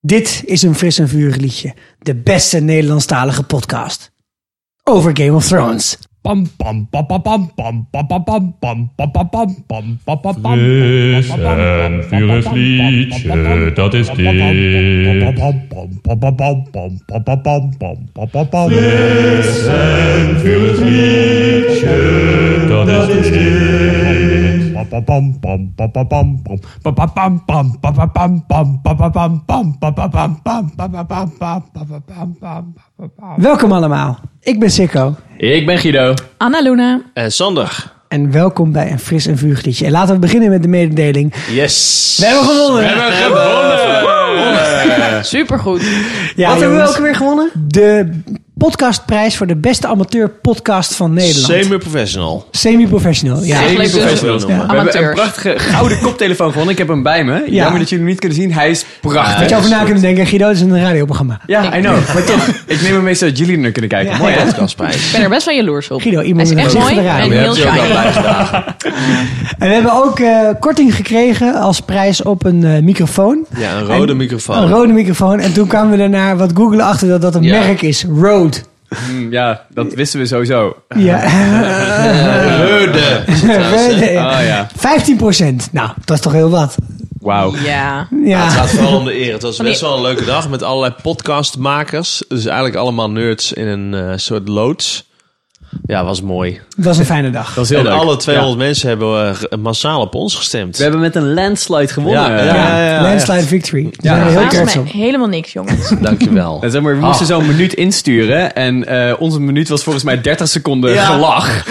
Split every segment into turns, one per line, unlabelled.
Dit is een fris en vurig liedje. De beste Nederlandstalige podcast. Over Game of Thrones.
Pam pam pam pam pam pam pam pam pam pam pam pam pam pam pam pam pam.
Fris en vurig liedje, dat is dit. Fris en vurig liedje, dat is dit.
Welkom allemaal. Ik ben Sikko.
Ik ben Guido.
Anna Luna.
En Eh, Sander.
En welkom bij een fris en vurig liedje. En laten we beginnen met de mededeling.
Yes.
We hebben gewonnen.
Supergoed.
Ja,
Wat hebben we
ook weer gewonnen? De podcastprijs voor de beste amateur podcast van Nederland.
Semi-professional.
Semi-professional. Ja.
Echt leuk.
Semi-professional.
Ja.
noemen.
We
Ja.
hebben een
Amateurs.
prachtige gouden koptelefoon gewonnen. Ik heb hem bij me. Jammer dat jullie hem niet kunnen zien. Hij is
Had
prachtig.
je over na kunnen denken, Guido, dit is een radioprogramma.
Ja, I know. Maar toch, ik neem hem mee zodat jullie naar kunnen kijken.
Ja.
Mooi hè?
Ik
Podcastprijs. Oh,
ben er best wel jaloers op.
Guido,
Hij
iemand
is
met
echt
een gezicht
mooi
voor de radio.
en
Ja,
heel
dat heb je ook
shiny.
al bijgedaan.
En we hebben ook eh, korting gekregen als prijs op een eh, microfoon.
Ja, een rode
En-
microfoon.
Oh,
Een rode microfoon. En toen kwamen we daarna wat googelen achter dat dat een
Ja.
merk is. Rode.
Mm, Ja, dat wisten we sowieso.
Ja.
Eh, Rode.
Rode.
Oh ja.
15%. Nou, dat is toch heel wat.
Wauw.
Ja.
Het
Ja.
gaat vooral om de eer. Het was
Van die-
best wel een leuke dag met allerlei podcastmakers. Dus eigenlijk allemaal nerds in een eh, soort loods. Ja, was mooi.
Dat was een fijne dag.
Dat is heel
En
leuk.
alle
Ja.
200 mensen hebben eh, massaal op ons gestemd.
We hebben met een landslide gewonnen.
Ja, ja.
Landslide victory. Daar
Ja.
zijn we heel
Verbaast
trots
mij
op.
helemaal niks, jongens.
Dankjewel.
En zeg maar, we moesten
Ah.
zo'n minuut insturen. En eh, onze minuut was volgens mij 30 seconden
Ja.
eh, gelach.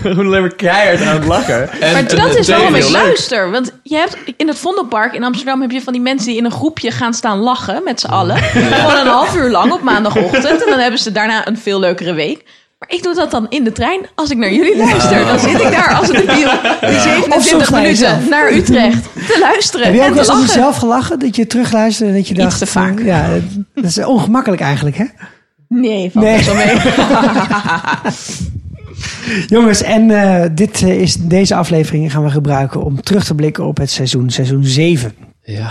Gewoon alleen maar keihard aan het lachen.
Maar dat is
wel
waarom ik luister. Want je hebt in het Vondelpark in Amsterdam heb je van die mensen die in een groepje gaan staan lachen met z'n allen. Gewoon een half uur lang op maandagochtend. En dan hebben ze daarna een veel leukere week. Maar ik doe dat dan in de trein als ik naar jullie luister. Dan zit ik daar als een debiel die
Of soms
27
naar
minuten
jezelf.
naar Utrecht te luisteren
Heb jij
en
ook
te
wel eens om
lachen.
jezelf gelachen? Dat je terugluisterde en dat je
Iets
dacht...
te vaak.
eh, Ja, dat- dat is ongemakkelijk eigenlijk, hè?
Nee, valt
Nee.
best wel mee.
Jongens, en eh, dit, eh, is, deze aflevering gaan we gebruiken om terug te blikken op het seizoen. Seizoen 7.
Ja.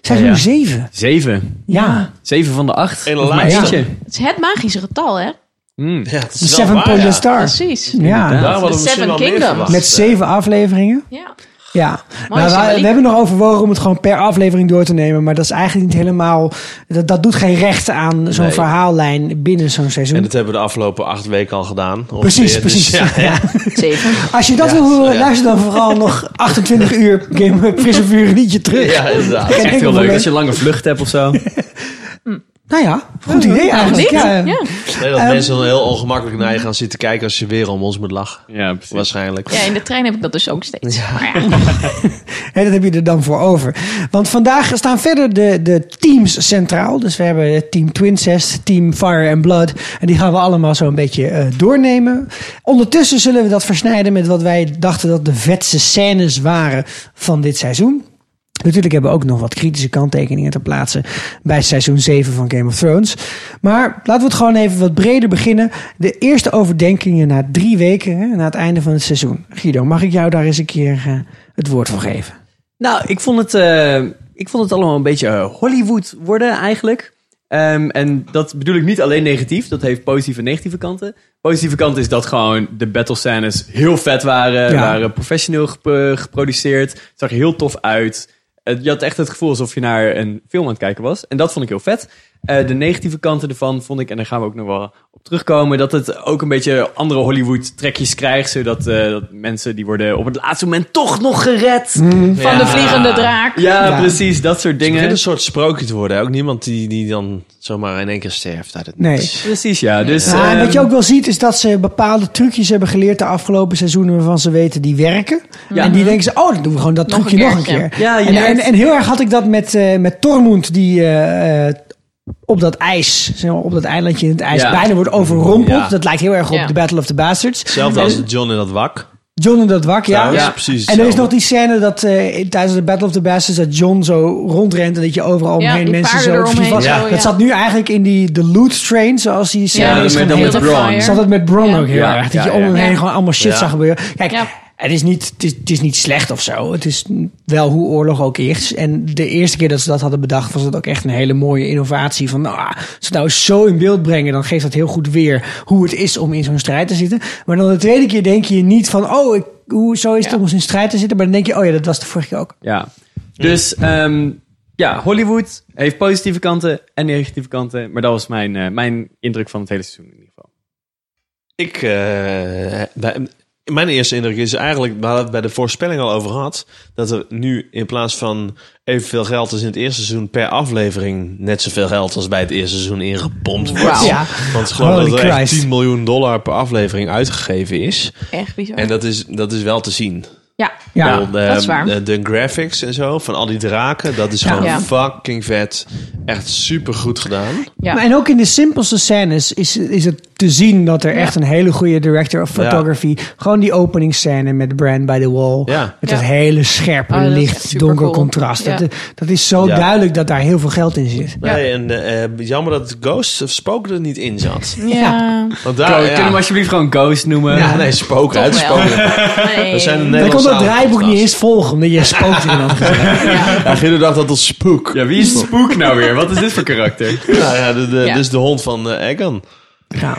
Seizoen
Ja.
7?
Zeven.
Ja.
Zeven van de acht.
En de
Of maar
laatste.
eentje.
Het is het magische getal, hè?
Mm.
Ja, het is
De
wel
Seven
waar,
Point
ja.
Star.
Precies.
Ja.
Daar hadden we
The
misschien
Seven
wel meer
Kingdoms.
verwacht.
Met zeven afleveringen.
Ja.
Ja.
Mooie
Nou, we,
symboliek.
we hebben nog overwogen om het gewoon per aflevering door te nemen. Maar dat is eigenlijk niet helemaal. Dat, dat doet geen recht aan zo'n
Nee.
verhaallijn binnen zo'n seizoen.
En dat hebben we de afgelopen acht weken al gedaan. ongeveer.
Precies,
Dus
precies.
ja,
Ja.
Zeven.
Als je dat wil horen, luister dan vooral nog 28 uur Game Frisse Vuur liedje terug.
ja, inderdaad.
Geen
Echt
enkel
heel leuk.
probleem.
Als je een lange vlucht hebt of zo.
Nou ja, goed idee eigenlijk.
Niet?
Ja,
Ja.
Nee,
ehm,
dat mensen dan heel ongemakkelijk naar je gaan zitten kijken als je weer om ons moet lachen.
Ja, precies.
Waarschijnlijk.
Ja, in de trein heb ik dat dus ook steeds. Maar ja.
Hè, dat heb je er dan voor over. Want vandaag staan verder de, de teams centraal. Dus we hebben team Twincest, team Fire and Blood. En die gaan we allemaal zo een beetje eh, doornemen. Ondertussen zullen we dat versnijden met wat wij dachten dat de vetste scènes waren van dit seizoen. Natuurlijk hebben we ook nog wat kritische kanttekeningen te plaatsen bij seizoen 7 van Game of Thrones. Maar laten we het gewoon even wat breder beginnen. De eerste overdenkingen na drie weken, hè, na het einde van het seizoen. Guido, mag ik jou daar eens een keer eh, het woord voor geven?
Nou, ik vond het, eh, ik vond het allemaal een beetje eh, Hollywood worden eigenlijk. Ehm, en dat bedoel ik niet alleen negatief. Dat heeft positieve en negatieve kanten. Positieve kant is dat gewoon de battle scènes heel vet waren.
Ja.
Waren professioneel gep- eh, geproduceerd. Het zag er heel tof uit. Het- je had echt het gevoel alsof je naar een film aan het kijken was. En dat vond ik heel vet. Eh, de negatieve kanten ervan vond ik, en daar gaan we ook nog wel op terugkomen, dat het ook een beetje andere Hollywood-trekjes krijgt. Zodat eh, dat mensen die worden op het laatste moment toch nog gered.
Mhm.
Van de vliegende draak.
Ja,
Ja.
precies. Dat soort
Het begint
dingen.
een soort sprookje te worden. hè. Ook niemand die, die dan zomaar in één keer sterft uit het
Nee.
niets.
Precies, ja. Dus,
Ja, en
ehm,
wat je ook wel ziet is dat ze bepaalde trucjes hebben geleerd de afgelopen seizoenen waarvan ze weten die werken.
Ja.
En die denken ze, oh, dan doen we gewoon dat
Nog
trucje
een
nog een
keertje.
keer.
Ja, je
en, en,
merkt-
en heel erg had ik dat met, eh, met Tormund die eh, eh, op dat ijs, zeg maar, op dat eilandje in het ijs,
Ja.
bijna wordt overrompeld.
Ja.
Dat lijkt heel erg op
Ja.
The Battle of the Bastards.
Hetzelfde als John in dat wak.
John en dat wak, ja.
Trouwens,
Ja.
precies
En er is
hetzelfde.
nog die scène dat eh, tijdens de Battle of the Bastards dat John zo rondrent en dat je overal
Ja,
omheen
die
mensen
paarden
zo
eromheen,
vast.
zo, ja.
Dat zat nu eigenlijk in die de loot train, zoals die scène
Ja,
is
met-
gaan
dan
heten.
met Bron.
Zat het met Bron
Erm- Ja.
ook heel
Ja,
erg. Dat
ja,
je om hem
ja.
heen
Ja.
gewoon allemaal shit
Ja.
zag gebeuren. Kijk,
Ja.
Het is, niet, het, is, het is niet slecht of zo. Het is wel hoe oorlog ook is. En de eerste keer dat ze dat hadden bedacht, was dat ook echt een hele mooie innovatie. Van nou, ah, als ze het nou eens zo in beeld brengen, dan geeft dat heel goed weer hoe het is om in zo'n strijd te zitten. Maar dan de tweede keer denk je niet van, oh, ik, hoe, zo is het om eens in strijd te zitten. Maar dan denk je, oh ja, dat was de vorige keer ook.
Ja. Dus ehm, ja, Hollywood heeft positieve kanten en negatieve kanten. Maar dat was mijn, eh, mijn indruk van het hele seizoen in ieder geval.
Ik, eh, bij- mijn eerste indruk is eigenlijk, we hadden het bij de voorspelling al over gehad, dat er nu in plaats van evenveel geld als in het eerste seizoen per aflevering net zoveel geld als bij het eerste seizoen ingepompt wordt.
Wauw.
Ja.
Want ik geloof
Holy
dat er echt
Christ.
10 miljoen dollar per aflevering uitgegeven is.
Echt bizar.
En dat is, dat is wel te zien.
ja.
Ja.
Ik bedoel,
dat is waar.
De, de graphics en zo, van al die draken, dat is gewoon
Ja.
fucking vet. Echt super goed gedaan.
Ja.
Maar en ook in de simpelste scènes is, is het te zien dat er echt een hele goede director of photography. Gewoon die openingsscène met Brand by the Wall.
Ja.
Met
Ja.
dat hele scherpe
Oh, dat is echt
licht,
super
donker
cool.
contrast.
Ja.
Dat, dat is zo
Ja.
duidelijk dat daar heel veel geld in zit.
Ja.
Nee, en eh, jammer dat Ghost of Spook er niet in zat.
Ja.
Want
Go-
daar,
Kunnen we hem alsjeblieft gewoon Ghost noemen?
Ja, nee, spook,
Toch
uitspoken.
wel. Nee.
We zijn een
Hij kon
Nederlandse
dat draaiboek niet
avondgast.
eens volgen, omdat je spookt in had gezegd.
Ja, Guido dacht dat het spook.
Ja, wie is Spook nou weer? Wat is dit voor karakter?
Nou ja, de, de,
Ja.
dus de hond van eh, Egan.
Ja.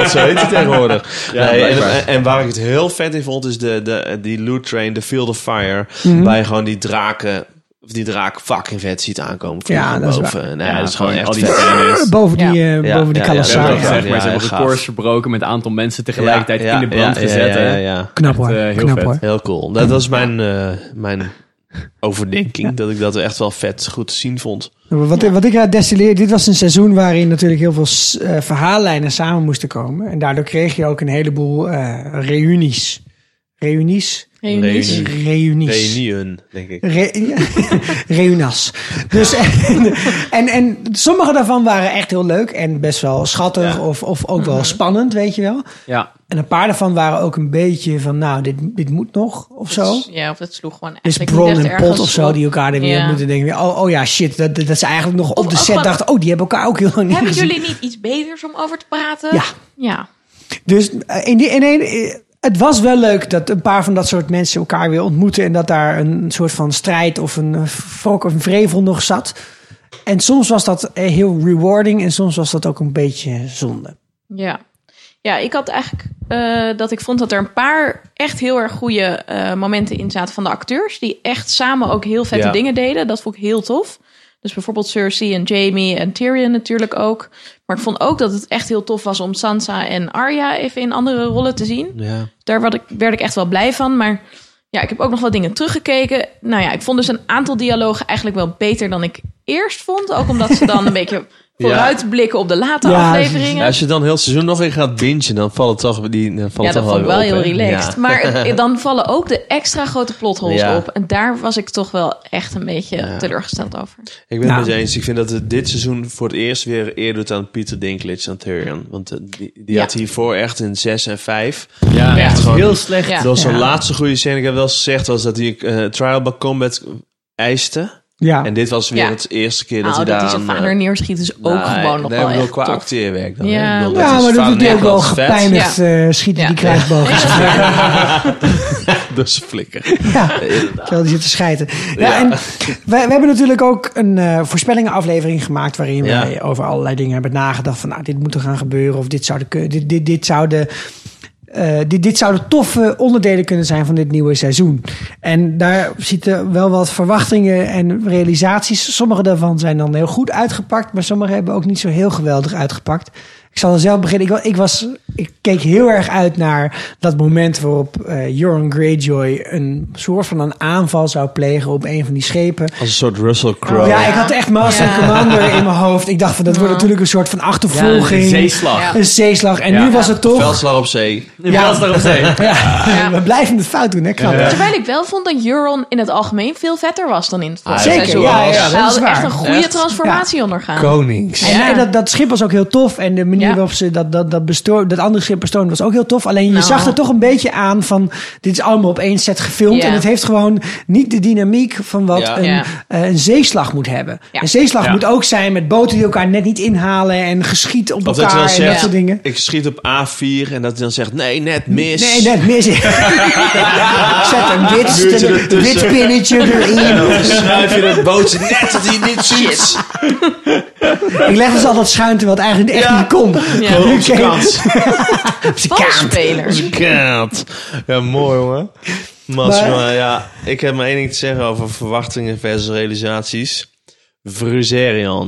Dat zo heet hij tegenwoordig.
Ja,
nee, en,
blijkbaar.
en- en waar ik het heel vet in vond, is de, de, die loot train, de Field of Fire.
Mhm.
Waar je gewoon die draken, of die draak fucking vet ziet aankomen. van
Ja, dat is
boven. Nou ja, dat is gewoon echt
al die
vet.
scènes.
Boven die,
Ja.
eh, boven die
Ja, ja, ja,
Ze hebben
Calasaria.
ook gezegd,
Ja,
maar ze
ja,
hebben
gaaf.
records verbroken met een aantal mensen tegelijkertijd in de brand
ja,
gezet.
Ja,
hè?
ja, ja.
Knap hoor,
Echt, eh, heel
knap
vet.
hoor.
Heel cool. Dat was mijn, eh, mijn overdenking. Dat ik dat echt wel vet goed te zien vond.
Wat, wat ik uit destilleer, dit was een seizoen waarin natuurlijk heel veel s- eh, verhaallijnen samen moesten komen. En daardoor kreeg je ook een heleboel eh, reunies. Reunies?
Reunies.
Reunie.
Reunies.
Reunion, denk ik.
Re Reunas. Dus en, en, en sommige daarvan waren echt heel leuk en best wel schattig of, of ook wel spannend, weet je wel.
Ja.
En een paar daarvan waren ook een beetje van, nou, dit, dit moet nog of zo.
Ja, of dat sloeg gewoon
Dus
eigenlijk
Bron
niet
en
echt
Pot
ergens
of zo,
op.
die elkaar er weer
Ja.
moeten denken. Oh, oh ja, shit, dat, dat dat ze eigenlijk nog op
Of
de
ook
set
gewoon-
dachten, oh, die hebben elkaar ook heel lang niet
Hebben
gezien.
jullie niet iets beters om over te praten?
Ja.
Ja.
Dus eh, in die, in een, eh, het was wel leuk dat een paar van dat soort mensen elkaar weer ontmoeten. En dat daar een soort van strijd of een eh, wrok of een vrevel nog zat. En soms was dat eh, heel rewarding en soms was dat ook een beetje zonde.
Ja. Ja, ik had eigenlijk eh, dat ik vond dat er een paar echt heel erg goede eh, momenten in zaten van de acteurs. Die echt samen ook heel vette
Ja.
dingen deden. Dat vond ik heel tof. Dus bijvoorbeeld Cersei en Jamie en Tyrion natuurlijk ook. Maar ik vond ook dat het echt heel tof was om Sansa en Arya even in andere rollen te zien.
Ja.
Daar werd ik, werd ik echt wel blij van. Maar ja, ik heb ook nog wat dingen teruggekeken. Nou ja, ik vond dus een aantal dialogen eigenlijk wel beter dan ik eerst vond. Ook omdat ze dan een beetje vooruitblikken op de late
Ja,
afleveringen.
als je dan heel het seizoen nog in gaat bingen, dan valt het toch die dan valt
Ja,
het
dat
toch
vond ik wel
weer
heel
op, hè?
relaxed.
Ja.
Maar eh, dan vallen ook de extra grote plotholes
Ja.
op. En daar was ik toch wel echt een beetje
Ja.
teleurgesteld over.
Ik ben
Nou.
het met je eens. Ik vind dat het dit seizoen voor het eerst weer eer doet aan Peter Dinklage dan Tyrion. Want eh, die, die
Ja.
had hiervoor echt een 6 en 5.
Ja,
echt
gewoon-
heel slecht.
Ja.
Dat was zijn
Ja.
laatste goede scène. Ik heb wel eens gezegd was dat hij eh, trial by combat eiste.
Ja,
En dit was weer
Ja.
het eerste keer dat
Nou,
hij
dat
daar...
hij zijn
aan,
vader
eh,
neerschiet is ook
nou,
gewoon nog
nee,
wel
ik bedoel,
echt
qua
tof.
acteerwerk dan.
Ja.
hè. Ik bedoel,
ja
is
maar dat
vader
doet hij ook wel
Nederlands vet.
gepijnigd eh, schieten
Ja.
die kruisbogen.
Dus flikker.
Ja, terwijl die zit te schijten. Ja, En wij, we hebben natuurlijk ook een eh voorspellingenaflevering gemaakt... waarin
Ja.
wij over allerlei dingen hebben nagedacht. Van nou, dit moet er gaan gebeuren. Of dit zou de, kun- dit, dit, dit zou de, eh, dit, dit zouden toffe onderdelen kunnen zijn van dit nieuwe seizoen. En daar zitten wel wat verwachtingen en realisaties. Sommige daarvan zijn dan heel goed uitgepakt, maar sommige hebben ook niet zo heel geweldig uitgepakt. Ik zal er zelf beginnen. Ik, wa- ik, was, ik keek heel erg uit naar dat moment waarop eh Joran Greyjoy een soort van een aanval zou plegen op een van die schepen.
Als een soort Russell Crowe.
Ja, ik had echt Master
Ja.
and Commander in mijn hoofd. Ik dacht van dat wordt natuurlijk een soort van achtervolging.
een zeeslag.
Ja.
Een zeeslag. En
Ja.
nu was het toch.
Veldslag op zee.
Ja, als daarop zijn.
Ja,
Ja.
we blijven het fout doen, hè? Knap. hè?
Terwijl ik wel vond dat Euron in het algemeen veel vetter was dan in het vorige
Zeker,
seizoen.
ja, ja, dat
Hij
is
had
waar.
echt een goede
Echt.
transformatie ondergaan.
Konings.
En, en dat, dat schip was ook heel tof. En de manier manier
Ja.
waarop ze dat, dat, dat, bestoor, dat andere schip bestoomde was ook heel tof. Alleen je
Nou.
zag er toch een beetje aan van, dit is allemaal op één set gefilmd.
Ja.
En het heeft gewoon niet de dynamiek van wat
Ja.
Een,
Ja.
eh, een zeeslag moet hebben.
Ja.
Een zeeslag
Ja.
moet ook zijn met boten die elkaar net niet inhalen en geschiet op
Of dat ze
elkaar
dan
en dat
zegt,
soort dingen.
ik schiet op A4 en dat hij dan zegt, nee, net mis.
Nee, net mis. ik. Zet een wit,
Duurtje
een
ertussen.
wit pinnetje erin.
Dan schuif je dat bootje net dat hij niet ziet.
Ik leg dus altijd schuin terwijl het eigenlijk echt
Ja.
niet kon.
Ja.
Gewoon op
Oké.
zijn kant.
Op zijn kaart.
Op
Valsspeler.
zijn kant. Ja, mooi hoor. Mats,
Maar-
maar ja, ik heb maar één ding te zeggen over verwachtingen versus realisaties. Fruserian.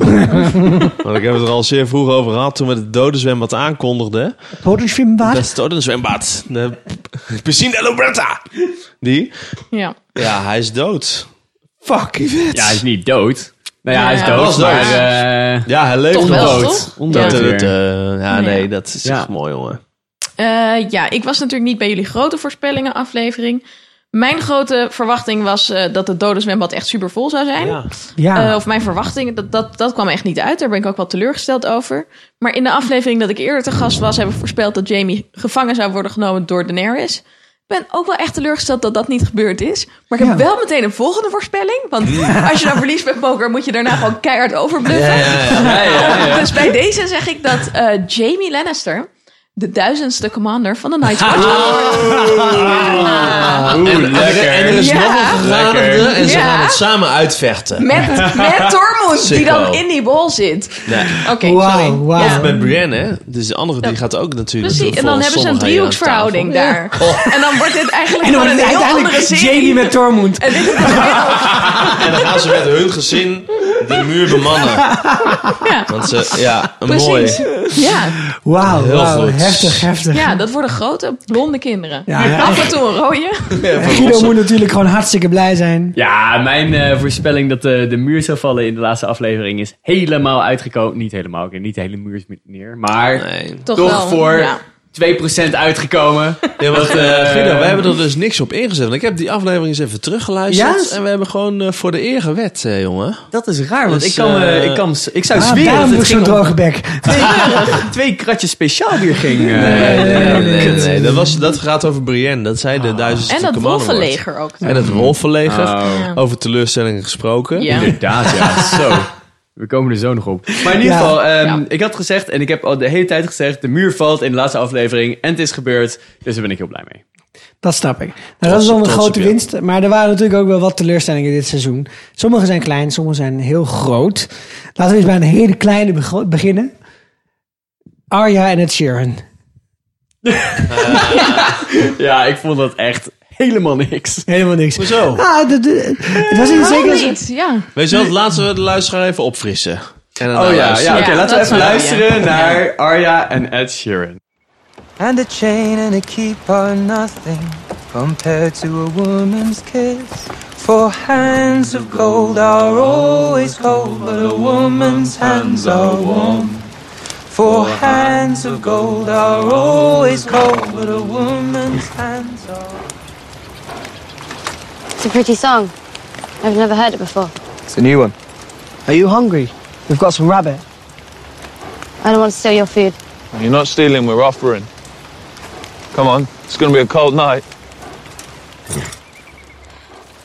Want ik heb het er al zeer vroeg over gehad toen we het dode zwembad aankondigden.
Fotoschwimbaar.
Dat is het dode zwembad. De Piscine de Luberta. Die?
Ja.
Ja, hij is dood. Fucking vet.
Ja, hij is niet dood. Nou ja, hij is
Ja,
dood,
hij was
maar...
dood.
eh,
Ja, hij leeft
Toch
nog.
wel,
ondood.
toch?
Ondood
Ja,
weer.
ja, nee,
Ja.
dat is
Ja.
echt mooi, jongen.
Eh, ja, ik was natuurlijk niet bij jullie grote voorspellingen aflevering. Mijn grote verwachting was eh, dat het dode zwembad echt super vol zou zijn.
Ja.
Ja.
Eh, of mijn verwachtingen, dat, dat, dat kwam echt niet uit. Daar ben ik ook wel teleurgesteld over. Maar in de aflevering dat ik eerder te gast was, hebben we voorspeld dat Jamie gevangen zou worden genomen door Daenerys. Ik ben ook wel echt teleurgesteld dat dat niet gebeurd is. Maar ik heb
Ja.
wel meteen een volgende voorspelling. Want als je nou verliest bij poker, moet je daarna gewoon keihard overbluffen. Dus bij deze zeg ik dat eh Jamie Lannister de duizendste commander van de Night's Watch gaat worden.
Ah, Oeh,
En, en er-
lekker.
en er is
Ja.
nog een geradigde en ze
Ja.
gaan het samen uitvechten.
Met, met Tormund, die
Sicko.
dan in die bol zit.
Nee.
Oké, sorry.
Wauw,
Ja.
wauw.
Met Brienne, hè? Dus de andere die gaat ook natuurlijk.
Precies, en dan
volgens
hebben ze een
sommigen hier aan
driehoeksverhouding
tafel.
daar. En dan wordt dit eigenlijk
En dan
gewoon
wordt
een
het
heel andere
uiteindelijk
serie.
Jamie met Tormund.
En dit is een heel-
En dan gaan ze met hun gezin de muur bemannen.
ja,
Want ze, ja, een
precies.
mooi.
Ja,
Wauw,
Heel
wauw.
goed.
heftig, heftig.
ja, dat worden grote blonde kinderen.
Ja, ja.
Af en toe een rode.
Guido moet natuurlijk gewoon hartstikke blij zijn.
Ja, mijn eh, voorspelling dat de, de muur zou vallen in de laatste aflevering is helemaal uitgekomen. Niet helemaal, oké, niet de hele muur is neer, maar
Nee.
Toch,
toch
wel.
voor
Ja.
2% uitgekomen.
Ja, want, eh,
eh,
Guido, wij hebben er dus niks op ingezet. Want ik heb die aflevering eens even teruggeluisterd.
Ja?
En we hebben gewoon eh, voor de eer gewet, eh, jongen.
Dat is raar, want
Dus,
ik, kan, eh,
eh,
ik, kan, s- ik zou
Ah,
zweren dat
daarom
het
ook zo'n
ging om
droge bek.
twee, twee kratjes speciaal weer ging. eh,
nee, nee, nee. Dat, was, dat gaat over Brienne. Dat zij de duizendste
En dat
commander wordt.
wolvenleger ook.
En het wolvenleger.
Oh.
Ja.
Over teleurstellingen gesproken.
Ja.
Inderdaad, ja. Zo. We komen er zo nog op. Maar in ieder
Ja.
geval, ehm,
Ja.
ik had gezegd, en ik heb al de hele tijd gezegd, de muur valt in de laatste aflevering en het is gebeurd. Dus daar ben ik heel blij mee.
Dat snap ik. Nou, dat is wel een
trots op
grote
jou.
winst. Maar er waren natuurlijk ook wel wat teleurstellingen dit seizoen. Sommige zijn klein, sommige zijn heel groot. Laten we eens bij een hele kleine bego- beginnen. Arya en het Sheeran.
Ja, ik vond dat echt helemaal niks.
Helemaal niks.
Hoezo?
Ah, de- de- het was in
Waarom
zekere zin...
niet? Ja.
Weet je wat, laten we de luisteraar even opfrissen. En dan nou
Oh ja, ja
luisteren.
oké,
Ja,
laten we
dat
even
wel, ja.
luisteren
Ja.
naar Arya en Ed Sheeran.
And a chain and a keep are nothing compared to a woman's kiss. For hands of gold are always cold, but a woman's hands are warm. For hands of gold are always cold, but a woman's hands are warm.
It's a pretty song. I've never heard it before.
It's a new one.
Are you hungry? We've got some rabbit.
I don't want to steal your food.
You're not stealing, we're offering. Come on, it's going to be a cold night.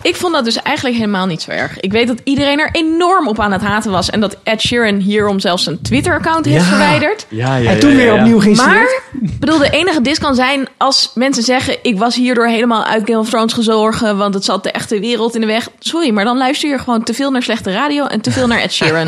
Ik vond dat dus eigenlijk helemaal niet zo erg. Ik weet dat iedereen er enorm op aan het haten was. En dat Ed Sheeran hierom zelfs zijn Twitter-account heeft verwijderd.
Ja, ja,
En toen weer opnieuw geïnstalleerd.
Maar, ik bedoel, de enige dis kan zijn als mensen zeggen... ik was hierdoor helemaal uit Game of Thrones gezorgen... want het zat de echte wereld in de weg. Sorry, maar dan luister je gewoon te veel naar slechte radio... en te veel naar Ed Sheeran.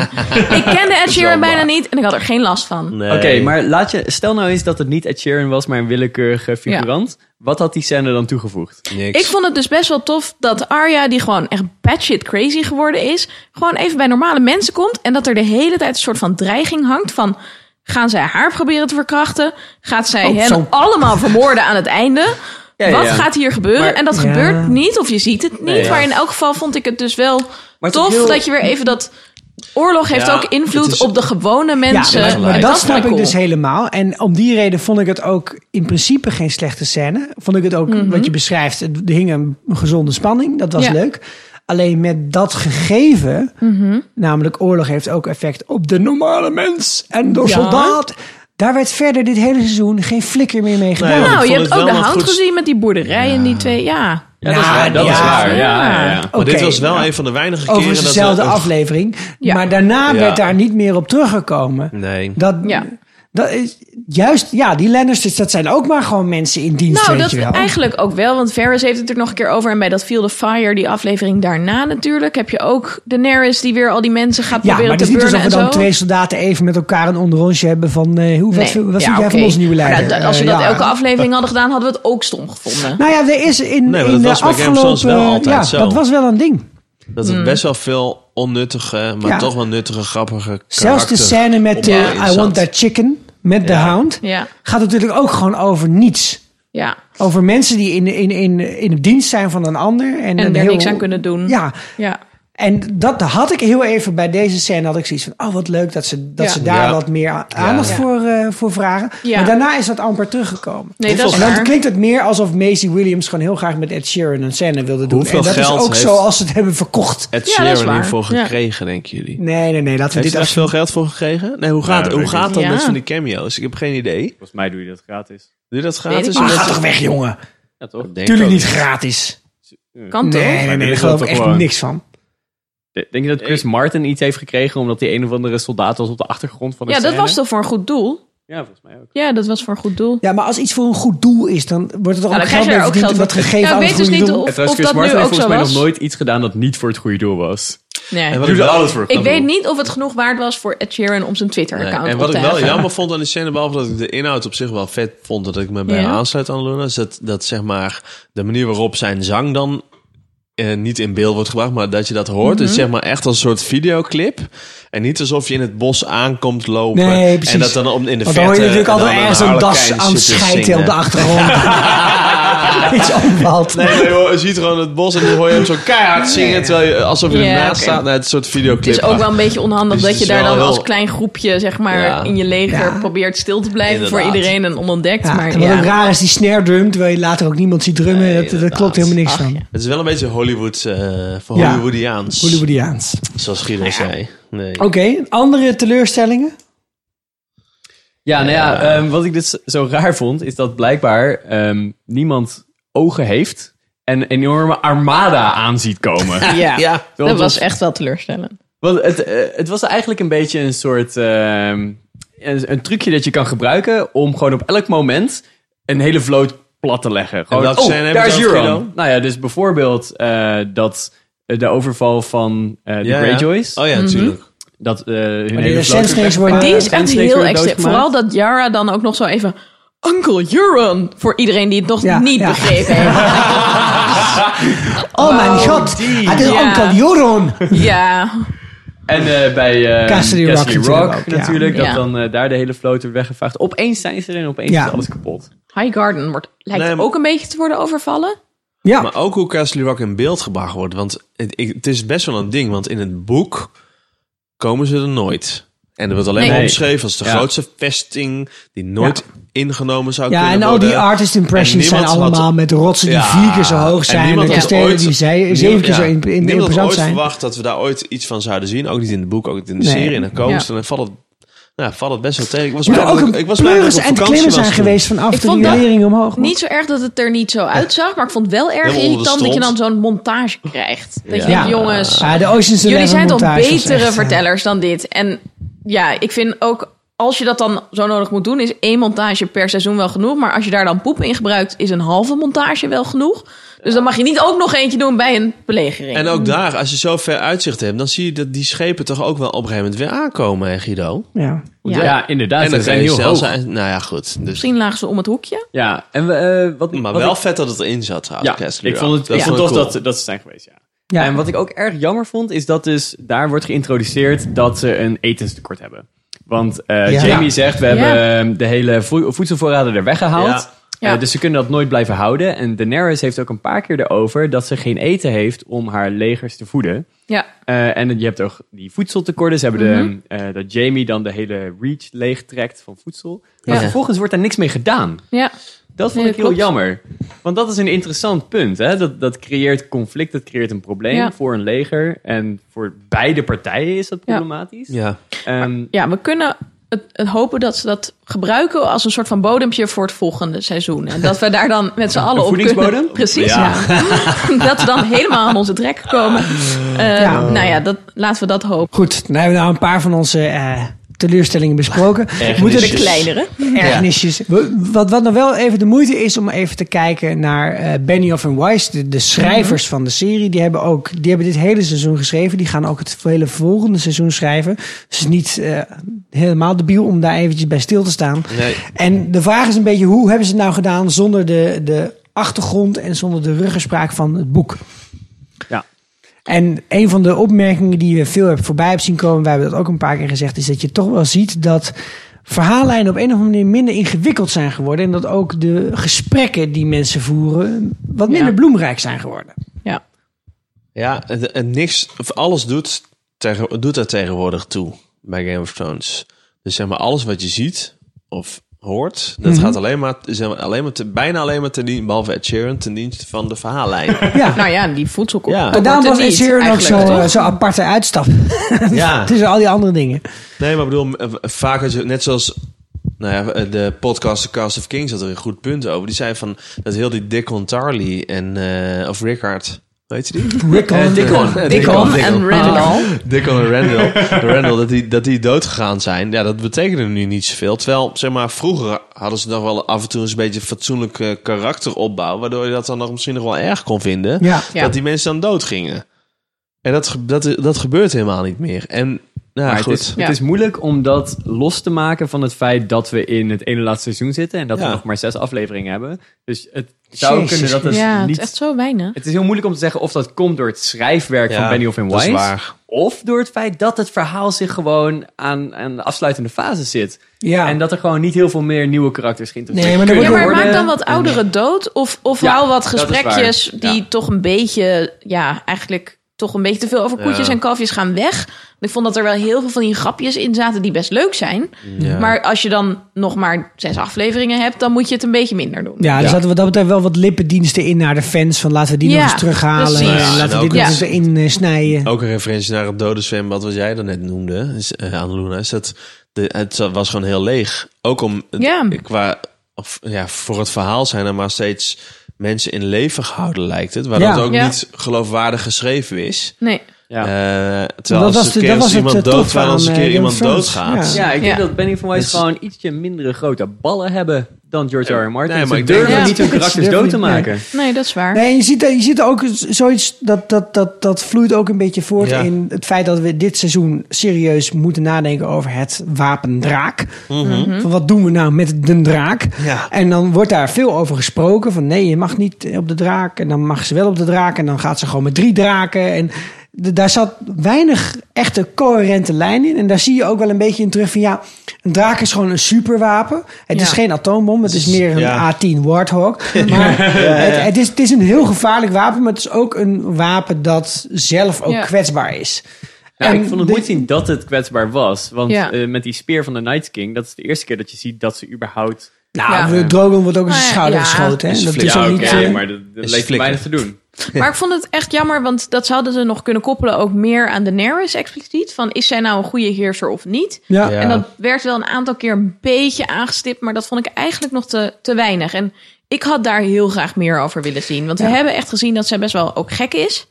ik kende Ed Sheeran bijna niet en ik had er geen last van.
Nee.
Oké, maar laat je, stel nou eens dat het niet Ed Sheeran was, maar een willekeurige figurant. Wat had die scène dan toegevoegd?
Niks.
Ik vond het dus best wel tof dat Arya, die gewoon echt batshit crazy geworden is... gewoon even bij normale mensen komt... en dat er de hele tijd een soort van dreiging hangt van... gaan zij haar proberen te verkrachten? Gaat zij hen
zo.
allemaal vermoorden aan het einde?
Ja, ja,
Wat
ja.
gaat hier gebeuren?
Maar-
en dat
Ja.
gebeurt niet, of je ziet het niet.
Nee, ja.
Maar in elk geval vond ik het dus wel
het
tof
is heel-
dat je weer even dat... Oorlog heeft
Ja,
ook invloed
het is-
op de gewone mensen.
Ja, maar dat
vond
snap ik
cool.
dus helemaal. En om die reden vond ik het ook in principe geen slechte scène. Vond ik het ook, wat je beschrijft, er hing een gezonde spanning. Dat was
Mhm. Ja.
leuk. Alleen met dat
Mhm.
gegeven, namelijk oorlog heeft ook effect op de normale mens en de
Ja.
soldaat. Daar werd verder dit hele seizoen geen flikker meer mee gedaan.
Nee,
nou,
vond
je
het
hebt
wel
ook de
een
hout
goed-
gezien met die boerderij en die twee. Ja.
Ja, dat is
Ja,
waar. Dat is
ja.
Ah,
waar. Ja, ja, ja.
Maar dit
Oké.
was wel een van de weinige keren...
Overigens
dat
dezelfde
we-
aflevering.
Ja.
Maar daarna
Ja.
werd daar niet meer op teruggekomen.
Nee.
Dat,
Ja.
dat is, juist, ja, die Lannisters, dat zijn ook maar gewoon mensen in dienst,
Nou,
weet
dat
je wel.
eigenlijk ook wel, want Ferris heeft het er nog een keer over. En bij dat Field of Fire, die aflevering daarna natuurlijk, heb je ook Daenerys die weer al die mensen gaat
Ja, maar
proberen
het is
te
niet
burnen
alsof
en
we
zo.
dan twee soldaten even met elkaar een onderrondje hebben van... eh, hoe, wat,
Nee.
vind- wat
Ja,
vind jij van
oké.
onze nieuwe
Maar
leider?
dat- als we
Eh,
dat
ja.
elke aflevering hadden gedaan, hadden we het ook stom gevonden.
Nou ja, er is in,
Nee, maar
in
dat
de
was bij Game of
afgelopen...
Thrones wel altijd
ja,
zo.
dat was wel een ding.
Dat
Hmm.
het best wel veel onnuttige, maar
Ja.
toch wel nuttige, grappige
Zelfs de
karakter
scène met eh,
opbouw in
I Want
zat.
That Chicken met de hound...
Ja,
gaat natuurlijk ook gewoon over niets.
ja.
Over mensen die in, in, in, in de dienst zijn van een ander. En,
En
een
er
heel-
niks aan kunnen doen.
Ja,
ja.
en dat had ik heel even bij deze scène. Had ik zoiets van: oh wat leuk dat ze, dat
Ja.
ze daar
Ja.
wat meer a- aandacht
Ja.
Voor, eh, voor vragen.
Ja.
Maar daarna is dat amper teruggekomen.
Nee, dat is
en dan
waar.
klinkt het meer alsof Maisie Williams gewoon heel graag met Ed Sheeran een scène wilde doen.
Hoeveel
en dat
geld
is ook
heeft-
zo als ze het hebben verkocht.
Ed
Ja, dat is
Sheeran
waar.
hiervoor
Ja.
gekregen, denken jullie?
Nee, nee, nee. Laten we
Heeft
dit
hij echt veel geld voor gekregen? Nee, hoe gaat,
dat
hoe
weet ik
gaat dat
niet.
met
Ja.
van die cameo's? Ik heb geen idee.
Volgens mij doe je dat gratis.
Doe je dat
Weet
gratis?
ik
Ah,
niet.
ga toch weg, jongen.
Ja, toch?
Denk
Tuurlijk
ook.
niet gratis.
Kan
Nee,
toch?
nee, nee.
dit
Daar
is
geloof
wel
ik echt
gewoon-
niks van.
De- Denk je dat Chris Martin iets heeft gekregen omdat hij een of andere soldaat was op de achtergrond van de
Ja, dat
scène?
was toch voor een goed doel?
Ja, volgens mij ook.
Ja, dat was voor een goed doel.
Ja, maar als iets voor een goed doel is, dan wordt het toch
Nou,
ook
dan krijg
geld
je
mee
er ook
verdiend
geld
en
voor.
dat gegeven
Ja,
aan
ik
het
weet dus
goede
niet
doel.
of,
En trouwens,
of
Chris
dat nu
Martin heeft
ook zo
volgens mij nog
was.
nooit iets gedaan dat niet voor het goede doel was.
Nee.
En wat
Doe
ik
er
wel-
alles voor. het
Ik
goede
weet
doel.
niet of het genoeg waard was voor Ed Sheeran om zijn Twitter-account
en
op
wat
te
ik wel
heffen.
jammer vond aan die scène, behalve dat ik de inhoud op zich wel vet vond, dat ik me bij
Ja.
haar aansluit aan Luna, is dat, dat zeg maar de manier waarop zijn zang dan eh, niet in beeld wordt gebracht, maar dat je dat hoort,
Mhm.
is zeg maar echt als een soort videoclip. En niet alsof je in het bos aankomt lopen
Nee, precies.
en dat dan om in de verte...
Want dan hoor je natuurlijk
en dan
altijd ergens een das
harlekijn
aan
zit te
scheiden op
zingen.
de achtergrond. Iets omvalt.
Nee, maar joh, je ziet gewoon het bos en dan hoor je hem zo keihard zingen, terwijl je, alsof je
Ja,
ernaast
oké.
staat. Nee, het is een soort
Het
videoclip.
is ook wel een beetje onhandig
Dus
dat
het
je
is
daar
wel
dan
heel-
als klein groepje, zeg maar,
Ja.
in je leger probeert stil te blijven voor
Inderdaad.
iedereen en onontdekt.
Ja,
maar
en wat
ja.
ook raar is, die snare drum, terwijl je later ook niemand ziet drummen.
Nee,
dat, dat
inderdaad.
klopt helemaal niks
Ach,
van.
ja.
Het is wel een beetje Hollywood, eh voor
Ja.
Hollywoodiaans.
Hollywoodiaans.
Zoals Guido zei. Nee.
Oké, andere teleurstellingen?
Ja, nou ja, ehm, wat ik dus zo raar vond, is dat blijkbaar ehm, niemand ogen heeft en een enorme armada aan ziet komen.
Ja.
Ja.
dat was echt wel teleurstellend.
Want het, eh, het was eigenlijk een beetje een soort ehm, een, een trucje dat je kan gebruiken om gewoon op elk moment een hele vloot plat te leggen. Gewoon,
welke
oh,
scène hebben
daar
we
is
het over,
Euron.
Guido?
Nou ja, dus bijvoorbeeld eh, dat eh, de overval van eh, de
Ja, ja.
Greyjoys,
Oh ja,
Mhm.
natuurlijk.
dat eh, hun
Die
hele vloot
Sandsnakes worden...
die is echt
Sandsnakes
heel
werden
extreem.
doodgemaakt.
Vooral dat Yara dan ook nog zo even... Uncle Euron, voor iedereen die het nog
Ja,
niet
ja.
begrepen heeft.
oh mijn god, het is
Ja.
Uncle Joron.
Ja,
En eh, bij eh,
Castle
Castle
Rock natuurlijk
Rock,
ook, ja.
natuurlijk,
Ja.
dat dan eh, daar de hele vloot werd weggevaagd. Opeens zijn ze er en opeens
Ja.
is alles kapot.
High Garden wordt, lijkt
Nee, maar-
ook een beetje te worden overvallen.
Ja,
Maar ook hoe Castle Rock in beeld gebracht wordt. Want het, ik- het is best wel een ding. Want in het boek komen ze er nooit. En er wordt alleen
Nee.
maar
Nee.
omschreven als de
Ja.
grootste vesting die nooit ingenomen zou
ja
kunnen
en al
worden.
die artist impressions
En
zijn
niemand
allemaal
had-
met rotsen die
Ja,
vier keer zo hoog
en
zijn. En
niemand had
kastelen
ooit-
die zij-
niemand-
zeven keer
ja,
zo in- in-
niemand had
imposant
ooit
zijn.
verwacht dat we daar ooit iets van zouden zien. Ook niet in het boek, ook niet in de
Nee.
serie. En dan komen
Ja.
ze en dan valt het, nou, valt het best wel tegen. Ik was
Moet
blij
er ook
dat
een
ik- ik was blij dat ik
pleuris
op
en
vakantie
klimmen
was
zijn
toen.
geweest vanaf
Ik
de
vond dat
nivellering omhoog.
Niet zo erg dat het er niet zo uitzag, maar ik vond het wel erg
Helemaal onder de
irritant dat je dan
stront.
zo'n montage krijgt. Dat je
Ja.
denkt, jongens,
Ja, de Ocean's
jullie
Eleven
zijn toch
montage was
betere
echt, eh,
vertellers dan dit. En ja, ik vind ook, als je dat dan zo nodig moet doen, is één montage per seizoen wel genoeg. Maar als je daar dan poep in gebruikt, is een halve montage wel genoeg. Dus dan mag je niet ook nog eentje doen bij een belegering.
En ook daar, als je zo ver uitzicht hebt, dan zie je dat die schepen toch ook wel op een gegeven moment weer aankomen, hè, Guido?
Ja.
Ja.
Ja, inderdaad.
en
ze
dat
zijn heel hoog.
nou ja, goed. Dus,
Misschien lagen ze om het hoekje.
Ja, en we, eh, wat,
maar
wat
wel
ik-
vet dat het erin zat, trouwens.
ja,
Castle
ik
Rock.
vond het, ik vond
wel
tof
cool.
dat, dat ze zijn geweest, ja.
Ja.
En wat ik ook erg jammer vond, is dat dus daar wordt geïntroduceerd dat ze een etenstekort hebben. Want eh,
Ja.
Jamie zegt, we
Ja.
hebben eh, de hele vo- voedselvoorraden er weggehaald.
Ja.
Ja.
Eh, dus ze kunnen dat nooit blijven houden. En Daenerys heeft ook een paar keer erover dat ze geen eten heeft om haar legers te voeden.
Ja,
Eh, en je hebt ook die voedseltekorten. Ze hebben
Mhm.
de, eh, dat Jamie dan de hele reach leegtrekt van voedsel. Maar
Ja.
vervolgens wordt daar niks mee gedaan.
ja.
Dat vond
Nee,
ik heel
klopt.
jammer. Want dat is een interessant punt. Hè? Dat, dat creëert conflict, dat creëert een probleem
Ja.
voor een leger. En voor beide partijen is dat
Ja.
problematisch.
Ja. Ah,
Ehm,
ja, we kunnen het, het hopen dat ze dat gebruiken als een soort van bodempje voor het volgende seizoen. En dat we daar dan met z'n allen op kunnen.
voedingsbodem?
Precies, ja. dat we dan helemaal aan onze trek komen. Eh,
Ja.
Nou ja, dat, laten we dat hopen.
Goed, nou hebben we nou een paar van onze eh, teleurstellingen besproken. Moeten
De
we-
kleinere.
ergernisjes. We- Wat, wat nog wel even de moeite is om even te kijken naar eh Benioff en Weiss, de, de schrijvers van de serie. Die hebben, ook, die hebben dit hele seizoen geschreven. Die gaan ook het hele volgende seizoen schrijven. Dus het is niet eh, helemaal debiel om daar eventjes bij stil te staan.
Nee.
En de vraag is een beetje, hoe hebben ze het nou gedaan zonder de, de achtergrond en zonder de ruggespraak van het boek?
Ja.
En een van de opmerkingen die je veel hebt voorbij hebt zien komen, wij hebben dat ook een paar keer gezegd, is dat je toch wel ziet dat verhaallijnen op een of andere manier minder ingewikkeld zijn geworden. En dat ook de gesprekken die mensen voeren wat minder
Ja.
bloemrijk zijn geworden.
Ja.
Ja, en, en niks, of alles doet, tegen, doet daar tegenwoordig toe bij Game of Thrones. Dus zeg maar, alles wat je ziet of hoort, dat gaat alleen maar, zeg maar, alleen maar te, bijna alleen maar ten dienste, behalve Ed Sheeran, ten dienste van de verhaallijn.
Ja.
Nou ja, die voedselkop.
Ja.
en daarom was
het
Ed
niet,
Sheeran ook
eigenlijk,
zo'n
toch?
zo eh, aparte uitstap
ja,
tussen al die andere dingen.
nee, maar ik bedoel, eh, vaak als je, net zoals nou ja, eh, de podcast The Cast of Kings had er een goed punt over. Die zei van, dat heel die Dickon Tarly en, eh, of Rickard, weet je die?
Rickon.
Eh, Dickon. Eh,
Dickon en Randall.
Ah.
Dickon en Randall, Randall dat, die, dat die doodgegaan zijn, ja, dat betekende nu niet zoveel. Terwijl, zeg maar, vroeger hadden ze nog wel af en toe eens een beetje fatsoenlijk eh, karakteropbouw, waardoor je dat dan nog misschien nog wel erg kon vinden,
Ja.
Ja.
dat die mensen dan doodgingen. En dat, ge- dat, dat gebeurt helemaal niet meer. En, nou ja,
Maar
goed.
Het, is,
Ja.
het is moeilijk om dat los te maken van het feit dat we in het ene laatste seizoen zitten en dat
Ja.
we nog maar zes afleveringen hebben. Dus het zou
Jezus.
kunnen dat het
Ja, het
niet.
is echt zo weinig.
Het is heel moeilijk om te zeggen of dat komt door het schrijfwerk
Ja,
van Benioff en
dat is
Weiss.
waar.
Of door het feit dat het verhaal zich gewoon aan, aan de afsluitende fase zit.
Ja.
En dat er gewoon niet heel veel meer nieuwe karakters geïnteresseerd
Nee, maar er
Ja,
wordt
maar
ook-
maak dan wat ouderen dood. Of, of
Ja,
hou wat
dat is
gesprekjes
waar.
die
Ja.
toch een beetje... Ja, eigenlijk toch een beetje te veel over koetjes
Ja.
en kalfjes gaan weg. Want Ik vond dat er wel heel veel van die grapjes in zaten die best leuk zijn.
Ja.
Maar als je dan nog maar zes afleveringen hebt... dan moet je het een beetje minder doen.
Ja, er zaten wat dat betreft wel wat lippendiensten in naar de fans. Van laten we die
Ja,
nog eens terughalen.
precies.
En
Ja, en
laten we
ook
dit nog eens
het-
erin eh, snijden.
Ook een referentie naar het dode zwembad, wat jij daarnet noemde, is, eh, aan Luna, is dat de, het was gewoon heel leeg. Ook om
Ja.
qua of, ja, voor het verhaal zijn er maar steeds mensen in leven gehouden, lijkt het. Waardoor
Ja.
het ook
Ja.
niet geloofwaardig geschreven is.
Nee.
Ja.
Eh,
Dat
terwijl als
was
een
de-
keer
dat
als
was het,
iemand
eh,
dood,
toffe
terwijl als een
aan,
keer
eh,
iemand
Game of
doodgaat.
Thrones.
Ja, ik
Ja.
denk dat Benny van Weiss
Dus-
gewoon ietsje mindere grote ballen hebben dan George R. R. Martin.
Nee, maar
Ze
ik denk-
durven
Ja.
niet hun karakters
durven
dood te
niet, nee.
maken.
Nee, dat is waar.
Nee, je ziet, je ziet ook zoiets, dat, dat, dat, dat vloeit ook een beetje voort
Ja.
in het feit dat we dit seizoen serieus moeten nadenken over het wapen draak. Van wat doen we nou met de draak?
Mhm. Ja.
En dan wordt daar veel over gesproken van nee, je mag niet op de draak. En dan mag ze wel op de draak en dan gaat ze gewoon met drie draken. En d- daar zat weinig echte coherente lijn in. En daar zie je ook wel een beetje in terug van ja, een draak is gewoon een superwapen. Het is
Ja.
geen atoombom, het is meer een
Ja.
A10 Warthog. Maar Het, het, is, het is een heel gevaarlijk wapen, maar het is ook een wapen dat zelf ook
Ja.
kwetsbaar is.
Ja,
En
ik vond het
dit-
mooi te zien dat het kwetsbaar was. Want
Ja.
eh, met die speer van de Night King, dat is de eerste keer dat je ziet dat ze überhaupt...
Nou,
Ja.
de Drogon wordt ook in
Nou
zijn
ja,
schouder
ja.
geschoten. Hè?
Is
Dat
flink.
is
Ja,
ook
oké,
niet...
oké,
eh,
maar dat, dat
Is
leek me
flikker.
weinig te doen.
Maar ik vond het echt jammer, want dat zouden ze nog kunnen koppelen... ook meer aan Daenerys expliciet. Van, is zij nou een goede heerser of niet?
ja.
Ja.
En dat werd wel een aantal keer een beetje aangestipt, maar dat vond ik eigenlijk nog te, te weinig. En ik had daar heel graag meer over willen zien. Want we hebben echt gezien dat zij best wel ook gek is.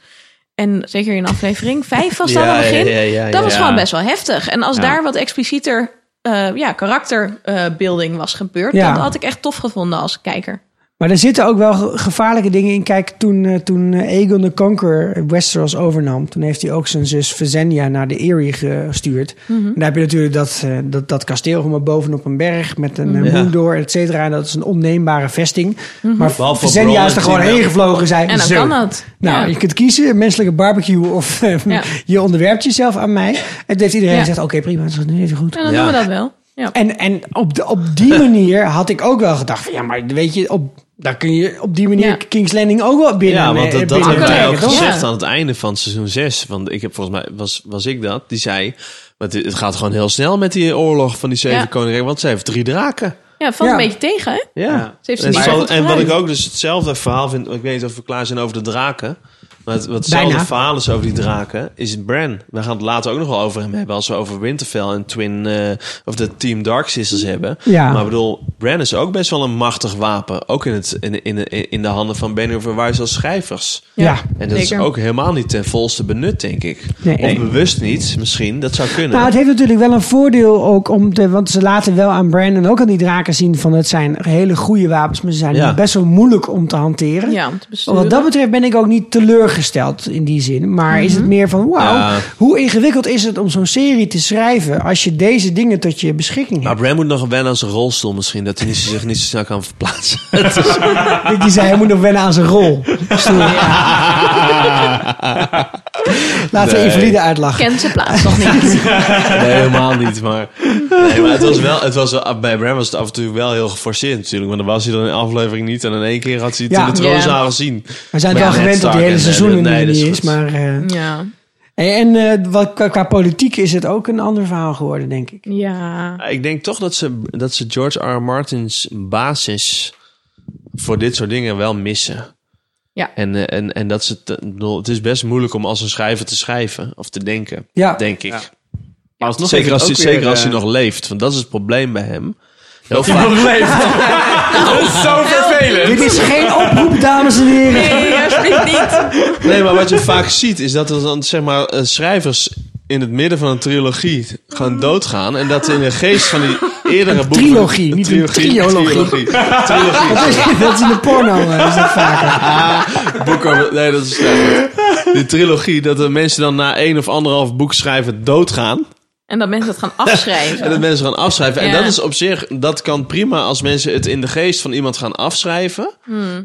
En zeker in aflevering 5 was dat aan het begin. dat was gewoon best wel heftig. En als daar wat explicieter eh, ja, karakterbeelding was gebeurd,
Ja.
dat had ik echt tof gevonden als kijker.
Maar er zitten ook wel ge- gevaarlijke dingen in. Kijk, toen, eh, toen eh, Aegon de Conqueror Westeros overnam... toen heeft hij ook zijn zus Visenya naar de Erie gestuurd.
Mhm.
En daar heb je natuurlijk dat, eh, dat, dat kasteel helemaal bovenop een berg... met een eh,
Mhm.
Ja.
moendor, et cetera. En dat is een onneembare vesting. Maar
Behalve voor
Visenya is
Bronn
er gewoon
en Tyrion.
heen gevlogen en zei...
En dan
"Zo,
kan dat.
Nou,
Ja.
je kunt kiezen, een menselijke barbecue of eh,
Ja.
je onderwerpt jezelf aan mij. En toen heeft iedereen
Ja.
gezegd, oké prima, dat is nu even goed.
En dan
Ja.
doen we dat wel. Ja.
En, en op, de, op die manier had ik ook wel gedacht van, ja maar weet je, op, daar kun je op die manier
Ja.
King's Landing ook wel binnen.
Ja, want
eh,
dat, dat
binnen
hebben wij ook
trekken, toch?
gezegd
Ja.
aan het einde van seizoen 6. Want ik heb volgens mij, was, was ik dat, die zei... Want het gaat gewoon heel snel met die oorlog van die zeven
Ja.
koningen. Want ze heeft drie draken.
ja, valt
Ja.
een beetje tegen, hè?
Ja.
Ze heeft ze
En,
niet
zo-
zo goed
en wat ik
gebruikt.
ook dus hetzelfde verhaal vind... Ik weet niet of we klaar zijn over de draken. Maar het, wat hetzelfde
Bijna.
verhaal is over die draken, is Bran. We gaan het later ook nog wel over hem hebben. Als we over Winterfell en Twin, eh, of de Team Dark Sisters hebben.
Ja.
Maar ik bedoel, Bran is ook best wel een machtig wapen. Ook in, het, in, in, in de handen van Benioff en Weiss als schrijvers.
Ja.
En dat
Zeker.
is ook helemaal niet ten volste benut, denk ik.
Nee.
Of bewust niet, misschien. Dat zou kunnen.
Nou, het heeft natuurlijk wel een voordeel ook om te, want ze laten wel aan Bran en ook aan die draken zien van het zijn hele goede wapens, maar ze zijn
Ja.
best wel moeilijk om te hanteren.
Ja, om te besturen.
Wat dat betreft ben ik ook niet teleurgesteld in die zin. Maar is
Mhm.
het meer van, wauw,
Ja.
hoe ingewikkeld is het om zo'n serie te schrijven als je deze dingen tot je beschikking
Maar
hebt?
Bran moet nog wennen aan zijn rolstoel misschien. Dat hij niet- zich niet zo snel kan verplaatsen.
Die zei, hij moet nog wennen aan zijn rol. Stoer. Laten we
Nee.
Eveline uitlachen.
Kent zijn plaats nog niet.
Nee, helemaal niet. Maar, nee, maar het was wel, het was wel, bij Bram was het af en toe wel heel geforceerd natuurlijk. Want dan was hij dan in de aflevering niet. En in één keer had hij het
Ja.
in de troonzaal
Ja.
gezien.
We zijn
Maar
het
ja,
wel
Ned
gewend dat die
Stark
hele
en-
seizoen
en-
er
nee, dat
niet is.
is goed.
Maar, eh,
Ja.
en eh, wat, qua, qua politiek is het ook een ander verhaal geworden, denk ik.
Ja.
Ik denk toch dat ze, dat ze George R. R. Martins basis voor dit soort dingen wel missen.
Ja.
En, eh, en, en dat ze, te- ik bedoel, het is best moeilijk om als een schrijver te schrijven of te denken,
Ja.
denk ik.
Maar alsnog
zeker als, hij,
heeft het ook
zeker
weer,
als hij
eh,
nog leeft, want dat is het probleem bij hem. Heel vaak.
Zo vervelend.
Dit is geen oproep, dames en heren.
Nee, alsjeblieft niet.
Nee, maar wat je vaak ziet is dat er dan zeg maar eh, schrijvers in het midden van een trilogie gaan doodgaan en dat in de geest van die eerdere boeken
trilogie, niet een triologie.
trilogie, trilogie.
Dat is, dat is in de porno, eh, is dat vaker.
boeken, nee dat is slecht. Die trilogie dat de mensen dan na één of anderhalf boek schrijven doodgaan
En dat mensen dat gaan
en dat
afschrijven.
mensen gaan afschrijven en
Ja.
dat is op zich dat kan prima als mensen het in de geest van iemand gaan afschrijven,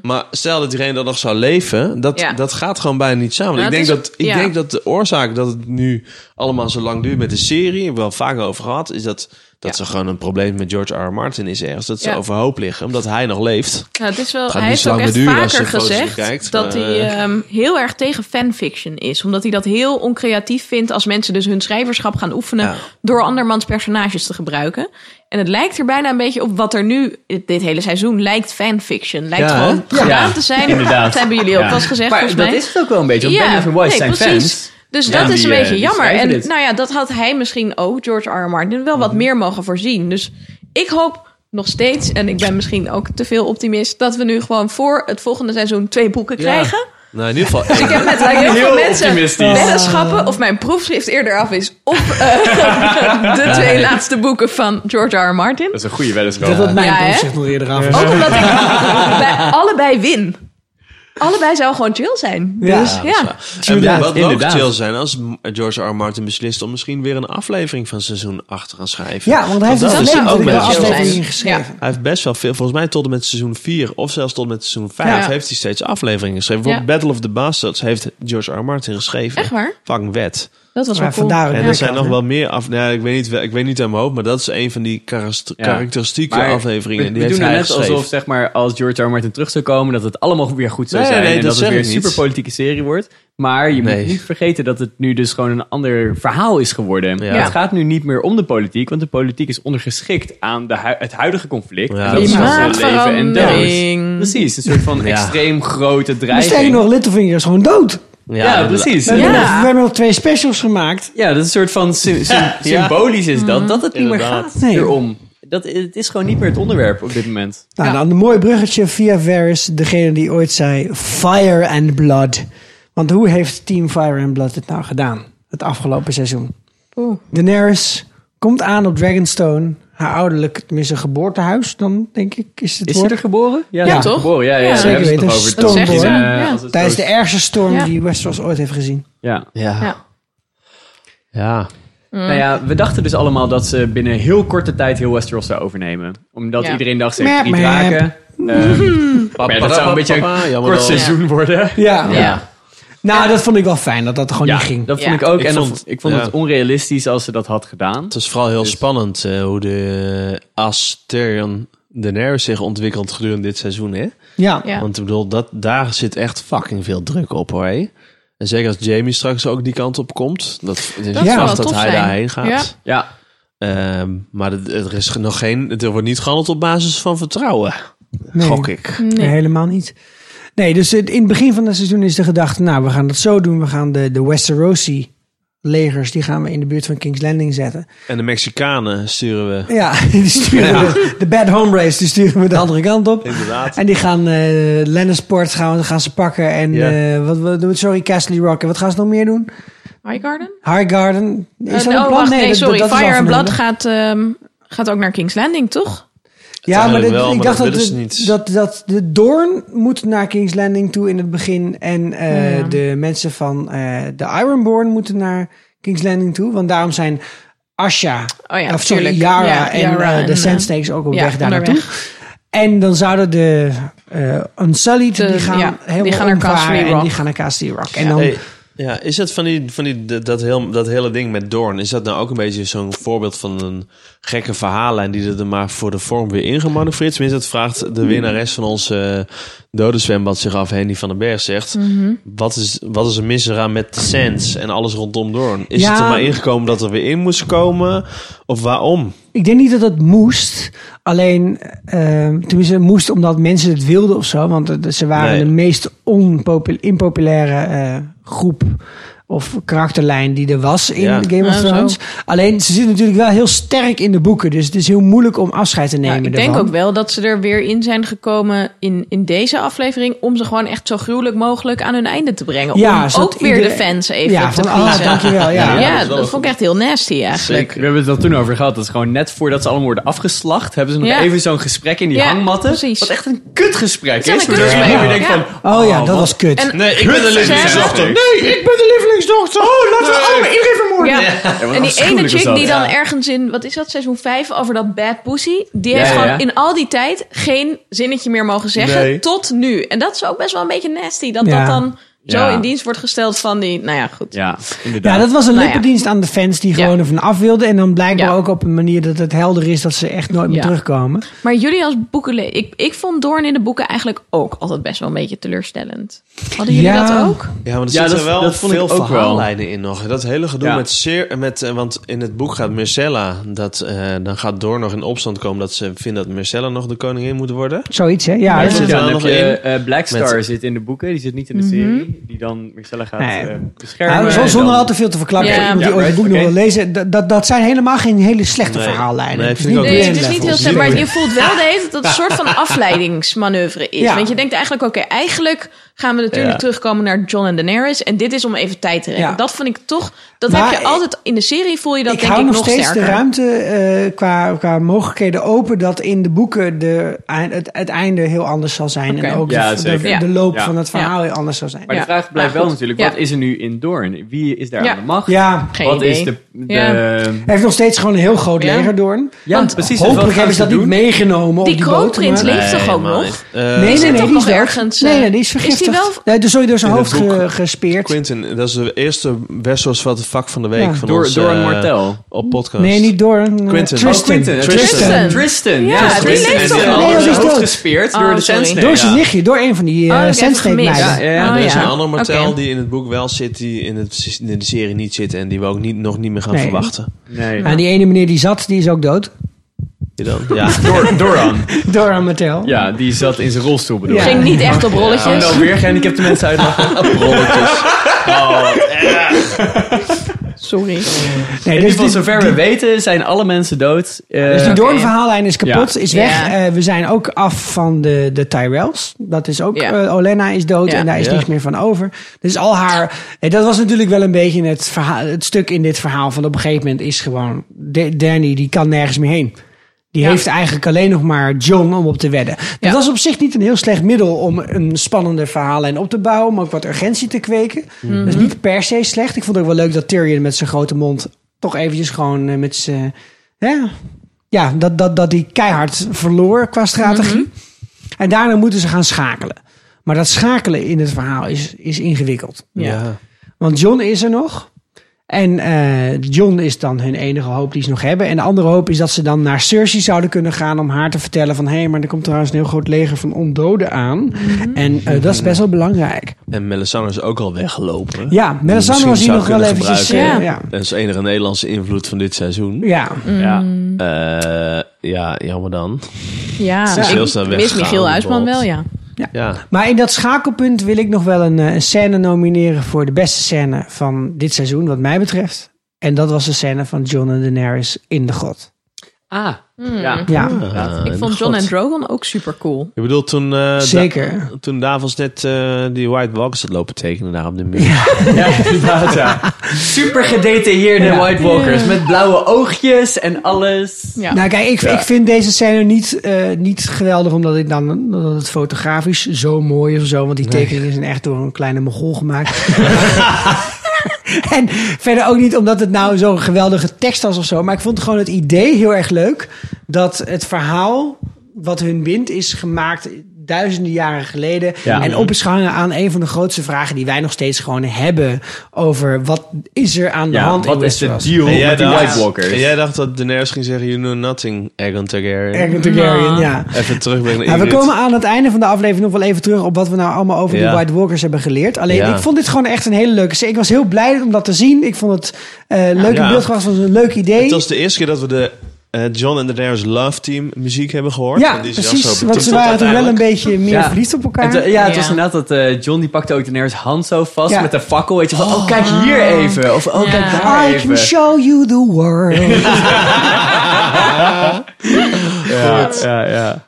maar stel dat iedereen dan nog zou leven, dat
Hmm. Ja.
dat gaat gewoon bijna niet samen.
Nou,
ik
het
denk
is-
dat ik
ja.
denk dat de oorzaak dat het nu allemaal zo lang duurt met de serie, hebben we wel vaker over gehad, is dat dat
Ja.
ze gewoon een probleem met George R. R. Martin is ergens dat ze
Ja.
overhoop liggen omdat hij nog leeft.
Nou, het is wel,
Het gaat niet
hij heeft
zo
ook
lang
echt
meer duren als
vaker
je foto's
gezegd
bekijkt,
dat
maar, eh,
hij ehm, heel erg tegen fanfiction is. Omdat hij dat heel oncreatief vindt als mensen dus hun schrijverschap gaan oefenen
Ja.
door andermans personages te gebruiken. En het lijkt er bijna een beetje op wat er nu, dit hele seizoen, lijkt fanfiction. Lijkt
Ja,
gewoon
hè?
gedaan
Ja,
te zijn.
inderdaad.
Dat hebben jullie ook
Ja.
wel eens gezegd,
Maar
volgens mij.
dat is het ook wel een beetje. Want
Ja,
Benioff en Weiss
nee,
zijn
precies.
fans.
Dus
Ja,
dat is
die,
een
eh,
beetje
die
jammer.
schrijven
En
dit. Mhm.
nou ja, dat had hij misschien ook, George R. R. Martin, wel wat meer mogen voorzien. Dus ik hoop nog steeds, en ik ben misschien ook te veel optimist, dat we nu gewoon voor het volgende seizoen twee boeken krijgen.
Nou, in ieder geval één.
Ik heb met heel veel mensen
optimistisch.
weddenschappen of mijn proefschrift eerder af is op eh, de twee laatste boeken van George R. R. Martin.
Dat is een goede weddenschap.
Dat was mijn
Ja, hè?
proefschrift nog eerder af.
Ook omdat ik bij allebei win. Allebei zou gewoon chill zijn.
Ja.
Dus ja.
En
Inderdaad,
wat wel
inderdaad.
chill zijn als George R. R. Martin beslist om misschien weer een aflevering van seizoen 8 te gaan schrijven.
Ja, want hij heeft dus
dat
het
is
alleen
ook
natuurlijk wel
best wel
afleveringen
fijn.
geschreven.
Hij heeft best wel veel, volgens mij tot en met seizoen 4 of zelfs tot en met seizoen 5
Ja.
heeft hij steeds afleveringen geschreven.
Ja.
Bijvoorbeeld Battle of the Bastards heeft George R. R. Martin geschreven.
Echt waar?
Fucking wet.
Dat was wel
Maar
cool.
Oh,
vandaar ook
En
weer
er zijn
kan,
nog
hè?
wel meer af. Nou, ik weet niet, wel- ik weet niet uit mijn hoofd, maar dat is een van die karast-
Ja.
karakteristieke
Maar
afleveringen.
We,
die
we
heeft
doen nou
hij
net
geschreven.
alsof zeg maar, als George R. R. Martin terug zou komen, dat het allemaal weer goed zou
Nee,
zijn.
nee,
en
dat
dat, het
zeg
weer
ik
een
niet.
superpolitieke serie wordt. Maar je
Nee.
moet niet vergeten dat het nu dus gewoon een ander verhaal is geworden.
Ja.
Het gaat nu niet meer om de politiek, want de politiek is ondergeschikt aan de hui- het huidige conflict.
Ja,
En
dat
is
is
gewoon
Klimaatverandering.
leven en dood. Precies, een soort van
Ja.
extreem grote
Maar sterker nog,
dreiging.
Littlefinger is gewoon dood.
Ja,
ja,
inderdaad.
precies.
We, hebben,
Ja.
nog, we hebben nog twee specials gemaakt.
Ja, dat is een soort van sym- sym- symbolisch is
Mhm.
dat, dat het niet
Inderdaad.
meer gaat
Nee.
erom. Dat, het is gewoon niet meer het onderwerp op dit moment.
Nou, dan een mooi bruggetje via Varys, degene die ooit zei Fire and Blood. Want hoe heeft Team Fire and Blood het nou gedaan? Het afgelopen seizoen.
Oeh.
Daenerys komt aan op Dragonstone. Haar ouderlijk, tenminste geboortehuis, dan denk ik, is het
Is
woord.
hij er geboren? Ja,
Ja,
hij is
toch?
Geboren. Ja, ja,
Ja.
daar
Zeker
hebben ze het
weten,
nog
een
over. Dat is
storm,
echt,
hoor.
eh,
Ja.
als het
Tijdens
zo-
de ergste storm
Ja.
die Westeros ooit heeft gezien.
Ja.
Ja. Ja.
Nou ja, we dachten dus allemaal dat ze binnen heel korte tijd heel Westeros zou overnemen. Omdat
Ja.
iedereen dacht, ze heeft
Merp,
drie
merp.
draken. Ehm, maar ja, dat zou een beetje
Papa,
een
jammer
kort
wel.
seizoen worden.
Ja.
Ja.
Nou, dat vond ik wel fijn dat dat gewoon
Ja,
niet ging.
dat
Ja.
vond ik ook.
Ik
en dat-
vond-
ik vond
ja.
het onrealistisch als ze dat had gedaan.
Het is vooral
Dus-
heel spannend eh, hoe de Asterion Daenerys zich ontwikkelt gedurende dit seizoen, hè?
Ja.
Ja.
Want ik bedoel, dat, daar zit echt fucking veel druk op, hoor. hè? En zeker als Jamie straks ook die kant op komt. Dat, dat
zou wel
dat
tof
hij
zijn.
daarheen gaat.
Ja,
Ja.
Ehm, maar het- er, is nog geen, er wordt niet gehandeld op basis van vertrouwen.
Nee.
Gok ik.
Nee, helemaal niet. Nee, dus het- in het begin van het seizoen is de gedachte, nou, we gaan dat zo doen. We gaan de, de Westerosi legers, die gaan we in de buurt van King's Landing zetten.
En de Mexicanen sturen we.
Ja, die sturen we, de Bad Home Race, die sturen we de andere kant op.
Inderdaad.
En die gaan eh Lannisport gaan, gaan ze pakken. En
Ja.
eh, wat, wat doen we? Sorry, Castle Rock. En wat gaan ze nog meer doen?
Highgarden?
Highgarden. Is
Eh,
dat
oh,
een plan?
wacht,
nee,
nee,
dat-
sorry.
dat is
Fire and
afgenomen.
Blood gaat, ehm, gaat ook naar King's Landing, toch?
Ja, maar,
Uiteindelijk
dit-
wel,
ik
maar
dacht
dat
dat,
willen ze
de-
niet.
dat, dat de Doorn moet naar King's Landing toe in het begin. En eh,
Ja.
de mensen van eh, de Ironborn moeten naar King's Landing toe. Want daarom zijn Asha,
Oh ja,
of sorry,
tuurlijk.
Yara
Ja,
en
Yara
eh,
en,
de
eh,
Sandsnakes ook op
ja,
weg daar naartoe. En dan zouden de eh Unsullied,
De-
die gaan
ja, die
helemaal
gaan naar
omvaren
Castle
en
Rock.
die gaan naar Castle Rock. En dan,
Hey, ja, is dat van die, van die dat, dat heel, dat hele ding met Doorn, is dat nou ook een beetje zo'n voorbeeld van een gekke verhaallijn die er dan maar voor de vorm weer ingemanoeuvreerd? is? Tenminste, dat vraagt de winnares van onze dode zwembad zich af, Henny van den Berg zegt.
Mhm.
Wat, is, wat is er misgegaan met de Sands en alles rondom Doorn? Is
Ja.
het er maar ingekomen dat er weer in moest komen? Of waarom?
Ik denk niet dat dat moest. Alleen, ehm tenminste, moest omdat mensen het wilden of zo. Want eh, ze waren
Nee.
de meest onpopul- impopulaire eh, groep of karakterlijn die er was in
Ja.
Game of
Ja,
Thrones.
zo.
Alleen, ze zitten natuurlijk wel heel sterk in de boeken. Dus het is heel moeilijk om afscheid te
Ja,
nemen
Nou, ik denk
ervan.
ook wel dat ze er weer in zijn gekomen in, in deze aflevering... om ze gewoon echt zo gruwelijk mogelijk aan hun einde te brengen.
Ja,
om
zodat
ook weer
iedereen-
de fans even
Ja,
te
van, ah,
pleasen.
dankjewel, ja.
Ja,
Ja, dat is wel
dat vond ik echt heel nasty eigenlijk.
We hebben het al toen over gehad. Dat is gewoon net voordat ze allemaal worden afgeslacht, hebben ze nog
Ja.
even zo'n gesprek in die
Ja,
hangmatten.
precies.
Wat echt een kutgesprek
Het is
is.
een
Waardoor je
kutgesprek,
weer denkt
ja.
van,
Oh, ja, dat
wat
was kut.
En-
Nee, ik ben de
lievelingsdochter.
Nee, ik ben de lievelingsdochter. Oh, laten we allemaal iedereen vermoorden.
Ja.
wat
en die ene
afschuwelijk was
chick
dat.
die dan
Ja.
ergens in, wat is dat, seizoen 5 over dat bad pussy. Die
Ja,
heeft
ja,
gewoon
ja.
in al die tijd geen zinnetje meer mogen zeggen.
Nee.
Tot nu. En dat is ook best wel een beetje nasty. Dat
Ja.
dat dan zo
Ja.
in dienst wordt gesteld van die, nou ja, goed.
Ja, inderdaad.
Ja, dat was een
Nou ja.
lippendienst aan de fans die
Ja.
gewoon ervan af wilden. En dan blijkbaar
Ja.
ook op een manier dat het helder is dat ze echt nooit meer
Ja.
terugkomen.
Maar jullie als boekenle... Ik, ik vond Doorn in de boeken eigenlijk ook altijd best wel een beetje teleurstellend. Hadden jullie
Ja.
dat ook?
Ja, maar er
Ja,
zitten
dat-
wel
dat vond ik
veel
ook wel.
verhaallijnen in nog. Dat hele gedoe
Ja.
met, zeer, met... eh, Want in het boek gaat Marcella... Dat, eh, dan gaat Door nog in opstand komen dat ze vindt dat Marcella nog de koningin moet worden.
Zoiets, hè? Ja,
Ja,
dat
dat
is-
zit
Ja,
er
dan
nog
heb je
in.
eh Blackstar
Met-
zit in de boeken, die zit niet in de serie. Die dan Marcella gaat
Nee.
eh, beschermen.
Nou,
en
zo- zonder
dan-
al te veel te verklappen.
Ja.
voor iemand die
Ja,
ooit het boek
right,
nog
oké.
wil lezen. Dat, dat, dat zijn helemaal geen hele slechte
Nee.
verhaallijnen.
Nee,
Het is
vind ik ook
Brienne
Nee, het is niet
level.
heel
Levels.
slecht, maar je voelt wel de hele tijd dat het een soort van afleidingsmanoeuvre is.
Ja.
Want je denkt eigenlijk, oké, eigenlijk gaan we natuurlijk
Ja.
terugkomen naar John en Daenerys. En dit is om even tijd te rekken.
Ja.
Dat vind ik toch, dat
Maar
heb je altijd, in de serie voel je dat
ik
denk
hou
ik
nog
nog
steeds
sterker.
de ruimte eh, qua, qua mogelijkheden open dat in de boeken de, eind- het, het einde heel anders zal zijn.
Oké.
En ook
Ja,
de, de,
zeker.
Ja.
de loop
Ja.
van het verhaal heel anders zal zijn.
Maar
Ja.
de vraag blijft
Ah,
wel
goed.
natuurlijk,
Ja.
wat is er nu in Doorn? Wie is daar
Ja.
aan de macht?
ja,
Geen
wat
idee.
is de... de
Ja.
hij heeft nog steeds gewoon een heel groot
Ja.
legerdoorn.
Ja,
Want
precies. dus wat
Hopelijk
gaan
hebben ze dat
doen?
niet meegenomen
Die
op die boot,
kroonprins
maar-
leeft toch ook
maar-
nog?
eh,
Nee, nee,
zit
nee,
toch
die is
nog
dood.
ergens, eh,
Nee, nee, die is
is die
vergiftigd.
wel-
Nee, dus sowieso zijn
In het
hoofd ge-
boek-
gespeerd.
Quentin, dat is de eerste Westeros wat de vak van de week
Ja.
van
Door,
ons,
door een
eh,
Martel.
op podcast.
Nee, niet door. een-
Quentin.
Tristan.
Oh, Quinten.
Tristan.
Tristan. Tristan.
Ja, die
Tristan.
leeft
En
toch
die
nog?
Nee,
had zijn
dat is
hoofd
dood.
gespeerd
Oh,
door de
sorry.
Sandsnake.
Door
ja.
zijn nichtje, door een van die
Oh,
eh
ik heb het
Sandsnake-meiden.
gemist.
Ja, ja, ja.
Oh,
Eh, er is
ja.
een ander Martel
Oké.
die in het boek wel zit, die in, het, in de serie niet zit en die we ook niet, nog niet meer gaan
Nee.
verwachten.
Nee.
En die ene meneer die zat, die is ook dood.
Je dan? Ja.
Dor- Doran.
Door aan Mattel.
Ja, die zat in zijn rolstoel bedoel
Ja.
ik.
Ging niet echt op rolletjes.
Oh,
Oh,
Nou, weer gehandicapte mensen uitlachen.
Sorry.
Nee,
In
dus
ieder geval,
die-
zover we weten, zijn alle mensen dood. Eh,
Dus die
Oké.
Doorn-verhaallijn is kapot,
Ja.
is weg.
Ja.
Eh, we zijn ook af van de, de Tyrells. Dat is ook,
Ja.
eh, Olena is dood
Ja.
en daar is
Ja.
niks meer van over. Dus al haar... eh, dat was natuurlijk wel een beetje het, verhaal, het stuk in dit verhaal. Van op een gegeven moment is gewoon... Da- Danny, die kan nergens meer heen. Die
Ja.
heeft eigenlijk alleen nog maar John om op te wedden. Dat
Ja.
was op zich niet een heel slecht middel om een spannende verhaallijn op te bouwen. Om ook wat urgentie te kweken.
Mhm.
Dat is niet per se slecht. Ik vond het ook wel leuk dat Tyrion met zijn grote mond toch eventjes gewoon eh, met zijn... hè, ja, dat, dat, dat die keihard verloor qua strategie.
Mhm.
En daarna moeten ze gaan schakelen. Maar dat schakelen in het verhaal is, is ingewikkeld.
Ja.
Want John is er nog. En eh, John is dan hun enige hoop die ze nog hebben. En de andere hoop is dat ze dan naar Cersei zouden kunnen gaan om haar te vertellen van... hé, hey, maar er komt trouwens een heel groot leger van ondoden aan. En eh, dat is best wel belangrijk.
En Melisandre is ook al weggelopen.
Ja,
Misschien
Melisandre was hier
zou
nog wel
kunnen
eventjes...
gebruiken.
eh, ja.
Dat is de enige Nederlandse invloed van dit seizoen.
ja,
ja.
Eh, ja, jammer dan.
Ja,
is heel snel
ik mis
weggegaan,
Michiel Huisman
bijvoorbeeld.
wel, ja.
Ja.
Ja.
Maar in dat schakelpunt wil ik nog wel een, eh, een scène nomineren voor de beste scène van dit seizoen, wat mij betreft. En dat was de scène van John en Daenerys in de god.
Ah,
Hmm.
ja.
Ja,
Ah,
Ik vond John
God.
en Drogon ook super cool.
Ik bedoel, toen, eh, Da-
zeker.
toen Davos net eh, die White Walkers had lopen tekenen daar op de muur.
Ja, inderdaad, ja. Super gedetailleerde
Ja.
White Walkers met blauwe oogjes en alles.
Ja.
Nou kijk, ik, ik vind deze scène niet, eh, niet geweldig omdat, ik dan, omdat het fotografisch zo mooi is of zo. Want die tekening is echt door een kleine mogol gemaakt. en verder ook niet omdat het nou zo'n geweldige tekst was of zo. Maar ik vond gewoon het idee heel erg leuk. Dat het verhaal wat hun bindt is gemaakt duizenden jaren geleden.
Ja.
En op is gehangen aan een van de grootste vragen die wij nog steeds gewoon hebben. Over wat is er aan de
Ja,
hand in
wat is de
Westeros.
deal
En jij
met die
dacht-
White Walkers?
En jij dacht dat Daenerys ging zeggen, you know nothing, Aegon Targaryen.
Ergen Targaryen,
Nou.
ja.
Even terugbrengen naar
Ja, Nou, we
Ingrid.
komen aan het einde van de aflevering nog wel even terug op wat we nou allemaal over
Ja.
die White Walkers hebben geleerd. Alleen
Ja.
ik vond dit gewoon echt een hele leuke scène. Ik was heel blij om dat te zien. Ik vond het eh, leuk
ja.
in beeld gebracht. Het was een leuk idee.
Het was de eerste keer dat we de eh, John en Daenerys Love Team muziek hebben gehoord.
ja,
Want die is zelfs
precies.
zo
Want ze
betiteld
waren toch wel een
uiteindelijk.
beetje meer
Ja.
verliefd op
eh,
elkaar.
En te- ja, het was
Ja.
inderdaad dat eh, John die pakte ook Daenerys hand zo vast
Ja. Ah,
met de fakkel. Weet je van, oh kijk hier even. Of oh
Ja.
kijk daar
I can
even.
show you the world.
Ja, ja, ja.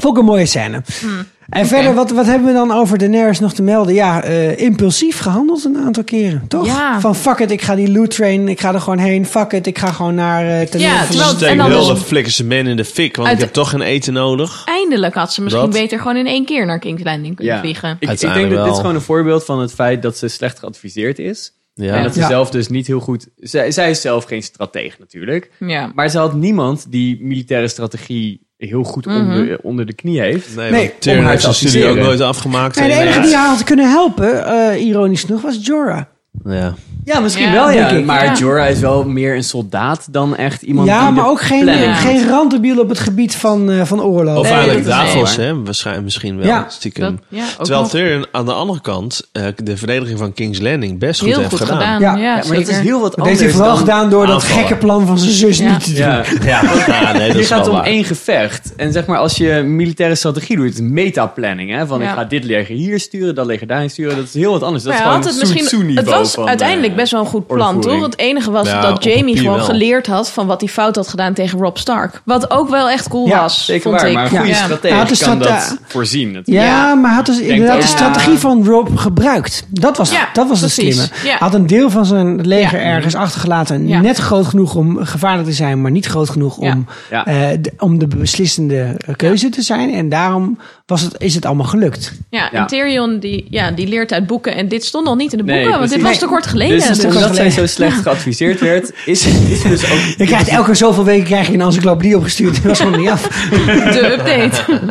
Vond ik een mooie scène.
Hm.
En verder, wat, wat hebben we dan over Daenerys nog te melden? Ja, eh, impulsief gehandeld een aantal keren, toch?
Ja.
Van fuck it, ik ga die loot train, ik ga er gewoon heen. Fuck it, ik ga gewoon naar... eh ten
Ja,
noorden van-
terwijl-
Ze
En
steken
dan
wel
dus-
de flikkers de man in de fik, want
Uit-
ik heb toch geen eten nodig.
Eindelijk had ze misschien
Dat-
beter gewoon in één keer naar King's Landing kunnen
Ja.
vliegen.
Ik, ik denk
Uiteindelijk
dat dit
wel.
gewoon een voorbeeld van het feit dat ze slecht geadviseerd is.
Ja.
En dat ze
Ja.
zelf dus niet heel goed... Zij, zij is zelf geen strateeg natuurlijk.
Ja.
Maar ze had niemand die militaire strategie heel goed
Mhm.
onder, onder de knie heeft.
Nee,
Nee,
want Tyrion
om haar
heeft
te
zijn studie ook
adviseren.
nooit afgemaakt.
Nee, de
En,
enige
eh,
die haar had kunnen helpen, eh, ironisch genoeg, was Jorah.
ja.
Ja, misschien
Ja,
wel, ja.
denk ik.
Maar
Ja.
Jorah is wel meer een soldaat dan echt iemand die
ja,
de
maar ook geen,
planning-
geen randebiel op het gebied van, eh, van oorlog.
Of
Nee,
eigenlijk
dat is
Davos,
waar.
hè? Waarschijnlijk misschien wel.
Ja.
Stiekem.
Dat, ja, ook
Terwijl
nog
Tyrion aan de andere kant eh, de verdediging van King's Landing best goed
heel
heeft
goed
gedaan.
gedaan.
Ja.
Ja,
Ja,
Ja, maar dat is
zeker.
heel wat
Dat
anders
dus
heeft hij vooral
dan-
gedaan door dat
aanvallen.
gekke plan van zijn zus
Ja.
niet te doen.
Ja.
Ja, ja, nee, dat
Je
is
gaat
wel
om
waar.
één gevecht. En zeg maar, als je militaire strategie doet, het is metaplanning. Hè? Van
Ja.
ik ga dit leger hier sturen, dat leger daarheen sturen. Dat is heel wat anders. Dat
Maar
is
hij
gewoon
had het,
Sun
misschien,
Tzu-niveau
het was
van,
uiteindelijk
eh,
best wel een goed plan,
ordevoering.
toch? Het enige was
Ja, op
dat Jamie
papier
gewoon
wel.
geleerd had van wat hij fout had gedaan tegen Rob Stark. Wat ook wel echt cool
Ja,
was,
Zeker
vond
waar,
ik.
maar een goede
Ja.
strategie
Hij had de
kan dat
strate-
voorzien. natuurlijk.
Ja,
Ja.
maar had dus inderdaad
ook.
de
Ja.
strategie van Rob gebruikt. Dat was,
Ja,
dat was het
precies.
slimme.
Ja.
Had een deel van zijn leger
Ja.
ergens achtergelaten.
Ja.
Net groot genoeg om gevaarlijk te zijn, maar niet groot genoeg
Ja.
om,
Ja.
eh, de, om de beslissende eh, keuze te zijn. En daarom was het, is het allemaal gelukt.
Ja,
Ja.
en Tyrion die, ja, die leert uit boeken. En dit stond nog niet in de
Nee,
boeken, want dit was
precies.
te kort geleden.
Dus
Dus-
kort
omdat zij
geleden.
zo slecht geadviseerd werd, is is dus ook...
Je krijgt elke zoveel weken krijg je een encyclopedie opgestuurd. Dat was gewoon niet af.
de update.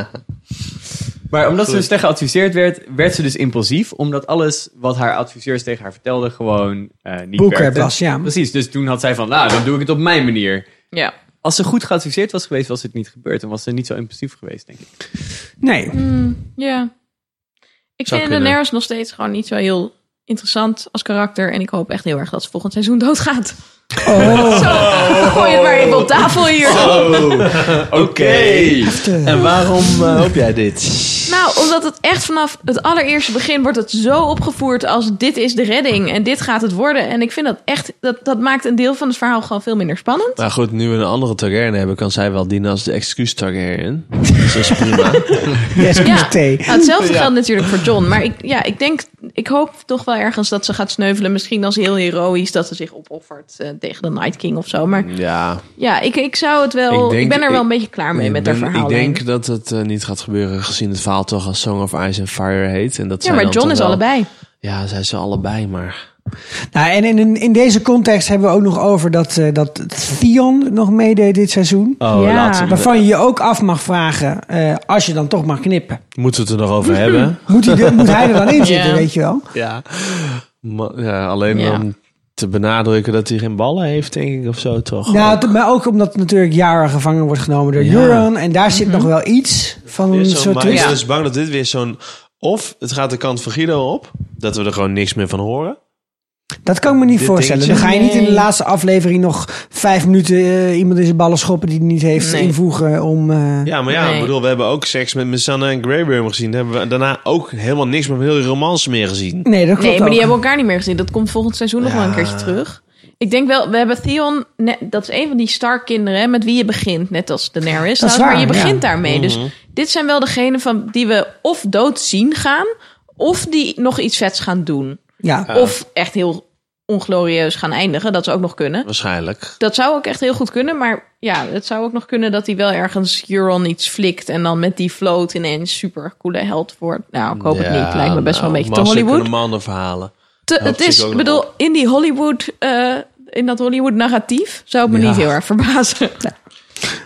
Maar omdat ze dus slecht geadviseerd werd, werd ze dus impulsief. Omdat alles wat haar adviseurs tegen haar vertelden gewoon eh, niet
Boeken
werkte.
was, ja.
Precies, dus toen had zij van, nou, dan doe ik het op mijn manier.
Ja.
Als ze goed geadviseerd was geweest, was dit niet gebeurd. En was ze niet zo impulsief geweest, denk ik.
Nee.
ja. Ik
Zou
vind
kunnen.
Daenerys nog steeds gewoon niet zo heel interessant als karakter. En ik hoop echt heel erg dat ze volgend seizoen doodgaat.
Oh.
Gooi het maar even op tafel hier.
Oké.
En waarom eh, hoop jij dit?
Nou, omdat het echt vanaf het allereerste begin wordt het zo opgevoerd als dit is de redding en dit gaat het worden. En ik vind dat echt, dat, dat maakt een deel van het verhaal gewoon veel minder spannend.
Nou goed, nu we een andere Targaryen hebben, kan zij wel dienen als de excuus Targaryen. Dus dat is prima.
Yes,
Ja.
thee.
Nou, hetzelfde geldt natuurlijk voor John. Maar ik, ja, ik denk, ik hoop toch wel ergens dat ze gaat sneuvelen. Misschien als heel heroïs dat ze zich opoffert eh, tegen de Night King of zo. Maar
Ja,
ja, ik, ik zou het wel,
Mm. Ik
ik,
denk-
ben er wel
ik-
een beetje klaar mee met haar
ik, ben-
verhaal.
ik denk dat het eh, niet gaat gebeuren, gezien het verhaal toch als Song of Ice and Fire heet. En dat
Ja,
zij
maar
dan
John
toch
is
wel-
allebei.
Ja, zij zijn allebei, maar...
Nou, en in, in, in deze context hebben we ook nog over dat, eh, dat Theon nog meedeed dit seizoen.
Oh,
Ja.
laten we-
Waarvan je je ook af mag vragen, eh, als je dan toch mag knippen.
Moeten we het er nog
Mhm.
over hebben?
Moet hij, er- moet hij er dan in zitten,
Ja.
weet je wel?
Ja. Ma- ja alleen
Ja.
om te benadrukken dat hij geen ballen heeft, denk ik, of zo, toch?
Nou, t- maar ook omdat natuurlijk Jara gevangen wordt genomen door
Ja.
Euron. En daar
Mhm.
zit nog wel iets van
Weer
een
zo'n-
soort
maar
twist.
ik ben
Ja.
dus bang dat dit weer zo'n... Of het gaat de kant van Guido op, dat we er gewoon niks meer van horen.
Dat kan ik me niet
Dit
voorstellen. Dan
dingetje.
ga je niet in de
Nee.
laatste aflevering nog vijf minuten eh, iemand in zijn ballen schoppen die hij niet heeft
Nee.
invoegen om... eh,
Ja, maar ja,
Nee.
ik bedoel, we hebben ook seks met Missandei en Grey Worm gezien. Daar hebben we daarna ook helemaal niks met heel die romance meer gezien.
Nee, dat klopt
Nee, maar
ook.
die hebben elkaar niet meer gezien. Dat komt volgend seizoen nog wel een keertje terug. Ik denk wel, we hebben Theon, net- dat is een van die Stark-kinderen hè, met wie je begint, net als Daenerys.
Dat is
trouwens,
waar,
maar je
ja. Mhm.
begint daarmee. Dus dit zijn wel degenen van die we of dood zien gaan, of die nog iets vets gaan doen.
Ja.
Of echt heel onglorieus gaan eindigen, dat zou ook nog kunnen.
Waarschijnlijk.
Dat zou ook echt heel goed kunnen, maar ja, het zou ook nog kunnen dat hij wel ergens Euron iets flikt en dan met die float ineens super coole held wordt. Nou, ik hoop het niet. Lijkt me best
nou,
wel een beetje te Hollywood.
mannen nou, verhalen.
Te-
Helpt
het is,
zich ook
ik
nog
bedoel,
op.
in die Hollywood, eh, in dat Hollywood narratief zou het me
Ja.
niet heel erg verbazen.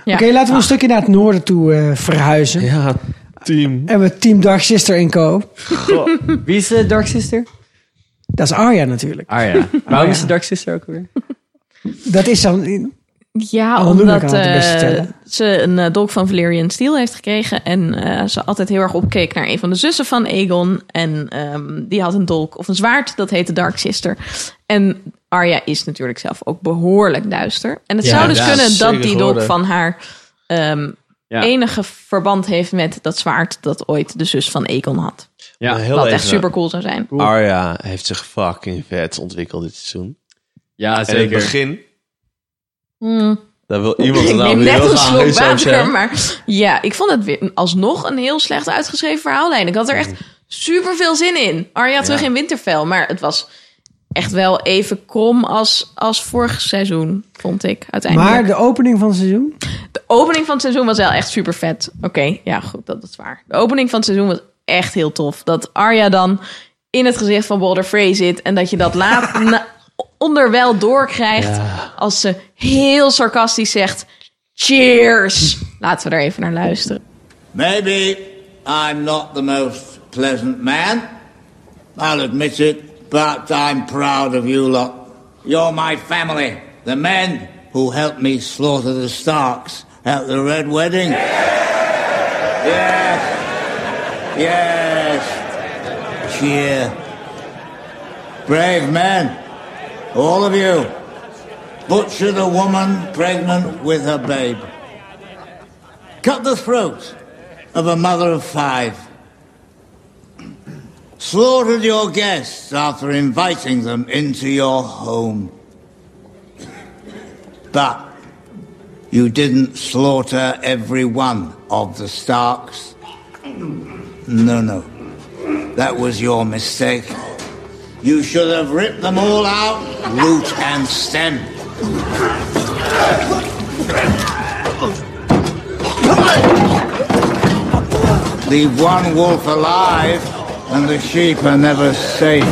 Ja.
Oké, laten we een stukje naar het noorden toe eh, verhuizen.
Ja, team.
En we Team Dark Sister en Co.
Wie is eh, de Dark Sister?
Dat is Arya natuurlijk.
Ah ja. Waarom
ja.
is de Dark Sister ook weer?
Dat is dan...
Ja,
Al Luna kan
omdat
het het beste
eh,
vertellen.
ze een eh, dolk van Valerian Steel heeft gekregen. En eh, ze altijd heel erg opkeek naar een van de zussen van Aegon. En ehm, die had een dolk of een zwaard, dat heette Dark Sister. En Arya is natuurlijk zelf ook behoorlijk duister. En het
Ja,
zou dus
ja,
kunnen
zeker
dat die dolk
geworden.
van haar ehm,
Ja.
enige verband heeft met dat zwaard dat ooit de zus van Aegon had.
Ja,
heel
Wat
even.
echt super cool zou zijn.
Arya heeft zich fucking vet ontwikkeld dit seizoen.
Ja,
En in het
zeker.
begin,
Hmm.
daar wil iemand
Ik
het
neem
nou
net
heel
een
graag
slok
iets over
water,
zeggen.
maar ja, ik vond het weer alsnog een heel slecht uitgeschreven verhaallijn. Ik had er echt super veel zin in. Arya terug in Winterfell, maar het was echt wel even krom als, als vorig seizoen, vond ik uiteindelijk.
Maar de opening van het seizoen?
De opening van het seizoen was wel echt super vet. Oké, ja, goed, dat is waar. De opening van het seizoen was echt heel tof. Dat Arya dan in het gezicht van Boulder Frey zit en dat je dat laat na- onderwel doorkrijgt als ze heel sarcastisch zegt: Cheers! Laten we daar even naar luisteren.
Maybe I'm not the most pleasant man. I'll admit it, but I'm proud of you lot. You're my family, the men who helped me slaughter the Starks at the Red Wedding. Yes. Yes. Cheer. Brave men, all of you. Butchered a woman pregnant with her babe. Cut the throat of a mother of five. Slaughtered your guests after inviting them into your home. But you didn't slaughter every one of the Starks. No, no. That was your mistake. You should have ripped them all out, root and stem. Leave one wolf alive, and the sheep are never safe.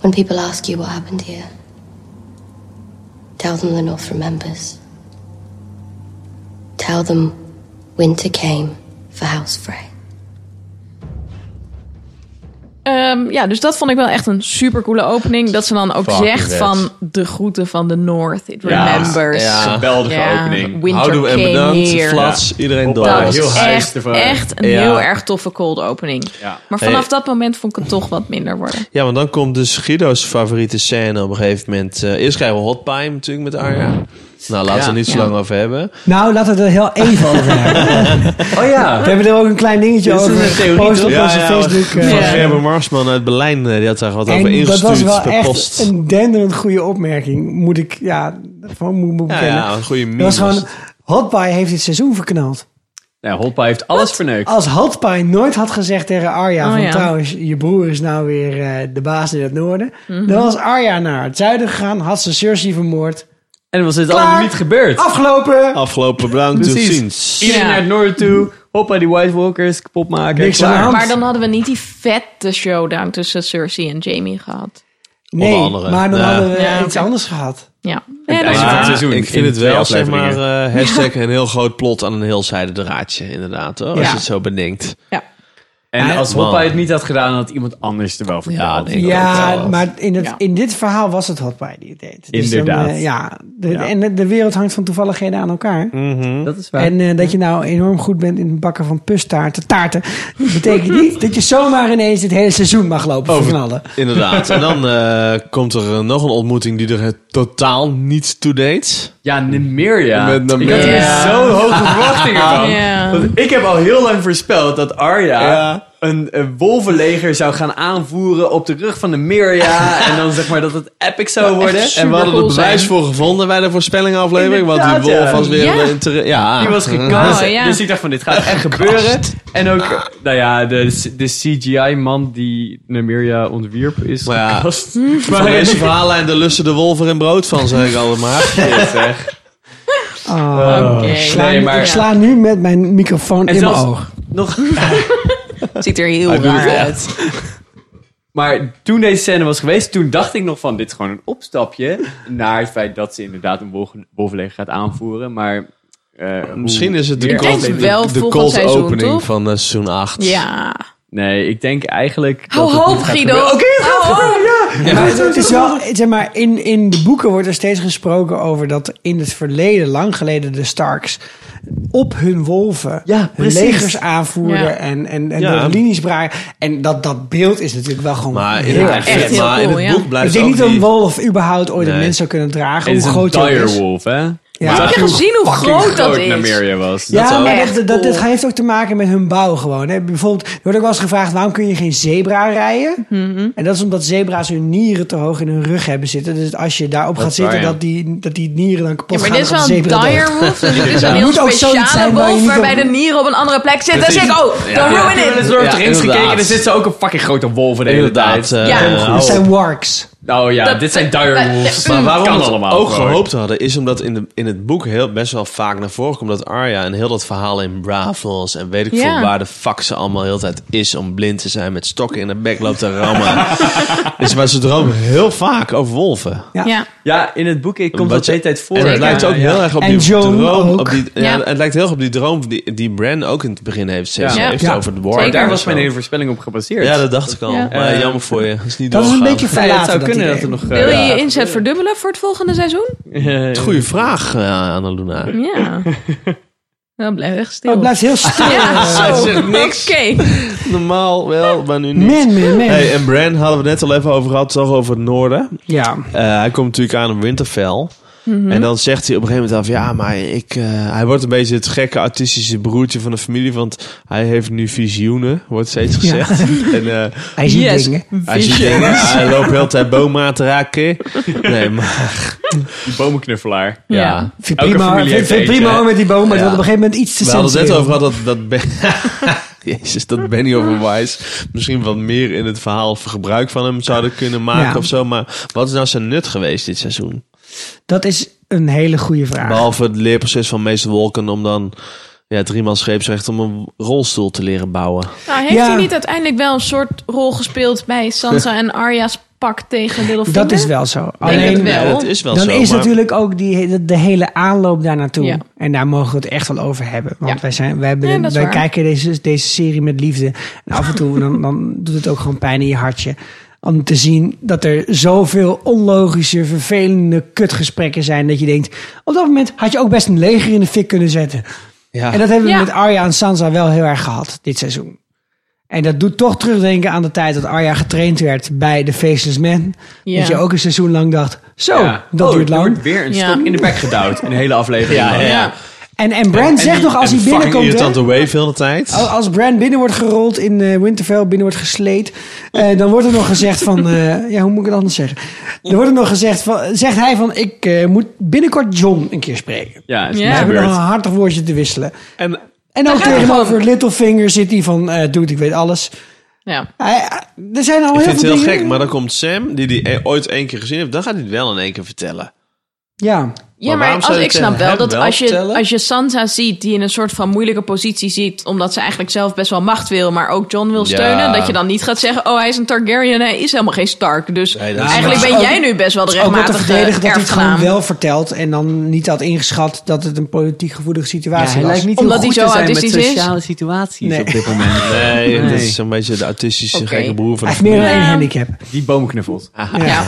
When people ask you what happened here, tell them the North remembers. Tell them winter came for House Frey.
Ehm, ja, dus dat vond ik wel echt een super coole opening. Dat ze dan ook
Fucking
zegt
vet.
van de groeten van de North. It
Ja,
remembers.
ja.
Geweldige
Ja,
opening.
Winter
Houdoe en
came
bedankt,
here.
flats, iedereen door.
Dat
Ja,
was
heel high is
echt,
ervan.
echt een
Ja.
heel erg toffe cold opening.
Ja.
Maar vanaf
Hey.
dat moment vond ik het toch wat minder worden.
Ja, want dan komt dus Guido's favoriete scène op een gegeven moment. Eh, eerst krijgen we Hot Pie natuurlijk met Arya. Nou, laten we
Ja.
er niet zo
Ja.
lang over hebben.
Nou, laten we het er heel even over hebben.
Oh ja.
We hebben er ook een klein dingetje
Dit is
over
een theorie,
gepost op
toch?
onze Facebook. eh,
Van
Ja.
Gerber Marsman uit Berlijn, eh, die had daar wat
en
over
dat was
ingestuurd
wel
per
echt
post.
een denderend goede opmerking. Moet ik, ja, van moet, moet
ja,
bekennen.
ja, een goede meme.
dat was
was
gewoon,
het.
Hotpie heeft dit seizoen verknald.
Nou, Hoppa heeft alles verneukt.
Als Hotpie nooit had gezegd tegen Arya...
Oh,
van
ja.
trouwens, je broer is nou weer eh, de baas in het noorden...
Mhm.
dan was Arya naar het zuiden gegaan, had ze Cersei vermoord.
En dan was dit
Klaar.
allemaal niet gebeurd. Oh,
Afgelopen!
Afgelopen bedankt, tot
Precies.
ziens.
Iedereen
Ja.
naar het noorden toe. Hoppa, die White Walkers kapot maken.
Niks aan de hand.
Maar dan hadden we niet die vette showdown tussen Cersei en Jamie gehad.
Nee,
Onder andere.
maar dan
Ja.
hadden we
Ja,
iets
oké.
anders gehad.
Ja,
het
ja dat
einde
is
van het
waar.
seizoen.
ik vind
in
het
twee
wel, zeg maar,
afleveringen.
eh, hashtag een heel groot plot aan een heel zijde draadje, inderdaad. Hoor, als
Ja.
je het zo bedenkt.
Ja.
En
Ah,
als
man.
Hoppa het niet had gedaan, had iemand anders er wel verteld. Ja,
Ja, maar in, het, in dit verhaal was het Hotbody die het deed. Dus dan,
Inderdaad.
eh, ja, de,
Ja. Mm.
en de, de wereld hangt van toevalligheden aan elkaar.
Dat is waar.
En eh, dat je nou enorm goed bent in het bakken van pustaarten, taarten, betekent niet dat je zomaar ineens het hele seizoen mag lopen
Over-
verknallen.
Inderdaad. En dan eh, komt er eh, nog een ontmoeting die er eh, totaal niet toe deed.
Ja, Nymeria.
Met
Ik had hier
Nymeria.
zo'n hoge verwachtingen van.
Ja.
Want ik heb al heel lang voorspeld dat Arya
Eh,
een, een wolvenleger zou gaan aanvoeren op de rug van Nymeria. en dan zeg maar dat het epic zou worden.
En we hadden er
het
bewijs voor gevonden bij de voorspellingenaflevering. Want die
Inderdaad,
wolf
ja.
was weer...
Ja.
een terre- ja.
Die was gecast.
Oh, ja.
Dus ik dacht van, dit gaat echt gebeuren. En ook, nou ja, de, de CGI-man die Nymeria ontwierp is
Maar ja.
gecast.
Van deze verhalen en de lussen de wolver in brood van, zeg ik altijd maar.
Eh,
Oh,
Oké.
ik, sla,
Nee, maar-
ik sla nu met mijn microfoon
En
in
zelfs-
mijn oog.
Nog
Het ziet er heel raar uit.
Maar toen deze scène was geweest, toen dacht ik nog van... dit is gewoon een opstapje naar het feit dat ze inderdaad een wolf- wolvenleger gaat aanvoeren. Maar eh, hoe-
Misschien is het de
meer
denk
cold,
afleveringen-
wel
de, de
volgend
cold
seizoen,
opening
toch?
van eh, seizoen 8.
Ja.
Nee, ik denk eigenlijk... dat
Hou
het
hoop,
niet gaat
Guido.
gebeuren. Oké, het gaat
Hou hoop.
gebeuren, ja!
Maar het, het is wel, zeg maar, in, in de boeken wordt er steeds gesproken over dat er in het verleden, lang geleden, de Starks op hun wolven
Ja,
hun
precies.
legers aanvoerden
Ja.
en, en, en
Ja.
de linies braken. En dat, dat beeld is natuurlijk wel gewoon
Maar in,
heel
het-
erg
echt
vet.
heel
maar in
cool,
het
ja.
boek
Ik
blijft
denk
ook
niet dat een
die-
wolf überhaupt ooit een
Nee.
mens zou kunnen dragen,
Het is
hoe
een
groot hij ook is.
direwolf, hè?
Ja.
Zag
Heb je
hoe
gezien hoe
fucking
groot dat is?
Nymeria was.
Ja,
ook.
maar
Echt
dat, dat, dat,
cool.
heeft ook te maken met hun bouw gewoon. Hè. Bijvoorbeeld, er wordt ook wel eens gevraagd... waarom kun je geen zebra rijden? En dat is omdat zebra's hun nieren te hoog in hun rug hebben zitten. Dus als je daarop
Dat
gaat
is waar,
zitten...
ja.
dat, die, dat die nieren dan kapot
Ja, maar
gaan.
dit is
dan
wel
gaat
een
de zebra dood.
dire wolf. Dus dit is een
Het
heel
moet ook zoiets
speciale
zijn waar je
wolf
niet
waarbij de
op-
nieren op een andere plek zitten. Dan zeg ik, oh, don't ruin
Ik heb
it.
eens door het
Ja,
terrein
inderdaad.
gekeken en er zit ze ook een fucking grote wolf in de hele
Inderdaad.
tijd.
eh,
Ja.
eh,
Dat zijn wargs.
Nou ja,
Dat-
dit zijn
eh,
direwolves.
eh,
Maar waarom
Kan
we het
allemaal
ook
gewoon.
gehoopt hadden, is omdat in, de, in het boek heel, best wel vaak naar voren komt dat Arya en heel dat verhaal in Bravos en weet ik
Ja.
veel waar de fuck ze allemaal heel de tijd is om blind te zijn met stokken in de bek loopt te rammen. dus maar ze dromen heel vaak over wolven.
Ja.
Ja.
Ja, in het boek eh, komt
Wat
dat de
je-
hele tijd voor.
En het
Ja,
lijkt ook
ja.
heel erg op
En
die
Joan
droom.
ook.
Op die, ja,
Ja.
Het lijkt heel erg op die droom die, die Bran ook in het begin heeft. Ze
Ja.
ze
Ja.
heeft
Ja.
over de war.
Zeker.
Daar was mijn hele voorspelling op gebaseerd.
Ja, dat dacht ik al.
Ja.
Maar jammer voor je. Dat is niet
Dat is een
doorgegaan.
beetje
Nee,
verlaten.
het zou kunnen dat
idee.
er nog... eh,
Wil je je inzet verdubbelen voor het volgende seizoen?
Goeie vraag, eh, Annaluna.
Ja. Dan blijf echt
Oh, Ah,
stil.
het blijft heel stil.
Ja,
Hij
zo.
zegt niks.
Oké.
Normaal wel, maar nu niet.
Man, man, man.
Hey, en Bran hadden we het net al even over gehad, toch over het noorden.
Ja.
Eh, hij komt natuurlijk aan op Winterfell. En dan zegt hij op een gegeven moment af, ja, maar ik... eh, hij wordt een beetje het gekke autistische broertje van de familie, want hij heeft nu visioenen, wordt steeds gezegd. En, eh,
Hij ziet
Yes.
dingen.
hij, ziet dingen, hij loopt heel de tijd bomen aan te raken. Nee, maar...
Die bomenknuffelaar.
Ja.
Vind
Elke
prima,
familie
vind,
heeft
vind
eentje,
prima
hè?
hoor met die boom, maar
Ja.
dat op een gegeven moment iets te
We hadden het net
censureren.
over gehad dat... dat Ben- Jezus, dat Benny over Wise misschien wat meer in het verhaal gebruik van hem zouden kunnen maken
Ja.
of zo. Maar wat is nou zijn nut geweest dit seizoen?
Dat is een hele goede vraag.
Behalve het leerproces van meester Wolken om dan ja, driemaal scheepsrecht om een rolstoel te leren bouwen.
Nou, heeft
Ja.
hij niet uiteindelijk wel een soort rol gespeeld bij Sansa en Arya's pak tegen Littlefinger?
dat is wel zo.
denk het
Alleen,
wel.
Ja, dat is wel
dan
zo.
is
maar-
natuurlijk ook die, de, de hele aanloop daar naartoe.
Ja.
En daar mogen we het echt wel over hebben. Want
Ja.
wij, zijn, wij, hebben,
Ja, dat is
wij
waar.
kijken deze, deze serie met liefde. En af en toe dan, dan doet het ook gewoon pijn in je hartje. Om te zien dat er zoveel onlogische, vervelende kutgesprekken zijn. Dat je denkt, op dat moment had je ook best een leger in de fik kunnen zetten.
Ja.
En dat hebben we
Ja.
met Arya en Sansa wel heel erg gehad dit seizoen. En dat doet toch terugdenken aan de tijd dat Arya getraind werd bij de Faceless Men.
Ja.
Dat je ook een seizoen lang dacht, zo,
Ja.
dat
Oh,
duurt
er
lang.
wordt weer een
Ja.
stok in de bek gedouwd. Een hele aflevering. lang.
Ja.
En, en Bran zegt nog als hij
Fucking
binnenkomt... hè, Oh,
irritante wave heel de tijd.
Al- Als Bran binnen wordt gerold in eh, Winterfell, binnen wordt gesleed, eh, dan wordt er nog gezegd van, eh, ja, hoe moet ik het anders zeggen? Dan wordt er nog gezegd van, zegt hij van, ik eh, moet binnenkort John een keer spreken.
Ja, is
Ja.
niet
We hebben nog
gebeurd.
een hartig woordje te wisselen.
En
En ook
gaat hij
tegenover Littlefinger zit hij van, eh dude, ik weet alles.
Ja.
Hij- er zijn al
ik
heel
vind het
veel
heel
dingen-
gek, maar dan komt Sam, die die e- ooit één keer gezien heeft, dan gaat hij het wel in één keer vertellen.
Ja,
Ja, maar,
waarom
als,
zou je
ik
het
snap wel
hem
dat als je,
vertellen?
als je Sansa ziet die in een soort van moeilijke positie ziet, omdat ze eigenlijk zelf best wel macht wil, maar ook John wil
Ja.
steunen, dat je dan niet gaat zeggen: Oh, hij is een Targaryen, hij is helemaal geen Stark. Dus
dat is-
eigenlijk
Ja, maar
ben
het is
jij
ook-
nu best wel de
Het is ook wel te
rechtmatige
verdedigen dat hij het gewoon
erfgenaam.
wel vertelt en dan niet had ingeschat dat het een politiek gevoelige situatie was.
Omdat hij zo autistisch is.
situaties
Nee. op dit
moment.
Nee,
Nee.
dat is een beetje de autistische
Oké.
gekke broer van...
Hij heeft meer dan één
Ja.
handicap.
Die boomknuffels.
Ja.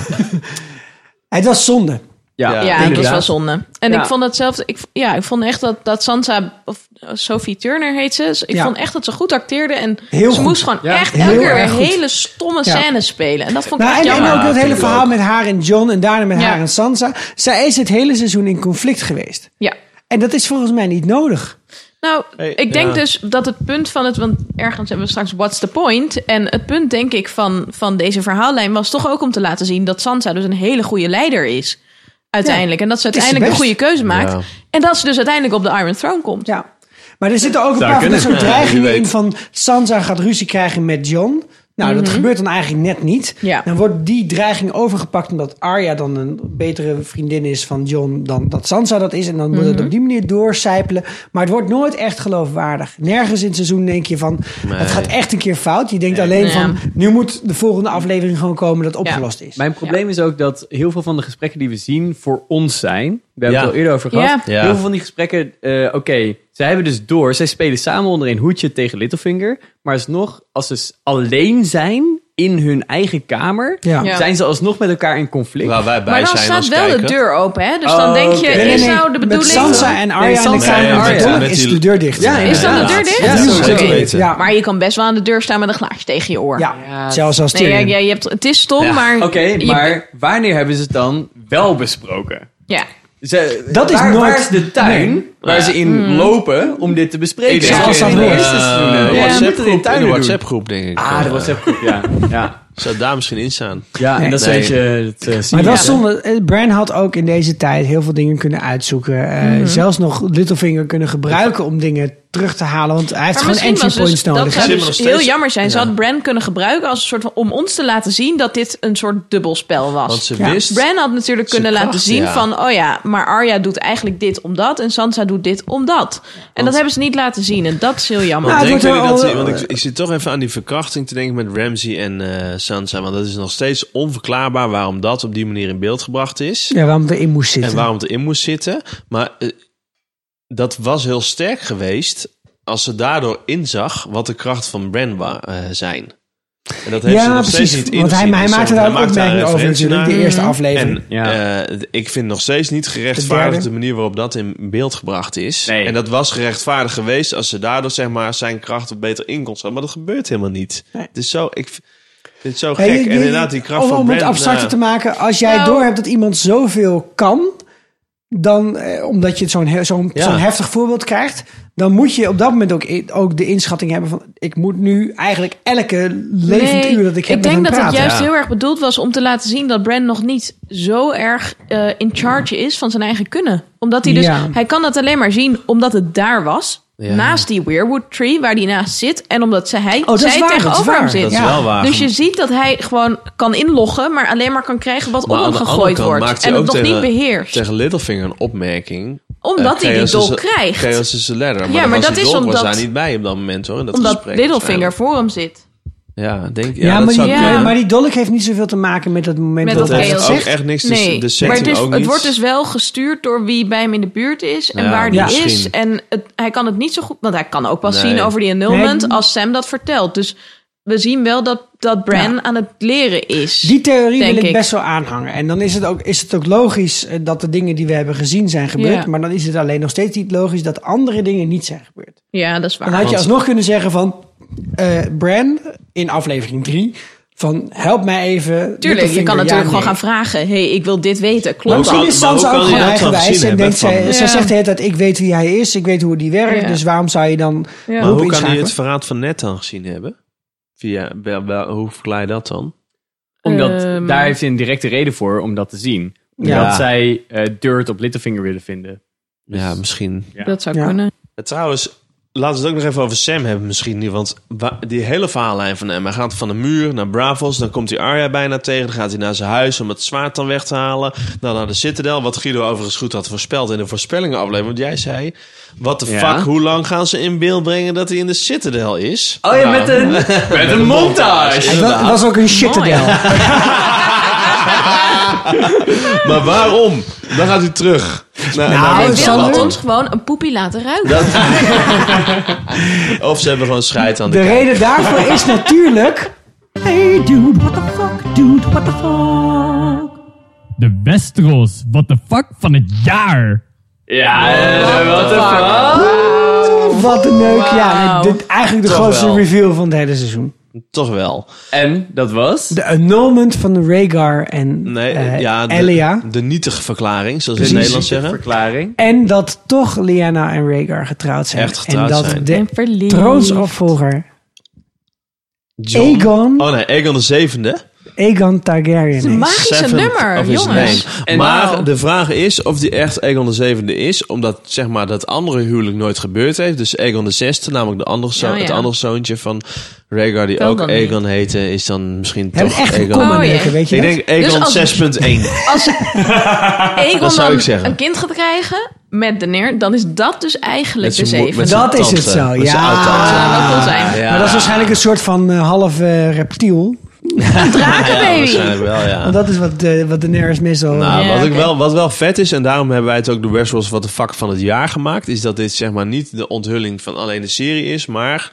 Het was zonde.
Ja,
Ja, het was
inderdaad.
wel zonde. En
Ja.
ik vond dat zelf, ik, ja, ik vond echt dat, dat Sansa, of eh, Sophie Turner heet ze, dus ik
Ja.
vond echt dat ze goed acteerde en
Heel
ze
goed.
moest gewoon
Ja.
echt
Heel
elke keer
erg
weer
goed.
hele stomme
Ja.
scènes spelen. En dat vond ik
Nou,
echt
en, en
jammer.
ook dat
vind
hele
ik
verhaal met haar en John en daarna met
Ja.
haar en Sansa. Zij is het hele seizoen in conflict geweest.
Ja.
En dat is volgens mij niet nodig.
Nou,
Hey,
ik denk
ja.
dus dat het punt van het... Want ergens hebben we straks What's the Point? En het punt, denk ik, van, van deze verhaallijn... was toch ook om te laten zien dat Sansa dus een hele goede leider is. Uiteindelijk. en dat ze
het is
uiteindelijk de
best.
goede keuze maakt.
Ja.
En dat ze dus uiteindelijk op de Iron Throne komt.
Ja. Maar er zitten ook een
Zou
paar van dat
kunnen.
soort
Ja, wie
dreigingen
weet.
in van Sansa gaat ruzie krijgen met John. Nou, dat gebeurt dan eigenlijk net niet.
Mhm. Ja.
Dan wordt die dreiging overgepakt omdat Arya dan een betere vriendin is van John dan dat Sansa dat is. En dan wordt
Mhm.
het op die manier doorcijpelen. Maar het wordt nooit echt geloofwaardig. Nergens in het seizoen denk je van, het gaat echt een keer fout. Je denkt alleen
Ja.
van, nu moet de volgende aflevering gewoon komen dat opgelost is.
Mijn probleem is ook dat heel veel van de gesprekken die we zien voor ons zijn. We hebben
Ja.
het al eerder over gehad.
Ja.
Ja.
Heel veel van die gesprekken, eh, oké, zij hebben dus door. Zij spelen samen onder een hoedje tegen Littlefinger. Maar alsnog, als ze s- alleen zijn in hun eigen kamer,
Ja.
Ja.
zijn ze alsnog met elkaar in conflict.
Waar wij bij
Maar dan
zijn
staat
als
wel
kijker.
de deur open, hè? Dus
Oh,
dan denk je,
oké. Nee,
is nou de
Met
bedoeling...
Sansa en Arya
Nee,
en
Sansa
samen
en
met
Arya.
Dolly
Met
is
die-
de deur dicht.
Ja,
Is dan de deur dicht?
Ja,
Ja,
nu
zo
is
zou
het
ik
oké.
weten.
Ja.
Maar je kan best wel aan de deur staan met een glaasje tegen je oor.
Ja, zelfs als
Nee, ja,
Tyrion.
ja, je hebt, het is stom, maar...
Oké,
je-
maar wanneer hebben ze het dan wel besproken?
Ja.
Ze,
Dat is
waar,
nooit-
waar is de tuin waar ze in lopen om dit te bespreken?
Ik
Ja,
zag
als dat eh,
in de
hoort.
Ja,
WhatsApp
moet het in
groep, in de
tuinen
WhatsApp groep, denk ik.
Ah,
Eh,
dat was echt goed, ja. ja.
Zou daar misschien in staan.
Ja, en dat is
Nee.
weet je het eh, zien.
Maar dat is
Ja.
zonde. Eh, Bran had ook in deze tijd heel veel dingen kunnen uitzoeken. Eh,
Mhm.
Zelfs nog Littlefinger kunnen gebruiken om dingen terug te halen. Want hij heeft
Maar
gewoon
misschien was
entry
dus,
points
dat
nodig.
zou
hè?
Zit
dus
nog steeds-
heel jammer zijn. Ze had Bran kunnen gebruiken als een soort van, om ons te laten zien dat dit een soort dubbelspel was.
Want ze
Ja.
wist...
Bran had natuurlijk kunnen
kracht,
laten zien
ja.
van, oh ja, maar Arya doet eigenlijk dit omdat en Sansa doet dit omdat. En dat hebben ze niet laten zien en dat is heel jammer.
Nou,
Want,
het
denk jullie
wordt
dat,
wel-
die- want ik, ik zit toch even aan die verkrachting te denken met Ramsey en eh, Sansa. Want dat is nog steeds onverklaarbaar waarom dat op die manier in beeld gebracht is.
Ja, waarom het erin moest
En
zitten.
waarom het erin moest zitten. Maar eh, dat was heel sterk geweest als ze daardoor inzag wat de kracht van Bran wa- eh, zijn. En dat heeft ze
ja,
nog steeds
precies.
niet in.
Want hij, hij maakte daar ook opmerkingen over natuurlijk. De
Mhm.
eerste aflevering.
En
Ja.
eh, ik vind nog steeds niet
De
gerechtvaardigd
derde.
de manier waarop dat in beeld gebracht is.
Nee.
En dat was gerechtvaardigd geweest als ze daardoor zeg maar, zijn kracht wat beter in kon zetten. Maar dat gebeurt helemaal niet.
Nee.
Het is zo, ik vind het zo
Ja,
gek.
je- je-
en inderdaad, die kracht
om,
van
om
Bran...
het abstracter
nou,
te maken. Als jij
Nou.
doorhebt dat iemand zoveel kan... Dan, eh, omdat je het zo'n he- zo'n
Ja.
zo'n heftig voorbeeld krijgt... dan moet je op dat moment ook, i- ook de inschatting hebben van... ik moet nu eigenlijk elke levend
Nee,
uur dat ik heb met
denk
hem
dat het
praten.
juist heel erg bedoeld was om te laten zien dat Bran nog niet zo erg eh, in charge is van zijn eigen kunnen. Omdat hij dus,
Ja.
hij kan dat alleen maar zien omdat het daar was. Naast die Weirwood Tree, waar hij naast zit. En omdat ze, hij,
Oh, dat is
zij
waar, dat is
tegenover
waar.
hem zit.
Dat is
Ja.
wel waar.
Dus je ziet dat hij gewoon kan inloggen, maar alleen maar kan krijgen wat
Maar
om
aan
hem
de andere
gegooid
kant
wordt.
maakt hij
En het nog
ook
niet
tegen-
beheerst.
Tegen Littlefinger een opmerking.
omdat
Eh,
hij die
chaos
dol
is-
krijgt.
Chaos is de ladder. Maar
Ja,
ja,
maar
maar
dat is
was
omdat-
daar niet bij op dat moment hoor. in dat
omdat
gesprek,
Littlefinger voor hem zit.
Ja, denk, ja,
Ja,
dat
maar, die,
zou
kunnen.
ja, maar die dolk heeft niet zoveel te maken met dat moment
Met
dat,
dat
hij
chaos.
dat
heeft ook
zegt.
echt niks te
Nee,
de
maar
setting
het, is,
ook
het
niet.
wordt dus wel gestuurd door wie bij hem in de buurt is en
Ja,
waar die
misschien.
is. En het, hij kan het niet zo goed, want hij kan ook pas
Nee.
zien over die annulment
Nee.
als Sam dat vertelt. Dus we zien wel dat, dat Bran aan het leren is.
Die theorie wil
Denk
ik,
ik.
best wel aanhangen. En dan is het, ook, is het ook logisch eh, dat de dingen die we hebben gezien zijn gebeurd.
Ja.
Maar dan is het alleen nog steeds niet logisch dat andere dingen niet zijn gebeurd.
ja, dat is waar.
Dan had je
Want-
alsnog kunnen zeggen van... eh Bran, in aflevering 3, van help mij even...
Tuurlijk, je kan
Littlefinger,
natuurlijk
ja,
gewoon
nee.
gaan vragen. hey, ik wil dit weten. Klopt
Misschien
dat?
is
Maar hoe
Sansa
kan
ook
hij
gewoon
dat dan
eigenwijs
gezien
en
hebben
denkt zij,
van-
zij
Ja.
zegt de hele tijd, ik weet wie hij is, ik weet hoe die werkt,
Ja.
dus waarom zou je dan
Ja.
Maar hoe
hulp
kan hij
inschakelen?
het verraad van net dan gezien hebben? Via, wel- wel- hoe verklaar je dat dan?
Omdat,
Ehm.
daar heeft hij een directe reden voor om dat te zien. Omdat
Ja.
zij eh dirt op Littlefinger willen vinden.
Ja, misschien.
Ja.
Dat zou
Ja.
kunnen.
Eh, Trouwens, Laten we het ook nog even over Sam hebben misschien nu. Want wa- die hele verhaallijn van hem. Hij gaat van de muur naar Bravos. Dan komt hij Arya bijna tegen. Dan gaat hij naar zijn huis om het zwaard dan weg te halen. Dan naar de Citadel. Wat Guido overigens goed had voorspeld in de voorspellingen aflevering. Want jij zei... Wat de
Ja.
fuck, hoe lang gaan ze in beeld brengen dat hij in de Citadel is? Nou,
Oh ja, met een-
met
een montage.
Het wa- was ook een shitadel.
Maar waarom? Dan gaat hij terug. Nou, naar- naar
Hij
Winterfell.
wilde ons gewoon een poepie laten ruiken.
Of ze hebben gewoon scheid aan de,
De
kijk.
reden daarvoor is natuurlijk... Hey dude, what the fuck, dude, what the fuck.
De Westeros, what the fuck van het jaar.
Ja, eh, wat een
Wat een neuk. Ja,
Wauw.
dit, eigenlijk de
Toch
grootste
wel.
reveal van het hele seizoen.
Toch wel.
En dat was?
De annulment van de Rhaegar en
Nee,
eh,
ja, de,
Elia.
de nietigverklaring, zoals we
Precies.
in Nederland zeggen.
verklaring.
En dat toch Lyanna en Rhaegar getrouwd zijn.
Echt getrouwd
en dat
zijn.
de
verliefd.
troonsopvolger
John-
Aegon.
Oh nee, Aegon de zevende.
Aegon Targaryen
een
is.
magische
Seventh
nummer,
of his
jongens.
name.
En-
maar
Wauw.
de vraag is of die echt Aegon de zevende is. Omdat zeg maar dat andere huwelijk nooit gebeurd heeft. Dus Aegon de zesde, namelijk de andere zoon,
Oh, ja.
het andere zoontje van Rhaegar die
Kan
ook
dan
Aegon heette. Is dan misschien
Hebben
toch
echt een
Aegon.
comma
Oh, jee.
neuken, weet je
Ik denk
dat?
Dus
Aegon
als-
6.1.
Als Aegon
Dat zou
dan
ik zeggen.
een kind gaat krijgen met de neer, dan is dat dus eigenlijk
Met
de
zijn moe-
zeven.
met
Dat
Dat is het
Tante,
zo,
met z'n oud-tante.
zou
ja.
wel cool zijn.
Ja.
Maar dat is waarschijnlijk een soort van eh, half eh, reptiel.
Ja,
Drakenbaby.
waarschijnlijk wel, ja.
Want dat is wat, eh wat Daenerys meestal...
Ah. Nou,
Ja,
wat, ik
oké.
wel, wat wel vet is, en daarom hebben wij het ook de Westeros What the Fuck van het jaar gemaakt, is dat dit zeg maar niet de onthulling van alleen de serie is, maar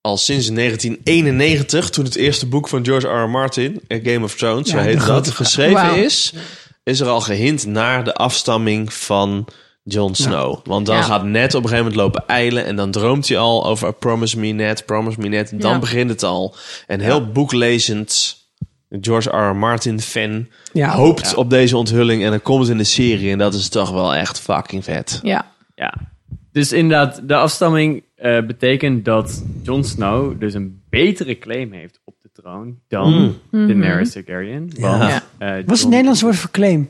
al sinds 1991, toen het eerste boek van George R. R. Martin, eh, Game of Thrones,
Ja,
zo
de
heet dat,
grote-
geschreven
Wauw.
is, is er al gehint naar de afstamming van Jon Snow. Want dan
Ja.
gaat Ned op een gegeven moment lopen eilen en dan droomt hij al over "I Promise Me Ned, Promise Me Ned. Dan
Ja.
begint het al. En heel boeklezend... George R. R. Martin fan
Ja.
hoopt op deze onthulling en dan komt het in de serie en dat is toch wel echt fucking vet.
Ja.
Ja. Dus inderdaad, de afstamming eh, betekent dat Jon Snow dus een betere claim heeft op de troon dan
Mm.
Daenerys
Mhm.
Targaryen. Want,
Ja.
eh, Jon-
Wat is het Nederlands woord voor claim?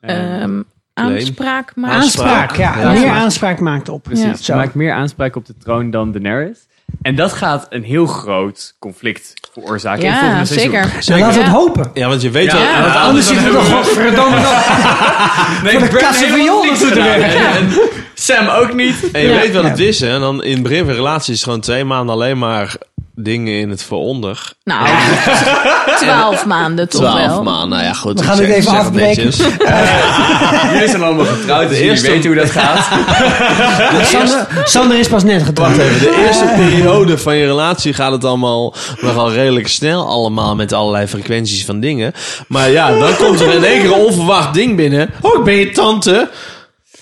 Ehm, aanspraak maken.
Aanspraak.
Aanspraak, ja.
Ja.
Meer aanspraak maakt op.
Precies,
Ja.
ze maakt meer aanspraak op de troon dan Daenerys. En dat gaat een heel groot conflict veroorzaken. in het
Ja,
volgende seizoen.
zeker.
Nou, laten we
Ja.
het hopen.
Ja, want je weet
Ja.
wel...
Ja.
want
Anders
anders
zitten we toch godverdomme nog
Nee,
voor de
Bran
kassen
heeft
van Jolder
niks
toe te
gedaan.
werken.
En- en Sam ook niet.
en je
Ja.
weet wat het is, hè? En dan in begin van relatie is het gewoon twee maanden alleen maar dingen in het vooronder.
Nou, twaalf maanden toch
Twaalf
wel.
maanden, nou ja, goed. We
gaan dit even afbreken.
Jullie zijn allemaal getrouwd, dus jullie
eerste-
weten hoe dat gaat.
Sander, Sander is pas net
Wacht
getrouwd.
even, de eerste periode van je relatie gaat het allemaal nogal redelijk snel allemaal met allerlei frequenties van dingen. Maar ja, dan komt er in één keer een onverwacht ding binnen. Oh, ik ben je tante.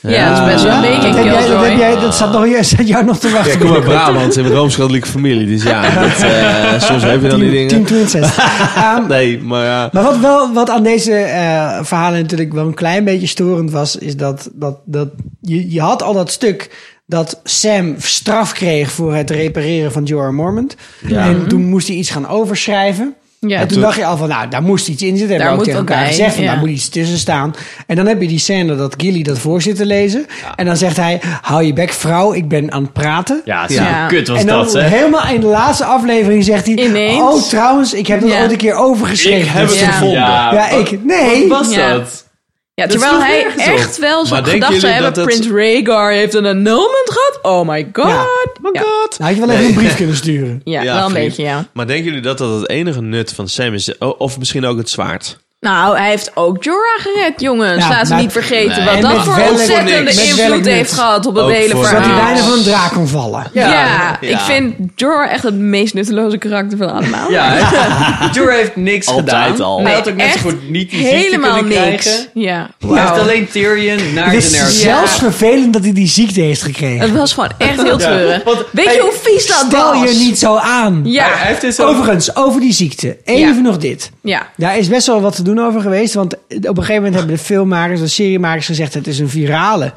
Ja, dat is best wel een beetje
Dat,
een
heb jij, dat, heb
killjoy.
jij, dat staat, nog, staat jou nog te
Ja,
wachten.
ik kom uit Brabant in een rooms-katholieke familie, dus ja, dat, eh, soms heb je dan die
Team, team
dingen.
Twin Sets. Ehm,
Nee, maar ja.
Maar wat, wel, wat aan deze eh, verhalen natuurlijk wel een klein beetje storend was, is dat, dat, dat je, je had al dat stuk dat Sam straf kreeg voor het repareren van Jorah Mormont. En toen moest hij iets gaan overschrijven.
Mhm. Ja. dus-
en toen
Toen-
dacht je al van, nou, daar moest iets in zitten.
Daar
Hebben we ook
moet
tegen
wat
elkaar
bij,
gezegd, van,
ja.
daar moet iets tussen staan. En dan heb je die scène dat Gilly dat voor zit te lezen. En dan zegt hij, hou je bek vrouw, ik ben aan het praten.
Ja,
Ja.
super kut was
En dan
dat, hè?
helemaal in de laatste aflevering zegt hij...
Ineens.
Oh, trouwens, ik heb dat
Ja.
ooit een keer overgeschreven.
Ik heb het
Ja.
gevonden.
Ja, ik. Nee.
Wat was
Ja.
dat?
Ja,
Dat
terwijl
sloeg
hij
nergens op.
echt wel
Maar
zo'n
denken
gedachte
jullie
hebben.
dat het-
Prins Rhaegar heeft een annulment gehad. Oh my god.
Ja.
my god.
Nou, had je wel even een brief kunnen sturen.
Ja, wel een
vriend.
beetje, ja.
Maar denken jullie dat dat het enige nut van Sam is? O- Of misschien ook het zwaard?
Nou, hij heeft ook Jorah gered, jongens.
Ja,
Laat ze
maar-
niet vergeten
En
wat dat
met
voor
welk-
ontzettende
met welk
invloed
nut?
heeft gehad op het
Ook
hele
voor-
Zodat hij
verhaal.
bijna van een draak kon vallen.
Ja,
Ja.
ik vind Jorah echt het meest nutteloze karakter van allemaal.
Ja, hè? Jorah heeft niks
Altijd
gedaan.
al.
Hij had
Nee,
ook net zo
echt
goed niet die ziekte
Helemaal
kunnen
niks.
krijgen.
Ja.
Hij
Wauw.
heeft alleen Tyrion naar
Het
de
is
nerves.
zelfs vervelend dat hij die ziekte heeft gekregen.
Het was gewoon echt heel treurig.
want
Weet
hij-
je hoe vies dat
Stel
was?
je niet zo aan.
Ja.
Hij heeft dus ook-
Overigens, over die ziekte. Even nog dit.
Ja.
Daar is best wel wat te doen over geweest. Want op een gegeven moment hebben de filmmakers, de seriemakers gezegd... het is een virale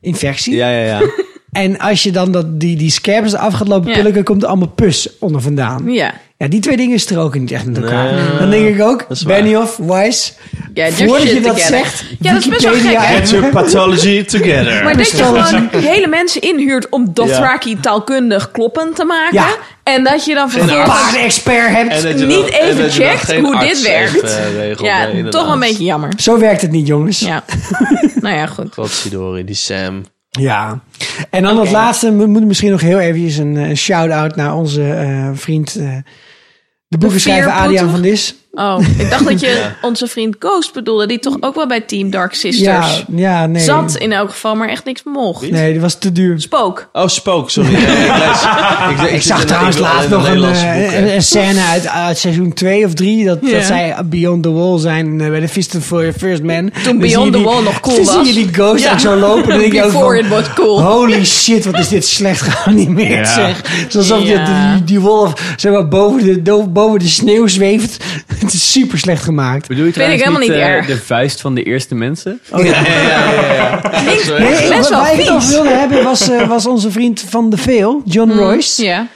infectie.
Ja, ja, ja.
En als je dan dat, die, die scabs af gaat lopen
Ja.
pulken... komt er allemaal pus onder vandaan.
Ja.
Ja, die twee dingen stroken niet echt met elkaar. Dan denk ik ook,
is waar.
Benioff, Weiss,
Get your
Voordat
shit
je dat
together.
zegt,
ja, dat is best wel gek,
Wikipedia
hè?
Get your pathology together.
Maar dat je gewoon hele mensen inhuurt om Dothraki taalkundig kloppend te maken.
Ja.
En dat je dan
een
vervolgens
paardexpert hebt.
En dat je
niet
dan- en
even
dat je dan
checkt
geen
hoe
arts
dit
heeft,
werkt.
eh, regeld,
ja,
nee, inderdaad.
toch wel een beetje jammer.
Zo werkt het niet, jongens.
Ja. nou ja, goed.
Godzijdank, die Sam.
Ja. En dan het laatste, we moeten misschien nog heel eventjes een, eh, shout-out naar onze eh, vriend, eh, de boekenschrijver
veerpoeter?
Adriaan van Dis.
Oh, ik dacht dat je onze vriend Ghost bedoelde, die toch ook wel bij Team Dark
Ja,
Sisters
ja, nee.
zat in elk geval, maar echt niks mocht.
Nee, dat was te duur.
Spook.
Oh, Spook, sorry. Ja, ik, lees- ik,
Ik,
zit
zag
in-
trouwens
wil
laatst
alleen
nog een,
Nederlandse
eh,
boeken.
een, een scène uit, eh, uit seizoen 2 of 3. Dat,
Ja.
dat zij Beyond the Wall zijn eh, bij de Fist for Your First Man. Toen
Beyond the Wall nog cool
toen
was.
zie je die ghost
Ja.
ook zo lopen. Dan denk je ook
Before
van,
it was cool.
Holy shit, wat is dit slecht geanimeerd
Ja.
zeg. Het is alsof die-
Ja.
die, die wolf zeg maar, boven, de, do- boven de sneeuw zweeft. Het is super slecht gemaakt.
Bedoel je
Vind ik
trouwens
helemaal niet
eh,
erg.
de vuist van de eerste mensen?
Niks,
Nee,
best
wat
wel
wij het over
vies.
wilden hebben was, eh, was onze vriend van de Veel, John Royce.
Mm, Ja.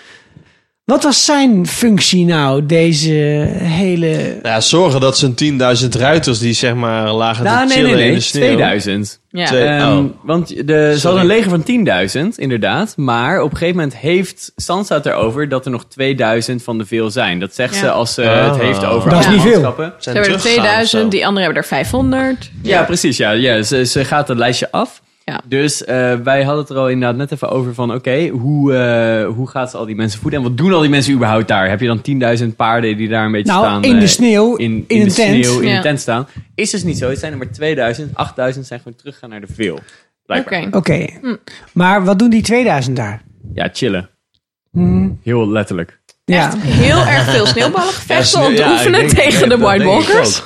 Wat was zijn functie nou, deze hele...
Nou ja, zorgen dat zijn 10.000 ruiters die zeg maar lagen
Nou,
te
nee,
chillen
nee,
in
nee.
de sneeuw.
2000.
Ja.
Twee-
Ehm,
oh.
Want de, ze hadden een leger van 10.000, inderdaad. Maar op een gegeven moment heeft Sansa het erover dat er nog 2000 van de veel zijn. Dat zegt
Ja.
ze als ze
Ah.
het heeft over
Dat is
alle
niet veel.
manschappen.
Ze
Zijn
hebben er
teruggegaan of
2000,
zo.
die anderen hebben er 500.
Ja, precies. Ja, ja ze, ze gaat het lijstje af.
Ja.
Dus eh, wij hadden het er al inderdaad net even over van... oké, hoe, eh, hoe gaat ze al die mensen voeden? En wat doen al die mensen überhaupt daar? Heb je dan 10.000 paarden die daar een beetje
Nou,
staan?
in de
eh,
sneeuw, in
de
een tent.
sneeuw, in
Ja.
een tent staan. Is dus niet zo. Het zijn er maar 2000. 8000 zijn gewoon teruggegaan naar de veel.
Oké.
Blijkbaar.
Oké,
Mm.
maar wat doen die 2000 daar?
Ja, chillen. Heel letterlijk.
Ja,
Heel erg veel sneeuwballen gevechten om te
Ja, ik
oefenen
denk-
tegen
ja,
de
dat
White
denk ik
Walkers.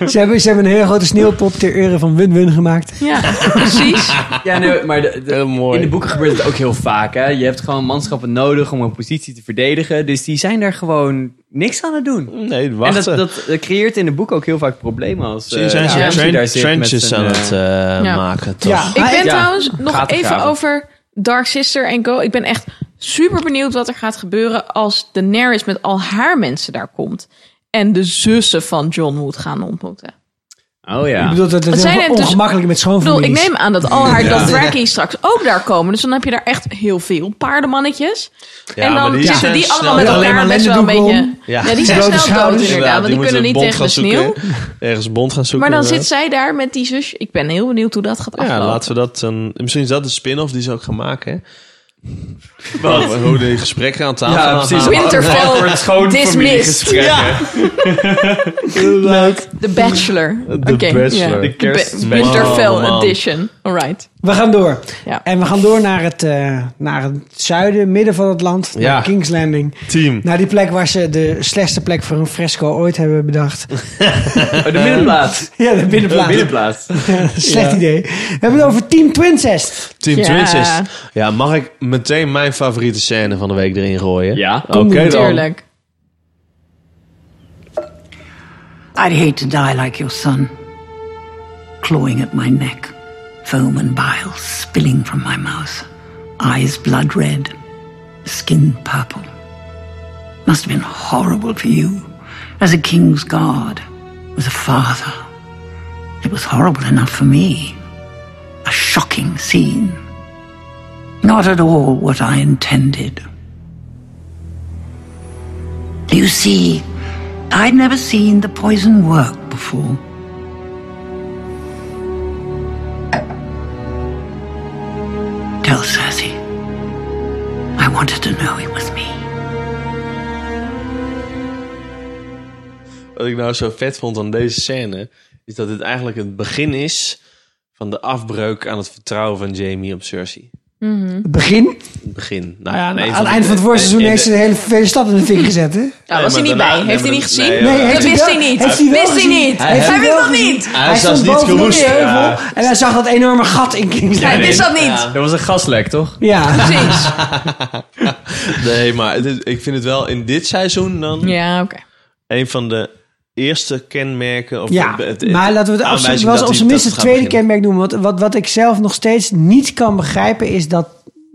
ook.
ze hebben, ze hebben een hele grote sneeuwpop ter ere van Win-Win gemaakt.
Ja, precies.
Ja, nee, maar de- de-
Heel mooi.
in de boeken gebeurt het ook heel vaak. Hè? Je hebt gewoon manschappen nodig om een positie te verdedigen. Dus die zijn daar gewoon niks aan het doen.
Nee,
En dat,
wachten.
dat eh, creëert in de boek ook heel vaak problemen. Als,
Misschien
eh,
zijn ze
ja, als je daar
tren-
zit met
trenches
een,
aan
eh,
het eh,
Ja.
maken, toch?
Ja,
Ik ben
Ja.
trouwens nog
Gaten
even
graven.
over Dark Sister en Go. Ik ben echt super benieuwd wat er gaat gebeuren als Daenerys met al haar mensen daar komt. En de zussen van John moet gaan ontmoeten.
Oh ja.
Ik bedoel, dat het
Wat zijn
heel
het dus-
ongemakkelijk met
Ik bedoel,
schoonfamilie
ik
is.
neem aan dat al haar Dothraki straks ook daar komen. Dus dan heb je daar echt heel veel paardenmannetjes.
Ja,
en
maar
dan
zijn
zitten die
snel-
allemaal met
Ja, alleen
elkaar
maar
best wel een
lendendoeken
beetje...
om.
Ja,
Ja.
die zijn
Grote
snel dood
schouders.
inderdaad. Want die
moeten
kunnen niet
een
tegen de
bond gaan
sneeuw.
zoeken. eh, Ergens een bond gaan zoeken.
Maar dan zit
inderdaad.
zij daar met die zusje. Ik ben heel benieuwd hoe dat gaat
Ja,
aflopen.
laten we dat... Een, misschien is dat een spin-off die ze ook gaan maken, hè? Wat? Hoe de gesprekken aan tafel
Ja,
gaan.
precies.
Winterfell dismissed.
Ja.
Leuk.
The Bachelor. The
Bachelor. De
Be-
Man,
Winterfell
man.
edition. All right.
We gaan door.
Ja.
En we gaan door naar het, eh, naar het zuiden, midden van het land,
Ja.
naar King's Landing.
Team.
Naar die plek waar ze de slechtste plek voor een fresco ooit hebben bedacht.
Oh, de middenplaats.
ja, de
De
binnenplaats.
middenplaats.
Slecht idee. We hebben het over Team Twincest.
Team
Ja.
Twincest. Ja, mag ik meteen mijn favoriete scène van de week erin gooien?
Ja.
Oké dan.
Tuurlijk.
I'd hate to die like your son, clawing at my neck, foam and bile spilling from my mouth, eyes blood red, skin purple. Must have been horrible for you, as a king's guard, as a father. It was horrible enough for me. A shocking scene. Not at all what I intended. You see, I'd never seen the poison work before. Tell Cersei. I wanted to know it was me.
Wat ik nou zo vet vond aan deze scène... is dat dit eigenlijk het begin is... van de afbreuk aan het vertrouwen van Jamie op Cersei.
Het begin.
Het begin. Nou ja, nee,
Aan het eind van het voorseizoen
in de-
heeft ze de hele, hele stad in de fik gezet, hè?
Daar was
maar
hij niet
daarna-
bij. Heeft hij
nee,
niet
maar-
gezien?
nee,
Nee, heeft
dat wist
wel-
hij niet.
heeft wel
wist hij
gezien?
niet. Hij,
heeft
wist
wel
dat
gezien.
niet.
Hij is
stond
zelfs niet
bovenop
geroest.
die heuvel
Ja.
En hij zag dat enorme gat in King's
Hij
Landing.
wist dat niet.
Er was een gaslek, toch?
Ja.
Precies.
Nee, maar het is- ik vind het wel in dit seizoen dan
Ja, oké.
een van de eerste kenmerken. Of
Ja,
het- het-
maar laten we het op
aanwijzing
z'n- was
dat
op
hij- dat
zijn minst het
gaat
tweede
beginnen.
kenmerk noemen. Want wat, wat ik zelf nog steeds niet kan begrijpen is dat...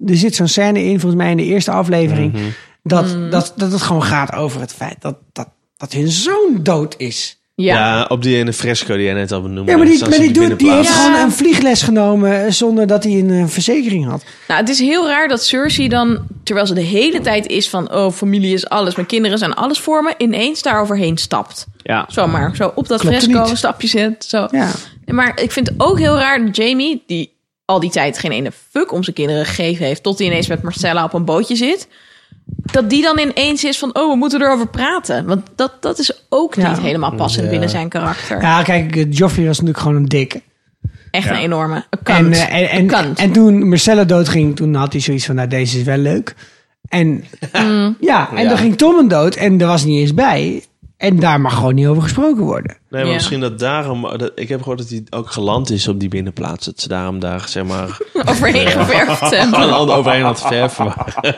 Er zit zo'n scène in, volgens mij in de eerste aflevering...
Mhm.
Mhm.
Dat, dat, dat het gewoon gaat over het feit dat, dat, dat hun zoon dood is.
Ja. op die ene fresco die jij net al benoemde.
Ja, maar die,
Staan
maar
ze
die,
op de
dude, die heeft
binnenplaats.
gewoon een vliegles genomen eh, zonder dat hij een eh, verzekering had.
Nou, het is heel raar dat Cersei dan, terwijl ze de hele tijd is van... oh, familie is alles, mijn kinderen zijn alles voor me... ineens daar overheen stapt.
Ja.
Zomaar, zo op dat
Klopt
fresco
niet.
een stapje zet. Zo. Maar ik vind het ook heel raar dat Jamie, die al die tijd geen ene fuck om zijn kinderen gegeven heeft... tot hij ineens met Marcella op een bootje zit... dat die dan ineens is van, oh, we moeten erover praten. Want dat, dat is ook niet helemaal passend
Ja.
binnen zijn karakter.
Ja, kijk, eh, Joffrey was natuurlijk gewoon een dikke.
Echt
Ja.
een enorme
En,
kant.
eh, en, en, en toen Marcella doodging, toen had hij zoiets van, nou deze is wel leuk. En ja, en
Ja.
dan ging Tommen dood en er was niet eens bij. En daar mag gewoon niet over gesproken worden.
Nee, maar
Ja.
misschien dat daarom... dat- ik heb gehoord dat hij ook geland is op die binnenplaats. Dat ze daarom daar, zeg maar...
Overheen
eh,
geverfd hebben.
Gewoon overheen aan het verven waren.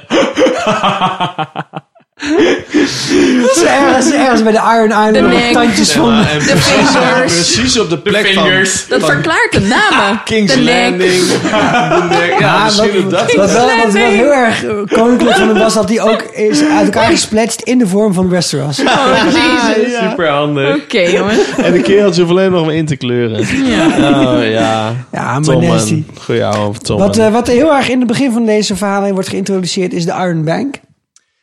Ze ergens, ergens bij de Iron Island op de
nek.
tandjes
Nee,
van...
maar- en precies-
vingers.
Precies op de plek van...
Dat
van-
verklaart de namen.
King's
de nek.
Landing. De nek. Ja,
Ja,
misschien
wat,
dat dat...
wat wel, wat wel
Landing.
heel erg eh, koninklijk van hem was, dat hij ook is uit elkaar gespletst in de vorm van Westeros.
Oh, jezus.
Super handig.
Oké, jongen.
En de kereltje alleen nog om in te kleuren.
Ja.
Oh ja.
Ja, maar
Tom,
nasty.
man. Goeie ouwe Tom.
Wat,
man.
eh, wat heel erg in het begin van deze verhaallijn wordt geïntroduceerd is de Iron Bank.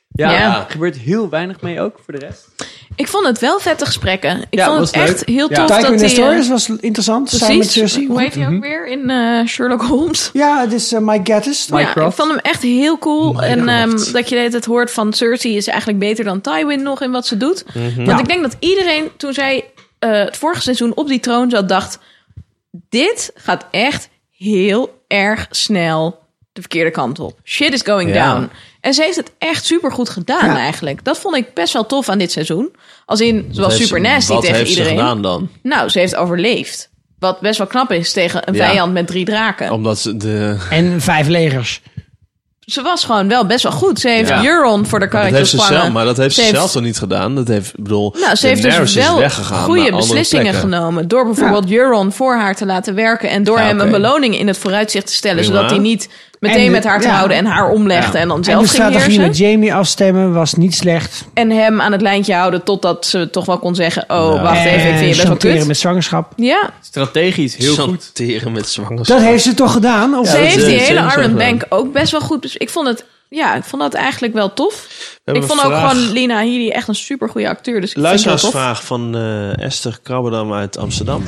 Ja,
Ja.
er gebeurt heel weinig mee ook voor de rest.
Ik vond het wel vette gesprekken. Ik
Ja,
vond
was
het echt
leuk.
heel
Ja.
tof
Tycho
dat hij...
Nestorius
eh,
was interessant, samen met
Precies.
Cersei. Mhm.
Hoe heet hij ook weer in eh, Sherlock Holmes?
Ja, het is eh, Mike Gattis.
Ja, ik vond hem echt heel cool. En ehm, dat je de hele tijd hoort van Cersei is eigenlijk beter dan Tywin nog in wat ze doet.
Mhm.
Want
Ja.
ik denk dat iedereen toen zij eh, het vorige seizoen op die troon zat dacht... Dit gaat echt heel erg snel de verkeerde kant op. Shit is going
Ja.
down. En ze heeft het echt super goed gedaan
Ja.
eigenlijk. Dat vond ik best wel tof aan dit seizoen. Als in, ze was
heeft
super
ze-
nasty
wat
tegen
heeft ze
iedereen.
gedaan dan?
Nou, ze heeft overleefd. Wat best wel knap is tegen een
Ja. Oh,
vijand met drie draken
Omdat ze de...
En vijf legers.
ze was gewoon wel best wel goed. Ze heeft
Ja.
Euron voor de
Dat
karretje
heeft ze
gevangen.
zelf, maar dat heeft ze, zelf toch niet gedaan? Dat heeft, ik bedoel,
Nou, ze heeft dus
Daenerys is
wel
weggegaan naar
goede
andere
beslissingen
plekken.
genomen. Door bijvoorbeeld Euron voor haar te laten werken. En door
Ja,
hem
oké.
een beloning in het vooruitzicht te stellen.
Prima.
Zodat hij niet meteen
En de-
met haar te
ja.
houden en haar omlegde.
Ja.
En dan
En de
zelf ging
strategie
heersen.
met Jamie afstemmen was niet slecht.
En hem aan het lijntje houden totdat ze toch wel kon zeggen... Oh,
Ja.
wacht even, ik
En
vind je best wel
chanteren
kut.
met zwangerschap.
Ja,
Strategisch heel goed.
Teren met zwangerschap.
Dat heeft ze toch gedaan? Of
ze heeft die
ze
hele
heeft ze
Iron
gedaan.
Bank ook best wel goed. Dus ik vond het... Ja, ik vond dat eigenlijk wel tof.
hebben
Ik
een
vond ook
vraag.
gewoon Lina Headey echt een super goede acteur. Dus ik vind het wel tof.
Luisteraarsvraag van eh, Esther Krabbedam uit Amsterdam.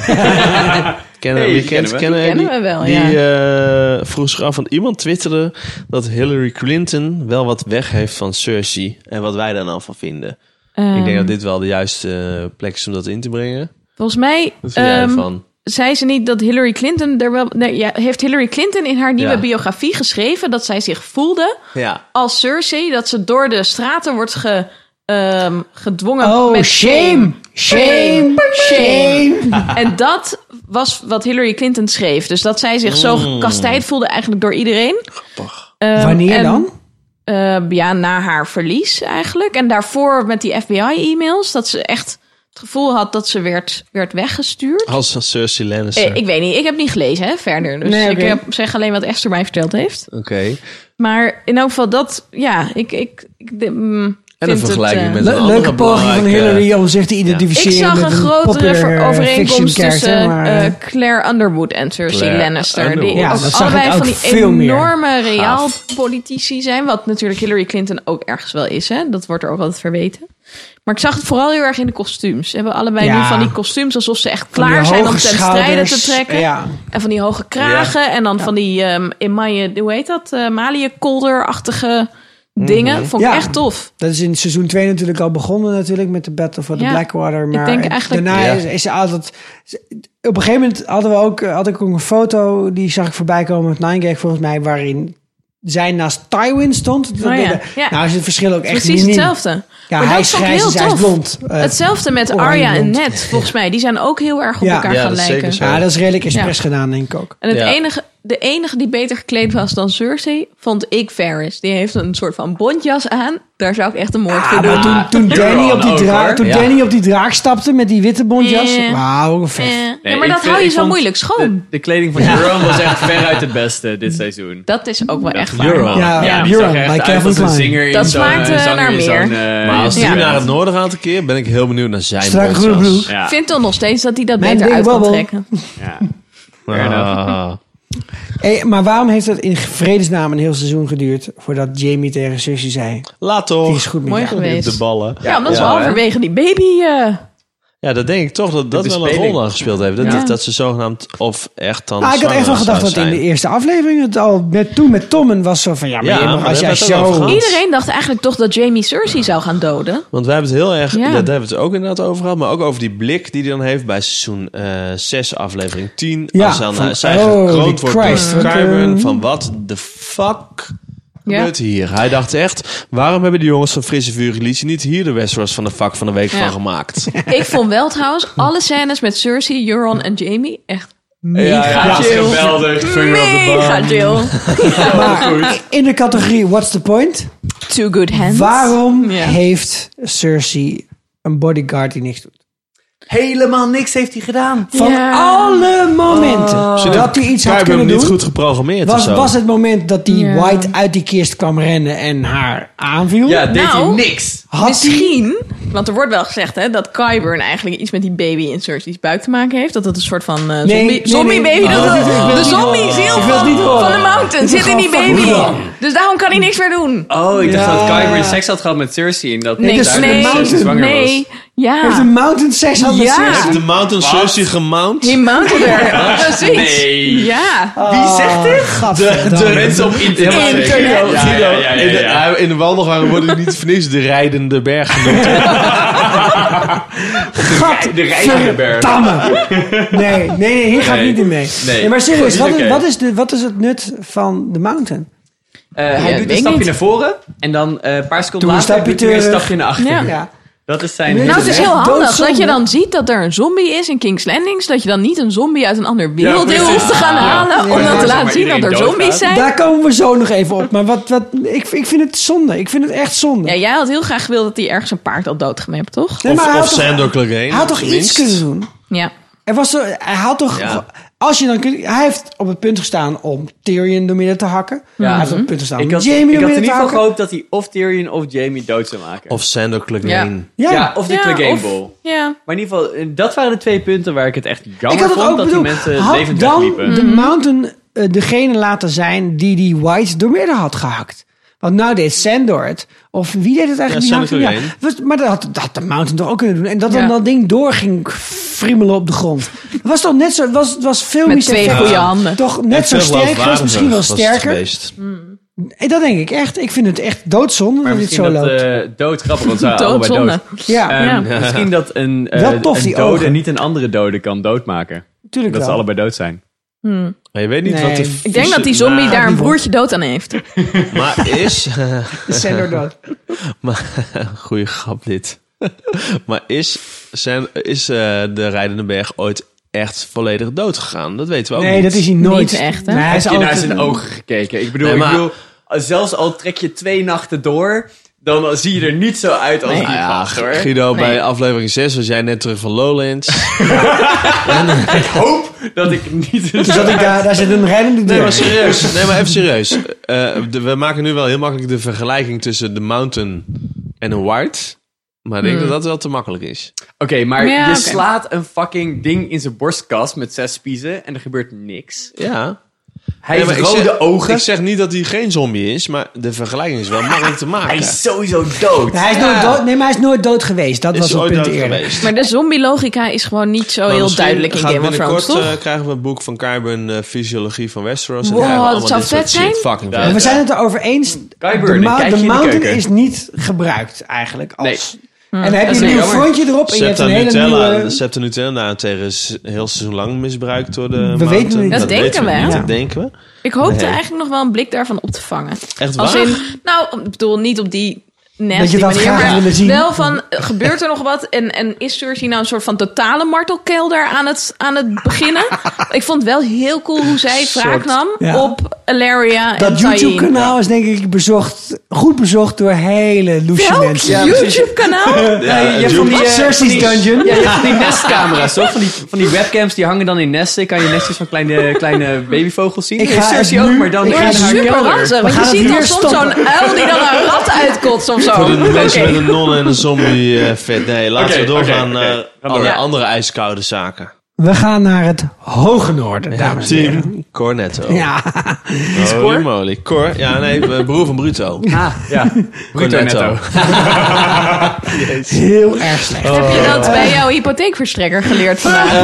kennen,
Hey,
wie
die
kent,
kennen we.
kennen,
Die
die,
kennen we wel,
die, eh, vroeg zich af, want iemand twitterde dat Hillary Clinton wel wat weg heeft van Cersei. En wat wij daar dan van vinden.
Ehm.
Ik denk dat dit wel de juiste eh, plek is om dat in te brengen.
Volgens mij
Wat vind jij
ehm,
ervan?
zei ze niet dat Hillary Clinton er wel. Nee, ja, heeft Hillary Clinton in haar nieuwe
Ja.
biografie geschreven dat zij zich voelde
Ja.
als Cersei, dat ze door de straten wordt ge, ehm, gedwongen.
Oh,
met
shame. Shame.
shame. En dat was wat Hillary Clinton schreef. Dus dat zij zich zo
Mm.
gekastijd voelde eigenlijk door iedereen. Ehm,
Wanneer
en,
dan?
eh, ja, na haar verlies eigenlijk. En daarvoor met die FBI-e-mails. Dat ze echt het gevoel had dat ze werd, werd weggestuurd.
Als van Cersei Lannister.
Eh, ik weet niet. Ik heb niet gelezen hè, verder. Dus
Nee, oké.
ik heb, zeg alleen wat Esther mij verteld heeft.
Oké.
Maar in elk geval dat... Ja, ik... ik, ik de- mm,
een
vind het,
vergelijking
eh,
met een
Le-
andere
leuke poging van
belangrijke-
Hillary om zich te
Ik
identificeren
zag een
met
grotere
popular,
ver-
eh, fiction
overeenkomst
character,
tussen
maar,
eh,
eh,
Claire Underwood en Cersei
Claire
Lannister. Die
Underwood. Ja,
ook
dat zag ik
allebei
ook
van die
veel meer.
enorme
Gaaf.
realpolitici zijn. Wat natuurlijk Hillary Clinton ook ergens wel is. Hè? Dat wordt er ook altijd verweten. Maar ik zag het vooral heel erg in de kostuums. Ze hebben allebei
Ja.
nu van die kostuums alsof ze echt
Van die
klaar zijn om ten
hoge
strijde te
schouders,
trekken.
ja.
En van die hoge kragen. En dan van die ehm emaille, hoe heet dat? Eh Malië-kolder-achtige dingen.
Mhm.
Vond ik
Ja.
echt tof.
Dat is in seizoen 2 natuurlijk al begonnen natuurlijk met de Battle for the
Ja,
Blackwater.
ik
Maar
denk
het-
eigenlijk-
daarna
Ja.
is, is ze altijd... Op een gegeven moment hadden we ook, had ik ook een foto, die zag ik voorbij komen met Ninegag volgens mij, waarin zij naast Tywin stond. Dat-
Oh ja,
dat-
ja.
Nou is het verschil ook
Het is
echt
precies
miniem.
hetzelfde.
Ja,
Maar
hij
dat
is
vond ik
grijs
heel
en zij is
tof.
blond. Eh,
Hetzelfde met
oranje
Arya en
blond.
Ned, volgens mij. Die zijn ook heel erg op elkaar gaan lijken.
Ja, dat is redelijk expres gedaan, denk ik ook.
En het
Ja.
enige, de enige die beter gekleed was dan Cersei, vond ik Ferris. Die heeft een soort van bondjas aan. Daar zou ik echt een
Ah,
moord voor doen.
toen toen, Danny, op die draak, toen Danny op die draak stapte met die witte bontjas.
Eh.
Wauw, vet.
Eh. Nee, maar dat hou je zo moeilijk schoon.
De, de kleding van Euron was echt veruit het beste dit seizoen.
Dat is ook wel echt waar.
Euron.
Ja, ja,
die
Euron,
zag er echt
like
uit als
Calvin
een
Klein.
zinger in
Dat
zo'n,
smaakt,
eh,
eh,
zanger
naar
in zo'n,
meer.
eh,
Maar als die
Ja.
naar het noorden gaat een keer, ben ik heel benieuwd naar zijn
Strakke
bondjas.
groene broek.
Ik
Ja.
vind dan nog steeds dat hij dat
Mijn
beter
ding
uit kan
wabbel.
trekken.
Ja.
Ah.
Hey, maar waarom heeft het in vredesnaam een heel seizoen geduurd voordat Jamie tegen Cersei zei?
Laat toch.
Die is goed met
Mooi
jou.
geweest.
De ballen.
Ja, omdat ze
Ja, hè?
halverwege die baby... eh
Ja, dat denk ik toch dat dat
De
wel een
speling.
rol aan gespeeld heeft. Dat,
Ja.
dat ze zogenaamd of echt dan.
Ah, ik had echt wel
zwanger
gedacht
zou
dat in de
zijn.
eerste aflevering het al met, toen met Tommen was zo van ja, maar,
Ja,
je mag-
maar
als
daar
jij
hebben we het
zo.
over
Iedereen dacht eigenlijk toch dat Jamie Cersei zou gaan doden.
Want wij hebben het heel erg.
Ja.
Daar hebben we het ook inderdaad over gehad. Maar ook over die blik die hij dan heeft bij seizoen eh 6, aflevering 10.
Ja,
als dan eh,
van,
zij
holy
gekroond wordt
Christ,
door
wat,
Kyburn.
eh,
Van wat de fuck
Ja.
gebeurt hier? Hij dacht echt, waarom hebben die jongens van Frisse Vuur Gelicie niet hier de Westeros van de fuck van de week
Ja.
van gemaakt?
Ik vond wel trouwens alle scènes met Cersei, Euron en Jamie echt mega
Ja, ja, dat is
chill.
geweldig. Vinger op de
Mega
bank.
chill.
Maar in de categorie What's the point?
Two good hands.
Waarom
Ja.
heeft Cersei een bodyguard die niks doet?
Helemaal niks heeft hij gedaan.
Van
Ja. Oh.
alle momenten dat hij iets had
Kyburn
kunnen
niet
doen.
goed geprogrammeerd of
was,
zo.
was het moment dat die
Ja.
White uit die kist kwam rennen en haar aanviel?
Ja, deed
Nou.
hij niks.
had hij
Misschien, want er wordt wel gezegd hè, dat Kyburn eigenlijk iets met die baby in Cersei's buik te maken heeft. Dat dat een soort van eh, zombie,
nee, nee.
zombie baby,
Oh. Ik
dat
wil het
dat-
niet- ik wil
de
het niet
zombie
horen.
ziel
Ik wil het
van,
niet horen.
van de mountain
Ik wil
zit in die
gewoon fucking
baby.
horen.
Dus daarom kan hij niks meer doen.
Oh, ik dacht
Ja.
dat Kyrie seks had gehad met Cersei. En dat
Nee,
dus
Daenerys
de
nee,
mountain
zwanger
nee.
heeft
Ja,
een mountain sex had met
Ja.
Cersei.
Heeft de Mountain
Wat?
Cersei gemount?
die mountain er.
was.
Precies.
Nee.
Ja.
Wie zegt dit?
Oh, Gadverdamme.
De mensen op internet.
Guido,
Ja, ja, ja, ja,
In, de,
ja.
hij- in de wandelgangen worden die niet voor niks de rijdende berg genoemd.
Gat,
de Rijkenberg.
verdamme. Nee, nee, nee, hier ga ik
Nee.
niet in mee.
Nee.
maar serieus,
Is
wat is,
oké.
wat, is de, wat is het nut van de mountain?
Eh, hij doet
Ja, weet
een
ik
stapje
niet.
naar voren. En dan eh, een paar seconden
Doe een
later
stapje
doet hij weer een
terug.
stapje naar achteren.
Ja.
Ja.
Dat is zijn...
Nee,
Nou, het is heel
echt
handig
doodzonde.
dat je dan ziet dat er een zombie is in King's Landing. Zodat je dan niet een zombie uit een ander werelddeel
precies.
hoeft te gaan
Ja.
halen.
Ja.
Om dan
Ja.
te
Zeg maar,
laten zien dat
iedereen
er zombies
doodgaat.
zijn.
Daar komen we zo nog even op. Maar wat, wat, ik, ik vind het zonde. Ik vind het echt zonde.
Ja, jij had heel graag gewild dat hij ergens een paard had doodgemapt, toch?
Nee, maar hij
of
had
of
toch-
Sandor Clegane.
Hij had toch iets
minst.
kunnen doen?
Ja.
Er was zo, hij had toch.
Ja.
Als je dan kun- hij heeft op het punt gestaan om Tyrion door midden te hakken. Hij heeft op het punt gestaan om
Mhm. Ik had,
Jamie
ik
door
had in
midden te
ieder geval
hakken.
gehoopt dat hij of Tyrion of Jamie dood zou maken.
Of Sandor Clegane.
Ja.
Ja.
ja, of de
ja,
Clegane
of-
Bowl.
Ja.
Maar in ieder geval, eh, dat waren de twee punten waar ik het echt
ik
jammer
had het
vond
ook
dat die
bedoeld.
mensen
Had
levend
dan
wegliepen.
Mhm.
de Mountain eh, degene laten zijn die die White door midden had gehakt. Want nou deed Sandor het. Of wie deed het eigenlijk?
Ja,
Die
Sandor
hakte- was- maar dat had, dat had de Mountain toch ook kunnen doen. En dat
Ja.
dan dat ding door ging friemelen op de grond. Het was toch net zo... Het was, het was veel
Met twee goede handen.
Toch
En
net zo
veel
sterk geweest.
geloofwaardiger
Misschien wel
was het
sterker.
geweest.
Eh, Dat denk ik echt. Ik vind het echt doodzonde dat
Maar
het
misschien
zo
dat
loopt.
eh dood grappig, want ze waren allebei
Doodzonde.
dood.
ja,
Ehm,
Ja.
Misschien dat een, eh,
Wel tof,
een
die
dode
ogen.
niet een andere dode kan doodmaken.
natuurlijk
eh, Dat ze
wel.
allebei dood zijn.
Maar je weet niet
Nee.
wat de
Ik
Ik denk
vieze-
dat die zombie
maar-
daar een broertje dood aan heeft.
Maar is...
Is Sandor dood.
maar, goeie grap dit. maar is, zijn, is eh, de Rijdende Berg ooit echt volledig dood gegaan? Dat weten we ook
Nee,
niet.
dat is hij nooit.
Niet echt, hè?
Nee, hij
Heb
is
je naar
altijd-
zijn ogen gekeken? Ik bedoel,
Nee, maar-
ik bedoel, eh, zelfs al trek je twee nachten door, dan zie je er niet zo uit als die
Nou ja,
gast, hoor.
Guido, bij aflevering 6 was jij net terug van Lowlands.
Ik hoop dat ik niet...
Toen zat ik daar, daar zit een rijdende deur.
Nee, maar serieus. Nee, maar even serieus. Eh, de- we maken nu wel heel makkelijk de vergelijking tussen de Mountain en een White. Maar ik denk
Hmm.
dat dat wel te makkelijk is.
Oké, maar
Ja,
je
oké.
slaat een fucking ding in zijn borstkast met zes spiezen en er gebeurt niks.
Ja.
Hij
maar
heeft rode ogen.
Ik zeg niet dat hij geen zombie is, maar de vergelijking is wel makkelijk te maken.
Hij is sowieso dood.
hij is nooit dood, nee, maar hij is nooit dood geweest. Dat
Is
was
hij
het
ooit
punt
dood
eerder.
geweest?
Maar de zombie-logica is gewoon niet zo
Nou,
Maar
heel
misschien
duidelijk in
gaat
Game of
binnenkort,
Thrones, toch?
eh, krijgen we een boek van Carbon eh, Fysiologie van Westeros.
Wow,
en krijgen we
dat
allemaal
zou
dit soort
vet
shit.
zijn.
Fucking
Ja.
vet.
En we zijn het erover eens.
Kyburn,
de
kijk je in
de
de
mountain
keuken.
is niet gebruikt eigenlijk. Als, En dan heb je
dat is
een nieuw
jammer.
frontje erop en Oh, je hebt
Septa
een hele
Nutella, eh,
nieuwe...
Septa Nutella nou, tegen is heel seizoen lang misbruikt door de
weten
Mountain.
het niet. Dat
denken
weten
we,
niet,
hè?
Dat denken we.
Ik hoopte
Nee.
eigenlijk nog wel een blik daarvan op te vangen.
Echt waar?
Als in, nou, ik bedoel, niet op die nasty
Dat je dat
manier,
graag
maar
willen zien.
Wel van, eh, gebeurt er nog wat? En, en is Cersei nou een soort van totale martelkelder aan het, aan het beginnen? Ik vond het wel heel cool hoe zij
Soort-
wraak nam
Ja.
op Alaria en
Dat
Tywin.
YouTube-kanaal is denk ik bezocht, goed bezocht door hele loesje
Welk
mensen.
YouTube-kanaal? Ja,
Ja, je hebt van die, eh, Cersei's
van die-
Dungeon.
Ja, je hebt van die nestcamera's, toch? Van die, van die webcams die hangen dan in nesten. Kan je nestjes van kleine, kleine babyvogels zien?
Ik
Ik
ga
ga Cersei
het
ook,
nu-
maar dan
ik
in
ga
haar
het nu-
Super
kelder.
ranzig,
We
want je
gaan
ziet
het
dan
hier
soms zo'n
stoppen.
uil die dan een rat uitkotst of zo.
Voor de mensen
Oké.
met een non en een zombie eh, vet. Nee, laten
Oké,
we doorgaan
oké, oké.
naar
Ga
alle
door.
andere ijskoude zaken.
We gaan naar het hoge noorden, dames en heren.
Team Cornetto.
Ja.
Holy moly. Cor, ja nee, eh, broer van Bruto.
Ah,
ja. Bruto netto.
Heel erg
Oh,
slecht.
Heb je dat bij jouw hypotheekverstrekker geleerd vandaag?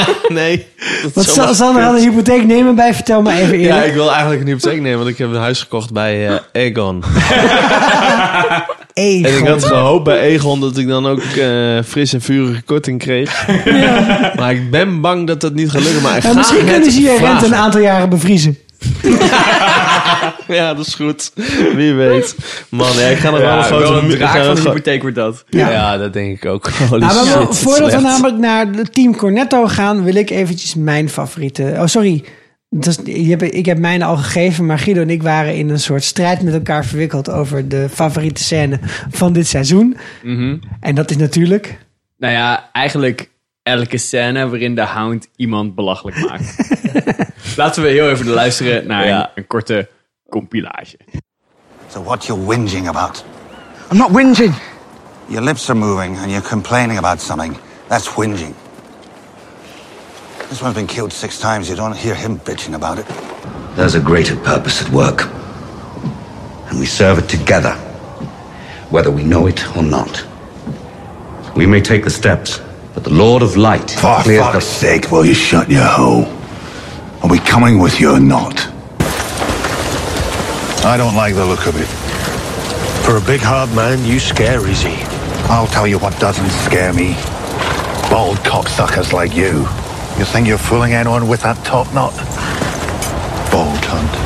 Eh, nee. dat
Want
is
Sa-
zomaar
Sander had een
gekund.
hypotheek nemen bij, vertel me even
Ja,
eerlijk.
ik wil eigenlijk een hypotheek nemen, want ik heb een huis gekocht bij
Ah.
eh Egon.
Egon.
En ik had gehoopt bij Egon dat ik dan ook eh, fris en vurige korting kreeg. Maar ik ben bang dat dat niet gaat lukken. Maar ik
En
ga
Nou, misschien
het
kunnen ze je
vragen.
rente een aantal jaren bevriezen.
Ja, dat is goed. Wie weet. Man, ja, ik ga nog
Ja,
wel een
wel
grote...
een
ik
draak
ga
van
een
de
gro-
hypotheek wordt dat.
Ja. dat denk ik ook. Holy
Nou, maar
shit,
we-
wat
voordat we
Dus slecht.
namelijk naar de Team Cornetto gaan, wil ik eventjes mijn favoriete... Oh, sorry. Dat is- je hebt- ik heb mijn al gegeven, maar Guido en ik waren in een soort strijd met elkaar verwikkeld over de favoriete scène van dit seizoen.
Mhm.
En dat is natuurlijk...
Nou ja, eigenlijk elke scène waarin de hound iemand belachelijk maakt. Laten we heel even luisteren naar een, een korte compilage.
So what you whinging about?
I'm not whinging.
Your lips are moving and you're complaining about something. That's whinging. This one's been killed six times. You don't hear him bitching about it.
There's a greater purpose at work. And we serve it together, whether we know it or not. We may take the steps, but the Lord of Light.
For
clears
fuck's sake, will you shut your hole? Are we coming with you or not? I don't like the look of it. For a big hard man, you scare easy. I'll tell you what doesn't scare me. Bald cocksuckers like you. You think you're fooling anyone with that top knot? Bald cunt.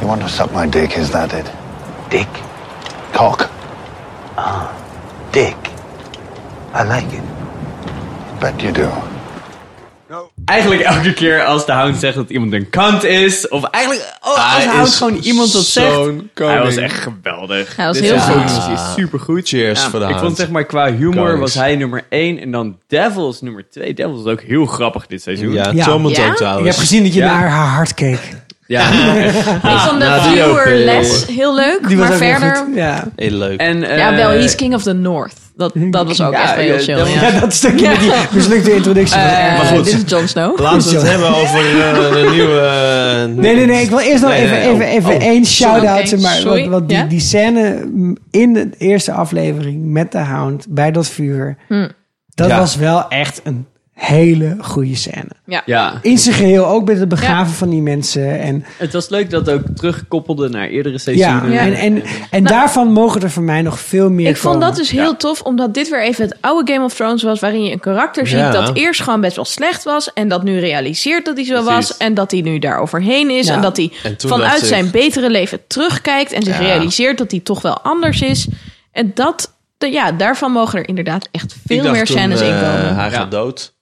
You want to suck my dick, is that it? Dick? Cock. Ah, dick. I like it. Bet you do.
Eigenlijk elke keer als de hound zegt dat iemand een kant is, of eigenlijk oh, als
Hij
de hound
is
gewoon iemand dat zegt.
zo'n
Hij was
koning.
echt geweldig.
Hij was
Dit
heel
seizoen
goed.
is hij supergoed.
Cheers
Ja,
voor de
Ik
hound.
vond zeg maar qua humor
Konings.
was hij nummer 1 en dan Devils nummer 2. Devils is ook heel grappig dit seizoen.
Ja, Tomato dus- Ja? trouwens.
Ik heb gezien dat je
Ja.
naar haar hart keek.
Ja.
Ik vond de
ah,
Nou, die ook, eh,
viewerles heel leuk,
Die was
maar
ook heel
verder...
goed. Ja.
Heel leuk.
En, eh,
ja, wel, He's King of the North. Dat, dat was ook
Ja,
echt wel heel
ja,
chill.
dat-
Ja.
Ja, dat stukje met die mislukte introductie. was
Eh,
erg.
Maar goed.
Dit is Jon Snow.
Laten we het hebben over eh, de nieuwe... eh,
Nee, nee, nee. Ik wil eerst nog
Nee,
even,
nee,
even,
oh,
even
oh.
één shout-out.
Oké,
zeg maar,
sorry.
want want die,
Ja?
die scène mm, in de eerste aflevering met de hound bij dat vuur.
Hm.
Dat
Ja.
was wel echt een hele goede scène.
Ja.
ja.
In zijn geheel ook met het begraven van die mensen. En,
Het was leuk dat het ook terugkoppelde naar eerdere
ja,
seizoenen.
en, en, en daarvan mogen er voor mij nog veel meer
Nou, Ik vond
komen.
dat dus heel tof, omdat dit weer even het oude Game of Thrones was... waarin je een karakter ziet
Ja.
dat eerst gewoon best wel slecht was... en dat nu realiseert dat hij zo was... en dat hij nu daar overheen is...
Ja.
en dat hij
En toen
vanuit
dacht ik-
zijn betere leven terugkijkt... en zich
Ja.
realiseert dat hij toch wel anders is. En dat, de- ja, daarvan mogen er inderdaad echt
ik
veel
dacht
meer
toen,
scènes in
eh,
komen.
hij gaat dood.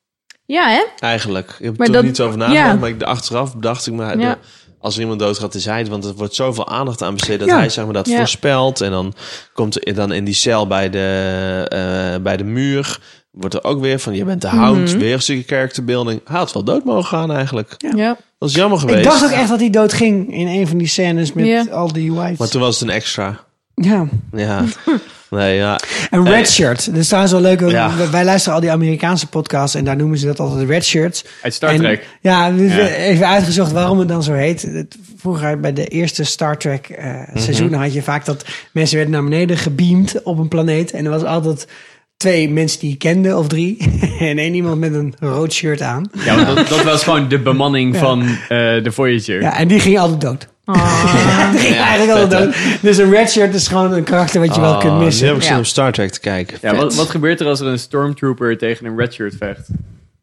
Ja, hè?
Eigenlijk. Ik heb er
Maar
toen
dat-
niet over nagedacht,
ja.
maar ik, achteraf bedacht ik me...
Ja.
ja, Als er iemand doodgaat, is hij het. Want er wordt zoveel aandacht aan besteed dat
Ja.
hij zeg maar, dat
Ja.
voorspelt. En dan komt er dan in die cel bij de, eh, bij de muur... wordt er ook weer van, je bent de hound,
Mhm.
weer een stukje characterbuilding. Hij had wel dood mogen gaan eigenlijk.
Ja.
Dat is jammer geweest.
Ik dacht ook echt dat hij dood ging in een van die scènes met
Ja.
al die whites.
Maar toen was het een extra.
Ja.
Ja. Nee, ja.
En redshirt. Dat is trouwens wel leuk. want
Ja.
we- Wij luisteren al die Amerikaanse podcasts en daar noemen ze dat altijd redshirts.
Uit Star
En-
Trek.
Ja, we- we-
Ja.
even uitgezocht waarom het dan zo heet. Het- Vroeger bij de eerste Star Trek eh,
Mhm.
seizoenen had je vaak dat mensen werden naar beneden gebeamd op een planeet. En er was altijd twee mensen die je kende of drie. en één iemand met een rood shirt aan.
Ja, want dat, dat was gewoon de bemanning van eh, de Voyager.
Ja, en die ging altijd dood.
Oh,
die ging eigenlijk altijd dood. Dus een redshirt is gewoon een karakter wat je
Oh,
wel kunt
Oh, Nu heb
missen.
ik zin om Star Trek te kijken.
Ja, wat, wat gebeurt er als er een stormtrooper tegen een redshirt vecht?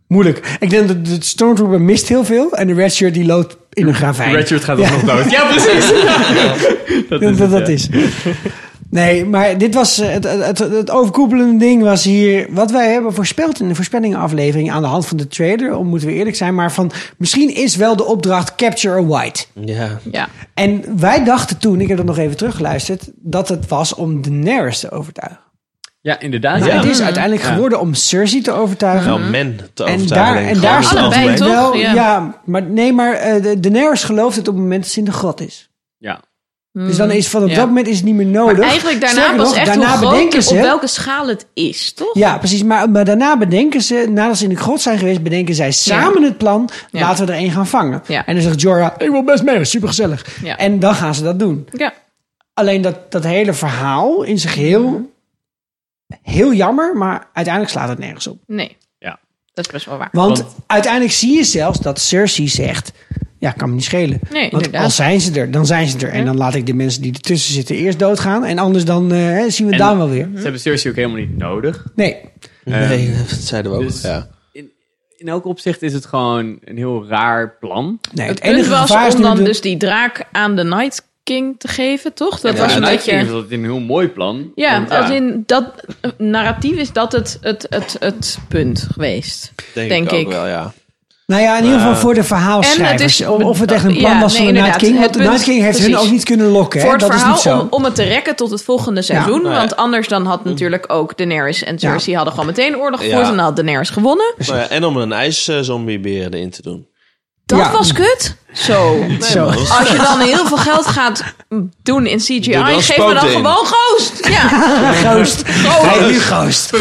Moeilijk. Ik denk dat de Stormtrooper mist heel veel. En de Redshirt die loopt in een gravijn.
Redshirt gaat dan nog dood. Ja, precies.
Dat, dat,
het,
dat
ja.
is. Nee, maar dit was eh, het, het, het overkoepelende ding was hier wat wij hebben voorspeld in de voorspellingenaflevering aan de hand van de trader. Om moeten we eerlijk zijn, maar van misschien is wel de opdracht capture a white. Mhm.
Ja.
Ja.
En wij dachten toen, ik heb dat nog even teruggeluisterd, dat het was om Daenerys te overtuigen.
Ja, inderdaad.
Maar
ja.
het is uiteindelijk
Ja.
geworden om Cersei te overtuigen.
Nou, men te
en
overtuigen,
daar,
denk ik.
en daar
Gewoon
snap
allebei,
ik
toch?
wel.
Ja.
Ja. maar nee, maar eh, de Daenerys gelooft het op het moment dat ze in de grot is.
Ja.
Dus dan is van op
Ja.
dat moment is het niet meer nodig.
Mm. Maar eigenlijk daarna
Sterker
pas
nog,
echt
daarna
hoe
bedenken
groot,
ze,
op welke schaal het is, toch?
Ja, precies. Maar, maar daarna bedenken ze, nadat ze in de grot zijn geweest, bedenken zij samen het plan.
Ja.
Laten we er één gaan vangen.
Ja.
En dan zegt Jorah, ik wil best mee, dat is supergezellig.
Ja.
En dan gaan ze dat doen.
Ja.
Alleen dat, dat hele verhaal in zijn geheel, heel jammer, maar uiteindelijk slaat het nergens op.
Nee,
Ja.
dat is best wel waar.
Want, uiteindelijk zie je zelfs dat Cersei zegt, ja, kan me niet schelen.
Nee,
Want
inderdaad.
al zijn ze er, dan zijn ze er. En dan laat ik de mensen die ertussen zitten eerst doodgaan. En anders dan eh, hè, zien we het
En
daar wel weer.
Ze hebben Cersei ook helemaal niet nodig.
Nee,
Nee, dat zeiden we ook.
Dus-
ja.
In elk opzicht is het gewoon een heel raar plan.
Nee,
Het punt was om dan dus die draak aan de Night King te geven, toch? Dat was een beetje...
Dat is een heel mooi plan.
Ja,
want,
als in dat eh, narratief is dat het, het, het, het punt geweest. Denk, ik.
ook wel, ja.
Nou ja, in ieder geval
Maar-
voor de
En het
verhaalschrijvers.
is- Oh,
Of, of het echt een plan
Ja,
was
nee,
van de Night
inderdaad.
King.
Het
Want de
punt-
Night King heeft hun
precies.
ook niet kunnen lokken.
Voor
hè?
het
Dat is
verhaal
niet zo.
Om, om het te rekken tot het volgende seizoen.
Nou ja.
Want anders dan had natuurlijk ook Daenerys en Cersei hadden gewoon meteen oorlog gevoerd.
Ja.
En dan had Daenerys gewonnen.
Nou ja, en om een ijszombiebeer erin te doen.
Dat
Ja.
was kut. Zo.
Zo.
man.
Als je dan heel veel geld gaat doen in CGI,
Doe dan
geef me dan
spook in.
gewoon ghost. Ja.
Ghost. Hey, nu ghost.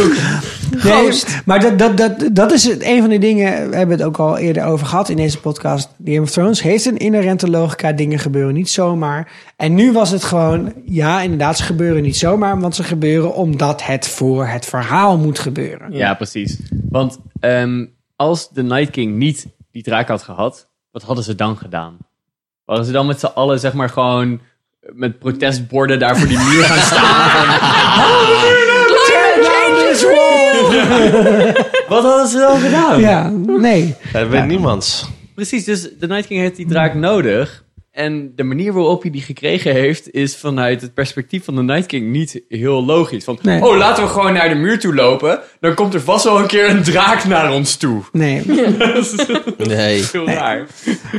Nee, maar dat, dat, dat, dat is het- een van de dingen. We hebben het ook al eerder over gehad in deze podcast. Game of Thrones heeft een inherente logica. Dingen gebeuren niet zomaar. En nu was het gewoon. Ja, inderdaad, ze gebeuren niet zomaar. Want ze gebeuren omdat het voor het verhaal moet gebeuren.
Ja, precies. Want ehm, als de Night King niet die draak had gehad, wat hadden ze dan gedaan? Hadden ze dan met z'n allen, zeg maar, gewoon met protestborden daar voor die muur gaan staan? wat hadden ze dan gedaan?
Ja, nee.
Ja, dat weet niemand.
Precies, dus de Night King heeft die draak
Hmm.
nodig. En de manier waarop hij die gekregen heeft, is vanuit het perspectief van de Night King niet heel logisch. Van,
Nee.
oh, laten we gewoon naar de muur toe lopen. Dan komt er vast wel een keer een draak naar ons toe.
Nee.
Nee.
Heel raar.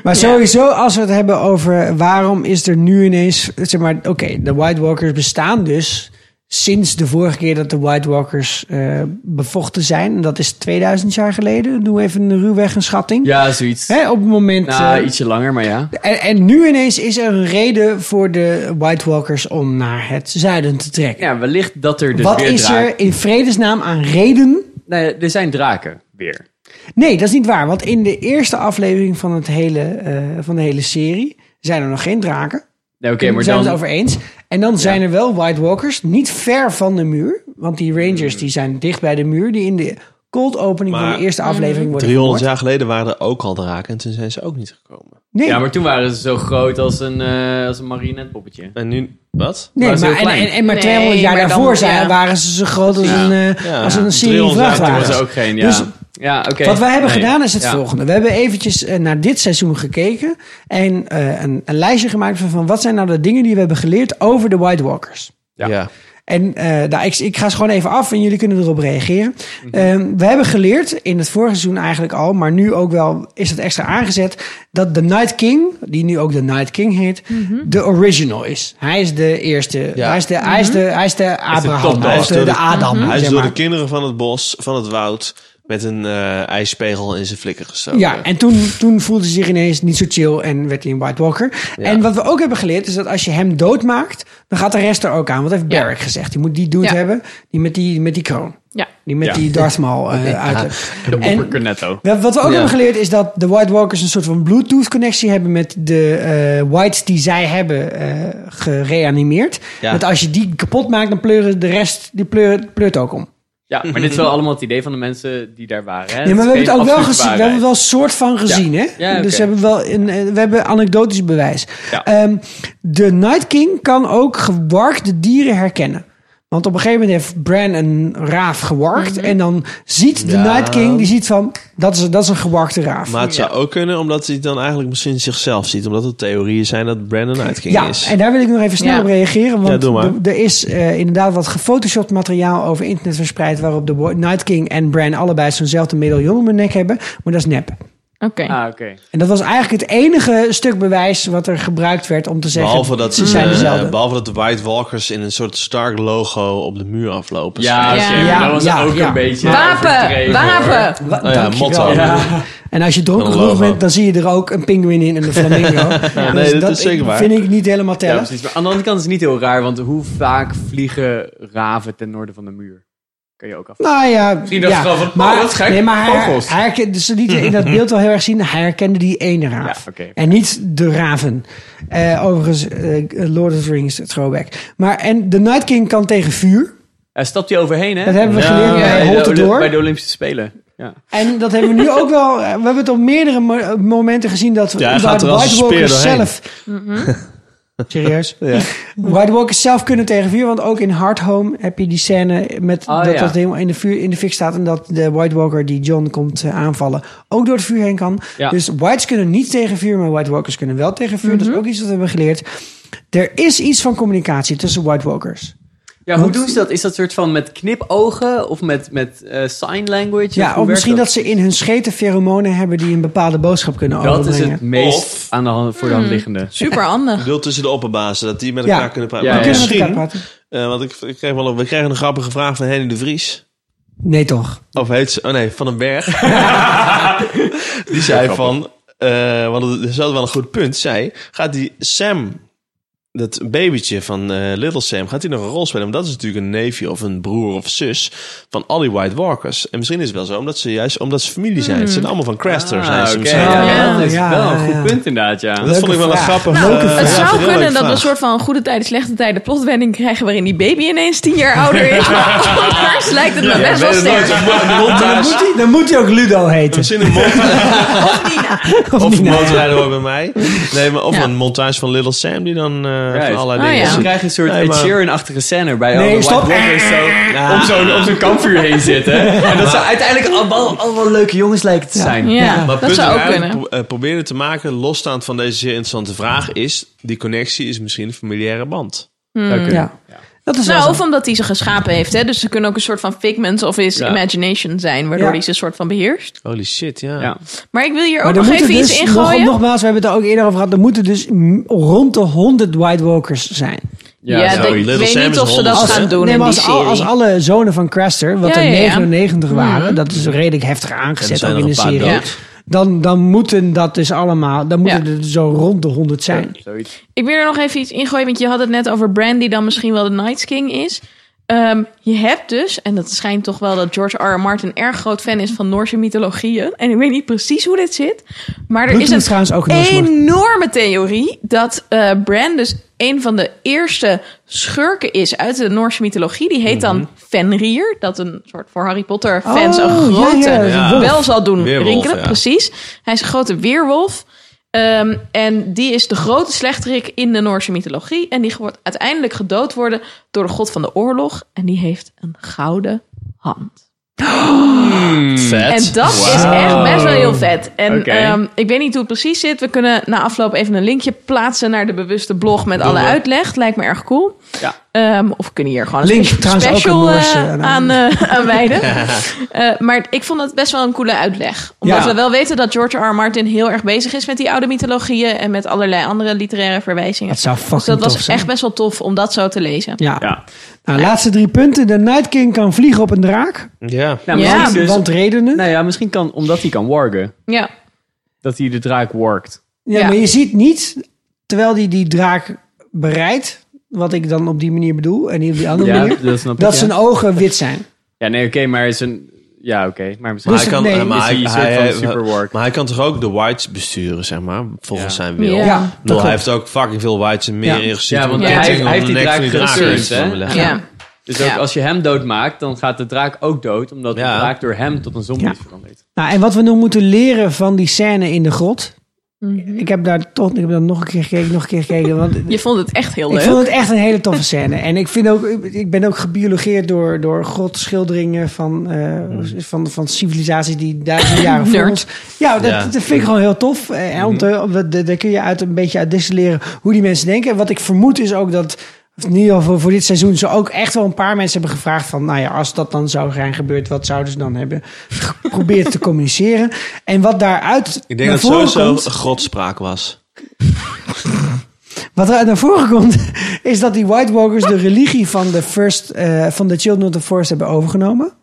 Maar sowieso, als we het hebben over waarom is er nu ineens. Zeg maar, oké, de White Walkers bestaan dus sinds de vorige keer dat de White Walkers eh, bevochten zijn. En dat is 2000 jaar geleden. Doe even een ruwweg een schatting.
Ja, zoiets.
Hè, op het moment.
Nou,
eh,
ietsje langer, maar ja.
en, en nu ineens is er een reden voor de White Walkers om naar het zuiden te trekken.
Ja, wellicht dat er dus
Wat
weer
is
draken...
er in vredesnaam aan reden?
Nee, er zijn draken weer.
Nee, dat is niet waar. Want in de eerste aflevering van, het hele, eh, van de hele serie zijn er nog geen draken.
Nee, oké,
Daar
maar
zijn we
dan...
het over eens. En dan zijn er wel White Walkers, niet ver van de muur. Want die Rangers
Hmm.
die zijn dicht bij de muur, die in de cold opening van
Maar-
de eerste aflevering worden
300
vermoord.
jaar geleden waren er ook al draken en toen zijn ze ook niet gekomen.
Nee,
Ja, maar toen waren ze zo groot als een, eh als een marionetpoppetje.
En nu, wat?
nee,
waren ze
maar,
heel
en,
klein.
en, en maar
Nee,
200 jaar
maar dan-
daarvoor zijn,
ja.
waren ze zo groot als
Ja.
een, eh,
Ja.
als een serie
300 jaar
Toen was er
vrachtwagens.
ook geen, ja.
Dus
ja, oké.
Wat wij hebben
Nee.
gedaan is het
Ja.
volgende. We hebben eventjes eh, naar dit seizoen gekeken en eh, een, een lijstje gemaakt van, van wat zijn nou de dingen die we hebben geleerd over de White Walkers.
Ja.
En eh, nou, ik, ik ga ze gewoon even af en jullie kunnen erop reageren. Ehm, we hebben geleerd, in het vorige seizoen eigenlijk al, maar nu ook wel is het extra aangezet, dat de Night King, die nu ook de Night King heet, de original is. Hij is de eerste.
Ja.
Hij, is de, hij, is de, hij is de Abraham.
topdog.
hij is de, de Adam.
Hij is
zeg
door
maar.
de kinderen van het bos, van het woud, met een eh, ijspegel in zijn flikker gestoken.
Ja, en toen, toen voelde hij zich ineens niet zo chill en werd hij een White Walker. En wat we ook hebben geleerd is dat als je hem doodmaakt, dan gaat de rest er ook aan. Wat heeft
Ja.
Barrack gezegd? Die moet die dude
Ja.
hebben, die met die, met die kroon.
Ja.
Die met
Ja.
die Darth Maul eh, uit.
De
En-
opper Cornetto.
Wat wat we ook hebben geleerd is dat de White Walkers een soort van Bluetooth-connectie hebben met de eh, Whites die zij hebben eh, gereanimeerd.
Ja.
Dat als je die kapot maakt, dan pleuren de rest, die pleuren, pleurt ook om.
Ja, maar dit is wel allemaal het idee van de mensen die daar waren. Hè?
Nee, maar we
Het is
hebben het ook wel
geen absolute
gezien. We
waarheid.
hebben het wel een soort van gezien, hè?
Ja, oké.
Dus we hebben wel een, eh, we hebben anekdotisch bewijs.
Ja.
Ehm, de Night King kan ook gewarkte dieren herkennen. Want op een gegeven moment heeft Bran een raaf gewarkt.
Mhm.
En dan ziet de
Ja.
Night King, die ziet van, dat is, dat is een gewarkte raaf.
Maar het zou ook kunnen omdat hij dan eigenlijk misschien zichzelf ziet. Omdat er theorieën zijn dat Brandon uitging
Ja,
is.
en daar wil ik nog even snel
Ja.
op reageren.
Ja,
Want
doe maar.
er- er is eh, inderdaad wat gefotoshopt materiaal over internet verspreid... waarop de wo- Night King en Bran allebei zo'nzelfde medaillon om hun nek hebben. Maar dat is nep.
Oké.
Ah, oké.
En dat was eigenlijk het enige stuk bewijs wat er gebruikt werd om te zeggen...
Behalve dat,
ze
ze,
zijn
eh,
dezelfde.
behalve dat de White Walkers in een soort Stark-logo op de muur aflopen.
Ja, Ja. oké, maar dat was ook een beetje
Wapen, overdreven, wapen. hoor.
Nou ja,
Dankjewel.
motto.
Ja. En als je dronken
Een
genoeg
logo.
bent, dan zie je er ook een pinguïn in en een flamingo.
Ja,
Dus
nee, dat is zeker waar.
vind ik niet helemaal
Ja,
tellen.
precies. Maar aan de andere kant is het niet heel raar, want hoe vaak vliegen raven ten noorden van de muur? Kun je ook af.
nou ja,
Misschien dacht
ja.
ze wel van, oh,
maar,
wat gek,
Nee, maar hij,
vogels.
hij herkende- ze lieten in dat beeld wel heel erg zien. Hij herkende die ene raaf. En niet de raven. Eh, overigens, eh, Lord of the Rings throwback. Maar, en de Night King kan tegen vuur.
Hij stapt hij Eh, overheen, hè?
Dat hebben we geleerd bij Holt
de,
het door.
bij de Olympische Spelen. Ja.
En dat hebben we nu ook wel. eh, We hebben het op meerdere mo- eh, momenten gezien dat
Ja, hij
dat
gaat er als
White
een speer
Walkers
doorheen.
zelf. Serieus? White Walkers zelf kunnen tegen vuur, want ook in Hard Home heb je die scène met
Oh,
dat
ja.
dat helemaal in de, vuur, in de fik staat en dat de White Walker die John komt eh, aanvallen ook door het vuur heen kan.
Ja.
Dus Whites kunnen niet tegen vuur, maar White Walkers kunnen wel tegen vuur.
Mhm.
Dat is ook iets dat we hebben geleerd. Er is iets van communicatie tussen White Walkers.
Ja, hoe doen ze dat? Is dat soort van met knipogen of met, met eh, sign language? Of hoe
Ja, of
werkt
misschien dat? ze in hun scheten pheromonen hebben die een bepaalde boodschap kunnen
Dat
overbrengen.
is het meest aan de hand, voor de hand
Hmm.
liggende.
Super handig.
Ik bedoel tussen de opperbazen, dat die met
Ja.
elkaar kunnen praten.
Ja,
Maar
ja. Die
misschien,
kunnen met elkaar
eh, want ik, ik kreeg wel een, we kregen een grappige vraag van Henny de Vries.
Nee, toch?
Of heet ze? Oh nee, Van den Berg. die zei van, eh, want het is wel een goed punt. Zij gaat die Sam, dat babytje van eh, Little Sam, gaat die nog een rol spelen? Want dat is natuurlijk een neefje of een broer of zus van al die White Walkers. En misschien is het wel zo, omdat ze juist omdat ze familie zijn.
Hmm.
Ze zijn allemaal van Craster.
Ah,
zijn ze
oké.
misschien.
Ja, dat is wel een goed punt inderdaad, ja.
Dat vond ik wel een grappig.
Nou,
eh,
het
ja,
zou
heel
kunnen
leuke
dat we een
vraag.
soort van goede tijden, slechte tijden plotwending krijgen waarin die baby ineens tien jaar ouder is. Maar anders lijkt het me
Ja,
best
nee,
wel
dat
sterk.
is een montage. Ah, Dan moet hij- Dan moet hij ook Ludo heten. Misschien
een
Of
Of een
Nina, ja.
motorrijder hoor bij mij. Nee, maar of
Ja.
een montage van Little Sam die dan eh van allerlei
Oh,
dingen...
ja. Ze krijgen een soort
Nee,
Ed
maar-
Sheeran-achtige scène bij
Nee,
alle White
stop.
Walkers zo
Ja.
om zo'n om zo'n kampvuur heen zitten. En dat ze
Maar-
uiteindelijk allemaal, allemaal leuke jongens lijken te zijn.
maar punt eruit, pro- eh, proberen te maken, losstaand van deze zeer interessante vraag, is die connectie is misschien een familiaire band.
Hmm.
Zou kunnen.
Ja. Dat is
nou,
wel
of omdat hij ze geschapen heeft. Hè? Dus ze kunnen ook een soort van figment of his
Ja.
imagination zijn, waardoor
Ja.
hij ze een soort van beheerst.
Holy shit, ja.
Maar ik wil hier
Maar
ook
er
nog
moeten
even
dus,
iets
nog-
in gooien.
nogmaals, we hebben het er ook eerder over gehad. Er moeten dus m- rond de 100 White Walkers zijn.
Ja, Ja, zoiets. ik weet Little Sam niet is of ze dat 100, gaan hè? doen
Nee,
in
maar
die
als, al-
serie.
als alle zonen van Craster, wat
Ja,
er
ja, Mm. ja.
99 waren, dat is redelijk heftig aangezet
zijn
ook
er
in de
nog een
serie.
paar
Dan, dan moeten dat dus allemaal, dan moeten er zo rond de 100 zijn.
Ik wil er nog even iets in gooien, want je had het net over Bran, die dan misschien wel de Night King is. Ehm, je hebt dus, en dat schijnt toch wel dat George R. R. Martin erg groot fan is van Noorse mythologieën. En ik weet niet precies hoe dit zit. Maar er
Bloedmoed
is een
trouwens ook een Noorse mythe.
enorme theorie dat eh, Bran dus een van de eerste schurken is uit de Noorse mythologie. Die heet
Mhm.
dan Fenrir. Dat een soort voor Harry Potter fans
Oh,
een
ja,
grote
ja, ja.
bel
Wolf.
zal doen
Weerwolf,
rinkelen.
ja.
Precies. Hij is een grote weerwolf. Ehm, en die is de grote slechterik in de Noorse mythologie. En die wordt uiteindelijk gedood worden door de god van de oorlog. En die heeft een gouden hand.
Mm.
Vet.
En dat is
Wauw.
echt best wel heel vet. En
Oké.
ehm, ik weet niet hoe het precies zit. We kunnen na afloop even een linkje plaatsen naar de bewuste blog met alle
we.
uitleg. Lijkt me erg cool.
Ja.
Ehm, of we kunnen hier gewoon een
Link
spe-
trouwens ook een
special
Noorse,
eh,
nou.
aan, eh, aan wijden. Eh, maar ik vond het best wel een coole uitleg. Omdat
Ja.
we wel weten dat George R. R. Martin heel erg bezig is met die oude mythologieën en met allerlei andere literaire verwijzingen.
Dat zou
dus
fucking
dat was
tof zijn.
echt best wel tof om dat zo te lezen.
Ja. Nou, laatste drie punten. De Night King kan vliegen op een draak.
Ja.
Nou,
Ja,
misschien
Dus-
want redenen.
Nou ja, misschien kan, omdat hij kan wargen.
Ja.
Dat hij de draak wargt.
Ja, maar je ziet niet, terwijl die die draak bereidt, wat ik dan op die manier bedoel, en niet op die andere
Ja,
manier,
dat
dat,
snap ik, ja.
zijn ogen wit zijn.
Ja, nee, oké, maar zijn... Ja, oké. maar misschien
Maar hij, kan, eh, maar,
is
hij,
hij een soort
hij-
van
hij-
super warg.
maar hij kan toch ook de whites besturen, zeg maar, volgens zijn wil.
Ja,
Ik
Nou, dat
bedoel,
klopt.
hij heeft ook fucking veel whites en meer
Ja.
ingestuurd.
Ja, want
om
hij,
ketting
heeft,
om
hij heeft
de nek
die draak
van die draak
gesurfd,
te
hè?
leggen.
Ja.
Dus ook
Ja.
als je hem doodmaakt, dan gaat de draak ook dood. Omdat de draak door hem tot een zombie is veranderd.
Nou, en wat we nu moeten leren van die scène in de grot, Ik heb daar toch ik heb daar nog een keer gekeken, nog een keer gekeken. Want
Je vond het echt heel leuk.
ik vond het echt een hele toffe scène. En ik, vind ook, ik ben ook gebiologeerd door, door grotschilderingen van, eh, van, van civilisaties die duizenden jaren voor
Nerd.
ons... Ja, dat,
Ja.
dat vind ik gewoon heel tof. Eh, om
Mm.
te- om dat- Daar kun je uit een beetje uit destilleren hoe die mensen denken. En wat ik vermoed is ook dat... of In ieder geval voor- voor dit seizoen ze ook echt wel een paar mensen hebben gevraagd van... nou ja, als dat dan zou zijn gebeurd, wat zouden ze dan hebben geprobeerd te communiceren? En wat daaruit
Ik denk
naar
dat het
voren
sowieso
komt-
godspraak was.
wat er naar voren komt, is dat die White Walkers de religie van de, first, eh, van de Children of the Forest hebben overgenomen.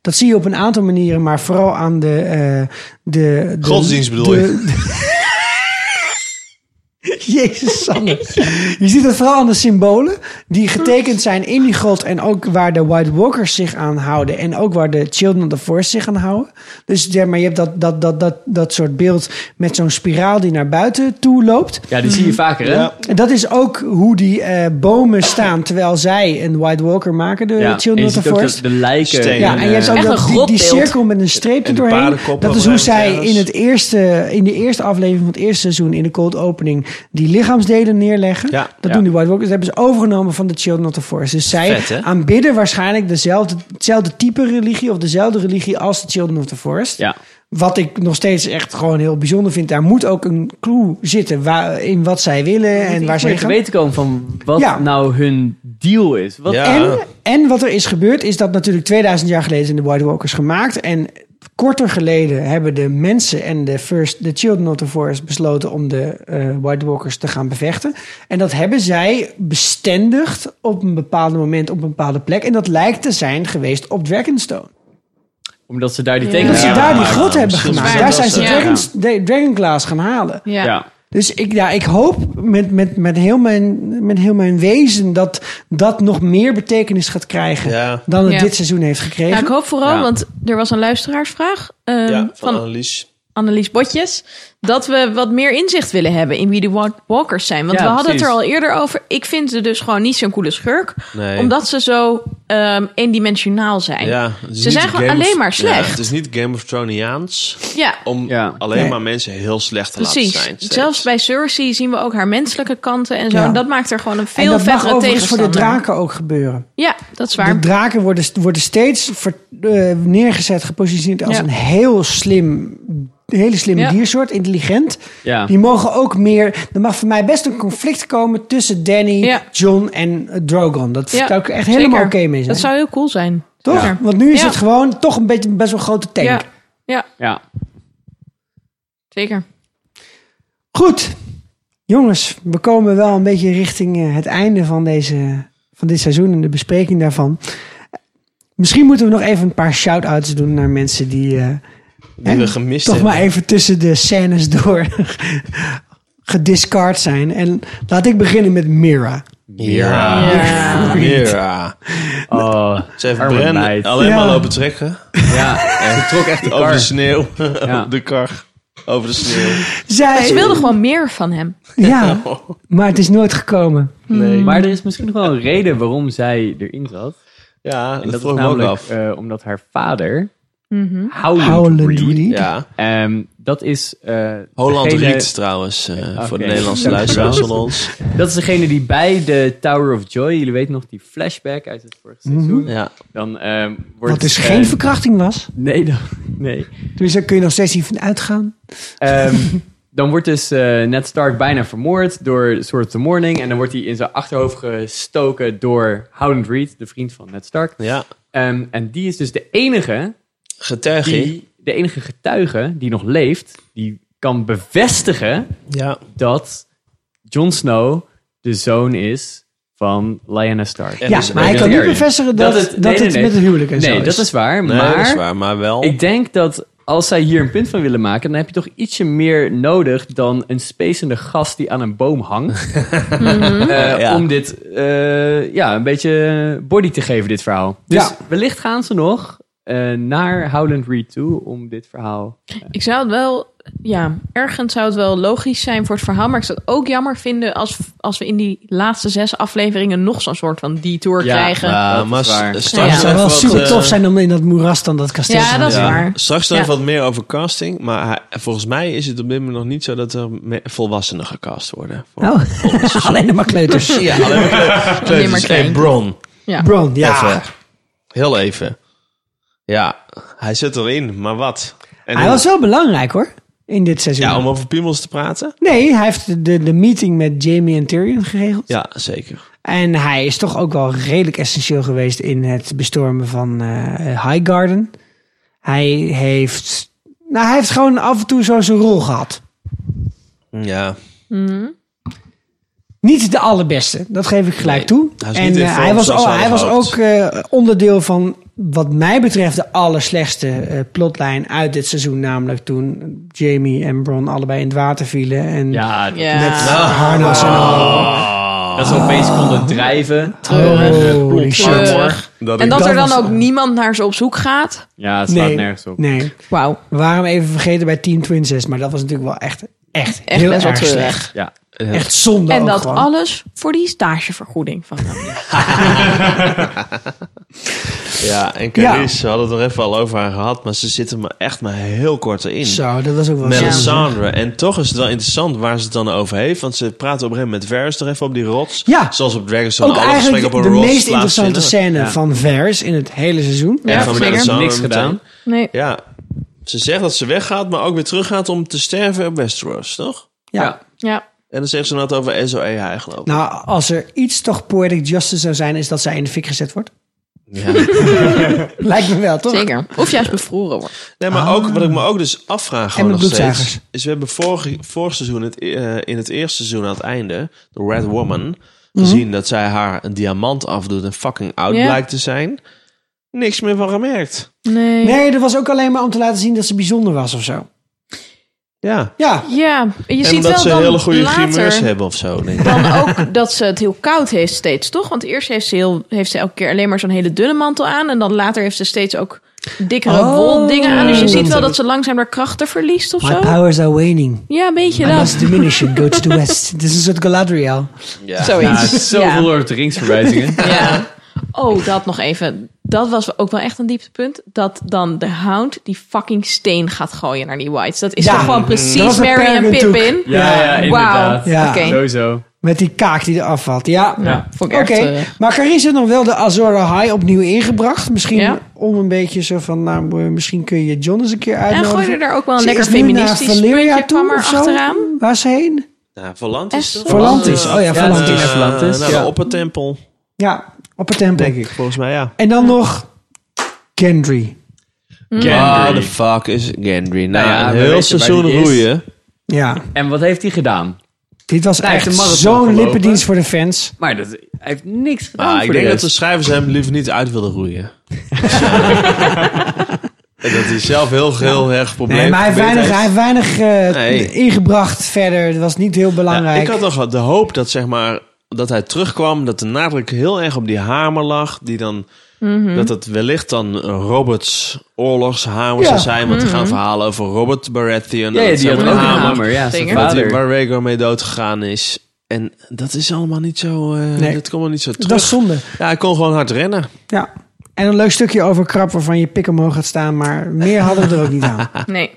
Dat zie je op een aantal manieren, maar vooral aan de. eh de, de
Godsdienst bedoel
de-
je?
Jezus, Sander. Je ziet het vooral aan de symbolen die getekend zijn in die grot. En ook waar de White Walkers zich aan houden. En ook waar de Children of the Forest zich aan houden. Dus zeg maar, je hebt dat, dat, dat, dat, dat soort beeld met zo'n spiraal die naar buiten toe loopt.
Ja, die zie je vaker, hè?
Ja. En dat is ook hoe die eh, bomen staan terwijl zij een White Walker maken, de
Ja, en
Children
je
of the
ziet ook
Forest.
dat de lijken
Ja,
en,
en je hebt
eh,
ook
Echt
dat-
een
die, die
grotbeeld.
cirkel met een streep
En de
erdoorheen.
paardenkoppen
Dat is
op
hoe
een
zij
ergens.
in, het eerste, in de eerste aflevering van het eerste seizoen, in de cold opening, die lichaamsdelen neerleggen. dat
Ja.
doen die White Walkers. Dat hebben ze overgenomen van de Children of the Forest. Dus zij
Vet, hè?
aanbidden waarschijnlijk dezelfde, hetzelfde type religie of dezelfde religie als de Children of the Forest.
Ja.
Wat ik nog steeds echt gewoon heel bijzonder vind. Daar moet ook een clue zitten waar, in wat zij willen en waar
Iets
zij
meer te
gaan.
weten komen van wat
Ja.
nou hun deal is. Wat
En, en wat er is gebeurd is dat natuurlijk 2000 jaar geleden zijn de White Walkers gemaakt. En korter geleden hebben de mensen en de, first, de Children of the Forest besloten om de eh, White Walkers te gaan bevechten. En dat hebben zij bestendigd op een bepaald moment op een bepaalde plek. En dat lijkt te zijn geweest op Dragonstone.
Omdat ze daar die
Dat
tekenen
ze daar die grot hebben gemaakt. Daar zijn ze
Ja.
dragons, de- Dragonglass gaan halen.
Ja. Ja.
Dus ik, ja, ik hoop met, met, met, heel mijn, met heel mijn wezen dat dat nog meer betekenis gaat krijgen dan het
Ja.
dit seizoen heeft gekregen.
Nou, ik hoop vooral, want er was een luisteraarsvraag ehm, van,
Annelies.
Annelies Botjes, dat we wat meer inzicht willen hebben in wie de White Walkers zijn. Want
Ja,
we hadden het
precies.
er al eerder over. Ik vind ze dus gewoon niet zo'n coole schurk,
Nee.
omdat ze zo ehm, eendimensionaal zijn.
Ja, het is
ze
niet
zijn gewoon
Game of-
alleen maar
Ja,
slecht.
het is niet Game of Thronesiaans
Ja.
om alleen
Nee.
maar mensen heel slecht te
Precies.
laten zijn. steeds.
Zelfs bij Cersei zien we ook haar menselijke kanten en zo.
Ja.
En dat maakt er gewoon een
en
veel
dat mag
vettere
overigens voor de
tegenstander.
draken ook gebeuren.
Ja, dat is
De
waar.
draken worden, worden steeds ver- eh, neergezet, gepositioneerd als
Ja.
een heel slim, hele slimme
Ja.
diersoort, intelligent.
Ja.
Die mogen ook meer. Er mag voor mij best een conflict komen tussen Danny, John en eh, Drogon. Dat
Ja,
zou ik echt
zeker.
helemaal oké mee zijn.
Dat zou heel cool zijn.
Toch?
Ja.
Want nu is
Ja.
het gewoon toch een beetje best wel een grote tank.
Ja. ja,
Ja.
zeker.
Goed. Jongens, we komen wel een beetje richting eh, het einde van, deze, van dit seizoen en de bespreking daarvan. Misschien moeten we nog even een paar shout-outs doen naar mensen die... eh,
Die we gemist
Toch
hebben.
maar even tussen de scènes door gediscard zijn. En laat ik beginnen met Mira.
Mira.
Ja.
Mira.
Oh,
Ze heeft
arme
Bren
meid.
alleen
Ja.
maar lopen trekken.
Ja, ze trok echt de kar.
Over de sneeuw.
Ja.
de kar. Over de sneeuw.
Zij-
Maar ze wilden gewoon meer van hem.
Ja, maar het is nooit gekomen.
Maar er is misschien nog wel een reden waarom zij erin zat.
Ja,
en dat,
vroeg ik
is
me ook
namelijk
af.
eh, omdat haar vader,
Mhm.
Howland,
Howland
Reed,
Reed.
Ja.
ehm, dat is... eh
Holland
degene-
Riet trouwens, eh,
Oké.
voor de Nederlandse
Dank u
luisteraars
wel.
van ons.
Dat is degene die bij de Tower of Joy, jullie weten nog die flashback uit het vorige seizoen.
Ja.
Dan ehm wordt...
Wat dus
eh,
Mhm. geen verkrachting was.
Nee, dan, nee.
Dus daar kun je nog steeds niet van uitgaan.
Ehm, dan wordt dus eh, Ned Stark bijna vermoord door Sword of the Morning. En dan wordt hij in zijn achterhoofd gestoken door Howland Reed, de vriend van Ned Stark.
Ja.
Ehm, en die is dus de enige...
Getuige.
Die, de enige getuige die nog leeft, die kan bevestigen
Ja.
dat Jon Snow de zoon is van Lyanna Stark.
Ja, dus maar hij kan niet
Targaryen.
bevestigen dat- dat het met het huwelijk en zo
Nee,
is.
dat is waar.
Nee,
maar
dat is waar, maar wel-
Ik denk dat als zij hier een punt van willen maken, dan heb je toch ietsje meer nodig dan een spacende gast die aan een boom hangt. Eh,
Ja.
Om dit eh, ja, een beetje body te geven, dit verhaal. Dus
Ja.
wellicht gaan ze nog eh, naar Howland Reed toe om dit verhaal.
Ik zou het wel ja, ergens zou het wel logisch zijn voor het verhaal. Maar ik zou het ook jammer vinden als, als we in die laatste zes afleveringen nog zo'n soort van detour
Ja, nou,
krijgen.
maar- Dat maar is waar. s- straks
Het
even
zou wel
wat,
super
eh,
tof zijn om in dat moeras dan dat kasteel
Ja,
te
dat is
doen.
waar.
Straks nog
Ja.
even wat meer over casting. Maar hij- volgens mij is het op dit moment nog niet zo dat er me- volwassenen gecast worden.
Oh, alleen maar kleuters.
Ja, alleen maar kleu-
Alleen maar
kleuters. Hey,
klein.
Bron.
Ja.
Bron, ja.
Even. Heel even. Ja, hij zit erin, maar wat? En
Hij
hoe-
was wel belangrijk hoor, in dit seizoen.
Ja, om over piemels te praten?
Nee, hij heeft de, de, de meeting met Jamie en Tyrion geregeld.
Ja, zeker.
En hij is toch ook wel redelijk essentieel geweest in het bestormen van eh Highgarden. Hij heeft, nou, hij heeft gewoon af en toe zo zijn rol gehad.
Ja.
Niet de allerbeste, dat geef ik gelijk toe.
hij is
en
niet in
eh,
vorm
hij was,
zoals
oh,
hij
hij was
gehoopt.
ook eh, onderdeel van, wat mij betreft, de allerslechtste eh, plotlijn uit dit seizoen. Namelijk toen Jamie en Bron allebei in het water vielen. En
Ja,
met
Ja. Oh,
haar harnas en al.
Dat ze opeens konden drijven.
Treurig.
Oh,
Holy shit.
treurig.
en dat, er dan
was-
ook niemand naar ze op zoek gaat.
Ja, het slaat
Nee,
nergens op.
nee.
Wauw.
We waren hem even vergeten bij Team Princess, maar dat was natuurlijk wel echt, echt,
Echt
heel
best wel
erg
treurig.
slecht.
Ja.
Echt zonde
en
ook
dat
gewoon.
alles voor die stagevergoeding van hem.
Ja, en Carice, we hadden het er even al over haar gehad, maar ze zitten maar echt maar heel kort erin.
Zo, dat was ook wel
Melisandre. En toch is het wel interessant waar ze het dan over heeft. Want ze praten op een gegeven moment met Varys nog even op die rots.
Ja.
Zoals op Dragon's
Ook
alle gesprekken
eigenlijk
op een
de
rots
meest interessante
plaatsvinden.
scène
Ja.
van Vers in het hele seizoen.
En van Melisandre
Niks
meteen.
gedaan.
Nee.
Ja. Ze zegt dat ze weggaat, maar ook weer teruggaat om te sterven op Westeros, toch?
Ja.
Ja.
En dan zegt ze dat over SOE geloof ik.
Nou, als er iets toch poetic justice zou zijn, is dat zij in de fik gezet wordt. Lijkt me wel, toch?
Zeker. Of juist bevroren wordt.
Nee, maar ook, wat ik me ook dus afvraag
En
gewoon
met
nog steeds,
bloedzagers.
is we hebben vorig, vorig seizoen, het, eh, in het eerste seizoen aan het einde, de Red Woman, gezien dat zij haar een diamant afdoet en fucking oud
Ja.
blijkt te zijn. Niks meer van gemerkt.
Nee.
Nee, dat was ook alleen maar om te laten zien dat ze bijzonder was of zo.
Ja.
Ja.
Ja, je
en
ziet
dat
wel
ze
dan
hele goede
later
grimeurs hebben of zo. denk ik.
Dan ook dat ze het heel koud heeft steeds, toch? Want eerst heeft ze, heel, heeft ze elke keer alleen maar zo'n hele dunne mantel aan. En dan later heeft ze steeds ook dikkere
Oh.
woldingen aan. Dus je ziet wel dat ze langzaam haar krachten verliest of
My
zo.
powers are waning.
Ja, een beetje
I must
dat.
diminish and go to the west. Dit is een soort Galadriel.
Ja.
Zoiets.
Ja,
Ja.
zoveel Lord of the Rings verwijzingen.
Ja. Oh, dat nog even. Dat was ook wel echt een dieptepunt. Dat dan de hound die fucking steen gaat gooien naar die whites. Dat is
Ja,
toch gewoon
dat was
precies
een
Mary en
Peregrine toek.
Pippin?
Ja, ja, inderdaad.
Ja.
Oké.
Sowieso.
Met die kaak die eraf valt. Ja,
Ja,
vond ik eh, erg
Oké,
treurig.
Maar Carice heeft nog wel de Azor High opnieuw ingebracht. Misschien om een beetje zo van, nou, misschien kun je John eens een keer
En
uitnodigen.
gooide er ook wel een
Ze
lekker
is nu naar
feministisch
Valyria
puntje
toe
kwam er
of zo.
achteraan.
Waar is ze heen?
Ja, Volantis. Nou, toch?
Volantis. Oh ja, Volantis.
Eh,
Volantis,
Naar
ja.
de oppertempel,
Ja, op het tempel.
denk ik, volgens mij, ja.
En dan nog Gendry.
Waar de fuck is Gendry? Nou
Ja,
ja,
we
een
weten
heel
waar
seizoen
die is.
roeien.
Ja,
En wat heeft hij gedaan?
dit was
Hij heeft
echt
een marathon
zo'n
gelopen.
lippendienst voor de fans.
Maar dat, hij heeft niks gedaan
Maar Nou, ik
voor de
denk dat de
rest.
schrijvers hem liever niet uit wilden roeien. en dat hij zelf heel, heel erg probleem
Nee, maar hij heeft
geprobeerd
weinig, hij heeft weinig eh,
Nee.
ingebracht verder. Het was niet heel
Ja,
belangrijk.
ik had nog de hoop dat, zeg maar, dat hij terugkwam, dat de nadruk heel erg op die hamer lag, die dan...
Mhm.
Dat het wellicht dan Roberts oorlogshamers
Ja.
zou zijn. Want er gaan
Mhm.
verhalen over Robert Baratheon.
Ja,
dat
ja, die
zijn
had ook
maar
een
de
hamer. Ja, zijn
Zeker.
Dat die,
vader.
waar Rhaegar mee doodgegaan is. En dat is allemaal niet zo... eh
Nee.
Dat komt allemaal niet zo terug.
Dat is zonde.
Ja, hij kon gewoon hard rennen.
Ja. En een leuk stukje over krap waarvan je pik omhoog gaat staan. Maar meer hadden we er ook niet aan.
Nee.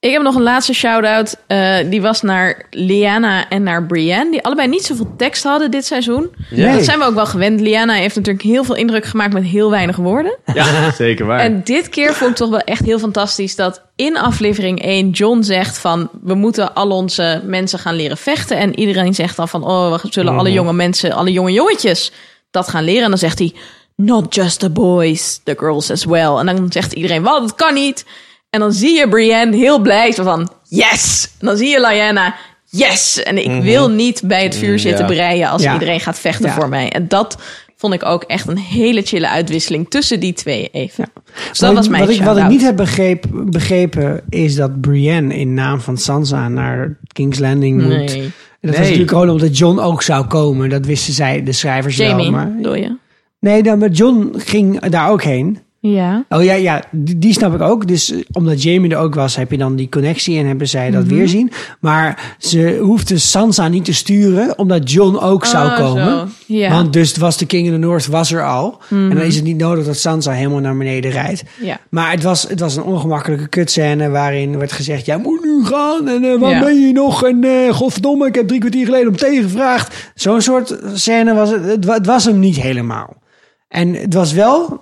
Ik heb nog een laatste shout-out. Eh, die was naar Liana en naar Brienne. Die allebei niet zoveel tekst hadden dit seizoen.
Ja.
Dat zijn we ook wel gewend. Liana heeft natuurlijk heel veel indruk gemaakt met heel weinig woorden.
Ja, zeker waar.
En dit keer vond ik toch wel echt heel fantastisch dat in aflevering 1 John zegt van we moeten al onze mensen gaan leren vechten. En iedereen zegt dan van oh we zullen alle jonge mensen, alle jonge jongetjes dat gaan leren. En dan zegt hij not just the boys, the girls as well. En dan zegt iedereen wat, dat kan niet. En dan zie je Brienne heel blij zo van yes. En dan zie je Lyanna yes. En ik wil niet bij het vuur zitten
ja.
breien als
Ja.
iedereen gaat vechten
Ja.
voor mij. En dat vond ik ook echt een hele chille uitwisseling tussen die twee even. Dus dat
Wat-
was mijn
wat ik, wat ik
shout-out.
niet heb begreep, begrepen is dat Brienne in naam van Sansa naar King's Landing moet.
Nee.
En dat
Nee.
was natuurlijk gewoon omdat John ook zou komen. Dat wisten zij, de schrijvers
Jamie,
wel. Maar...
bedoel je?
Nee, dan, maar John ging daar ook heen.
Ja.
Oh ja, ja die, die snap ik ook. Dus eh, omdat Jamie er ook was, heb je dan die connectie en hebben zij dat
Mhm.
weerzien. Maar ze hoefde Sansa niet te sturen, omdat John ook zou
Oh,
komen.
zo. Ja.
Want dus was de King in the North was er al.
Mhm.
En dan is het niet nodig dat Sansa helemaal naar beneden rijdt.
Ja.
Maar het was, het was een ongemakkelijke kutscène waarin werd gezegd... jij moet nu gaan en eh, waar
Ja.
ben je nog? En eh godverdomme, ik heb drie kwartier geleden om thee gevraagd. Zo'n soort scène was het. Het, wa- het was hem niet helemaal. En het was wel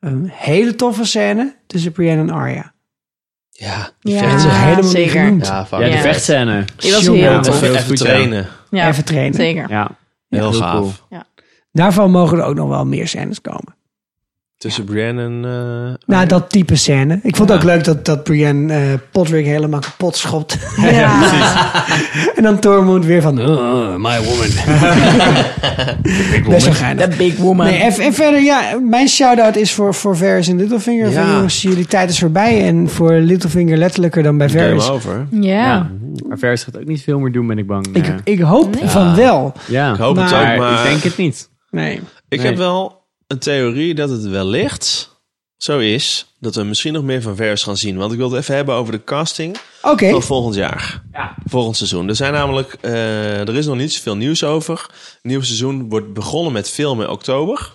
een hele toffe scène tussen Brienne en Arya.
Ja,
die vecht- Dat is helemaal niet
zeker.
genoemd.
Ja,
Ja, die vechtscène.
Die was
Jongen,
heel
dat
tof.
was
Even,
Heel goed, ja.
trainen.
Ja,
Even trainen.
Zeker.
Ja.
Heel
Heel
gaaf.
cool.
Daarvan mogen er ook nog wel meer scènes komen.
Tussen Brienne en... eh,
Nou, dat type scène. Ik vond het ook leuk dat, dat Brienne eh Podrick helemaal kapot schopt.
Ja.
en dan Tormund weer van... "Oh, my woman. Best wel geinig.
The big woman.
Nee, en, en verder, ja, mijn shout-out is voor, voor Varys en Littlefinger.
Ja.
Van, jongens, jullie tijd is voorbij. En voor Littlefinger letterlijker dan bij Varys.
Game over.
Ja.
Maar Vers gaat ook niet veel meer doen, ben ik bang.
Ik,
Ja.
ik hoop
Nee.
van wel.
ja.
Ik hoop het
Maar-
ook, maar...
ik denk het niet.
Nee.
Ik
Nee.
heb wel een theorie dat het wellicht zo is dat we misschien nog meer van vers gaan zien. Want ik wil het even hebben over de casting
Oké.
van volgend jaar. Volgend seizoen. Er zijn namelijk, eh, er is nog niet zoveel nieuws over. Het nieuwe seizoen wordt begonnen met filmen in oktober.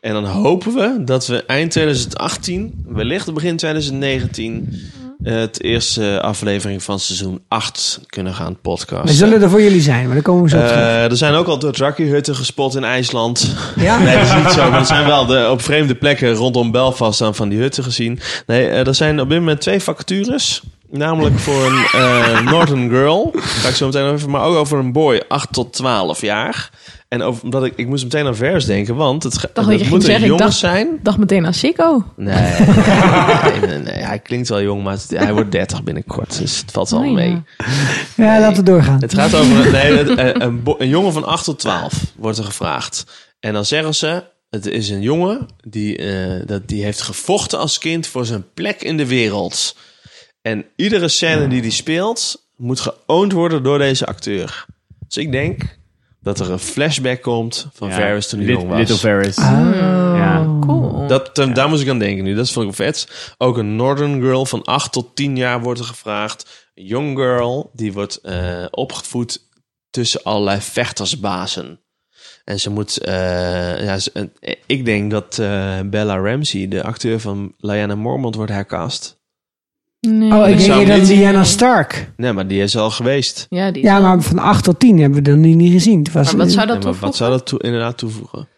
En dan hopen we dat we eind 2018, wellicht begin 2019, eh, het eerste aflevering van seizoen 8 kunnen gaan podcasten.
We zullen er voor jullie zijn, maar dan komen we zo op terug.
Eh, er zijn ook al Dothraki-hutten gespot in IJsland.
Ja.
Eh, Nee, dat is niet zo. Maar er zijn wel de, op vreemde plekken rondom Belfast dan van die hutten gezien. Nee, eh, er zijn op dit moment twee vacatures. Namelijk voor een eh, Northern Girl. Daar ga ik zo meteen nog even. Maar ook over een boy, 8 tot 12 jaar. En over, omdat ik, ik moest meteen aan vers denken, want het, ge-
Dacht dat je
het
ging
moeten
zeggen, ik
jongens
dacht,
zijn.
dacht meteen aan Chico.
Nee, nee, nee, nee, hij klinkt wel jong, maar het- hij wordt 30 binnenkort. Dus het valt wel
Oh, ja.
mee.
Ja, laten we doorgaan.
Het gaat over een, nee, het- eh, een, bo- een jongen van 8 tot 12 wordt er gevraagd. En dan zeggen ze: het is een jongen die, eh, dat, die heeft gevochten als kind voor zijn plek in de wereld. En iedere scène die die speelt, moet geoond worden door deze acteur. Dus ik denk dat er een flashback komt van
Ja.
Varys toen hij
Lit-
jong was.
Little Varys.
Oh.
Ah.
Ja.
Oh,
Cool.
Dat, eh, Daar moest ik aan denken nu. Dat vond ik wel vet. Ook een Northern Girl van 8 tot 10 jaar wordt er gevraagd. Een young girl, die wordt eh, opgevoed tussen allerlei vechtersbazen. En ze moet... eh, ja, ze- eh, ik denk dat eh, Bella Ramsey, de acteur van Lyanna Mormont, wordt hercast.
Nee.
Oh, ik
zou
denk eerder
niet-
dat Diana Stark.
Nee, maar die is al geweest.
Ja, die is
Ja,
wel-
maar van 8 tot 10 hebben we dat nu niet gezien. Het was,
Maar wat
Nee,
zou dat
maar wat
toevoegen?
zou dat toe- inderdaad toevoegen?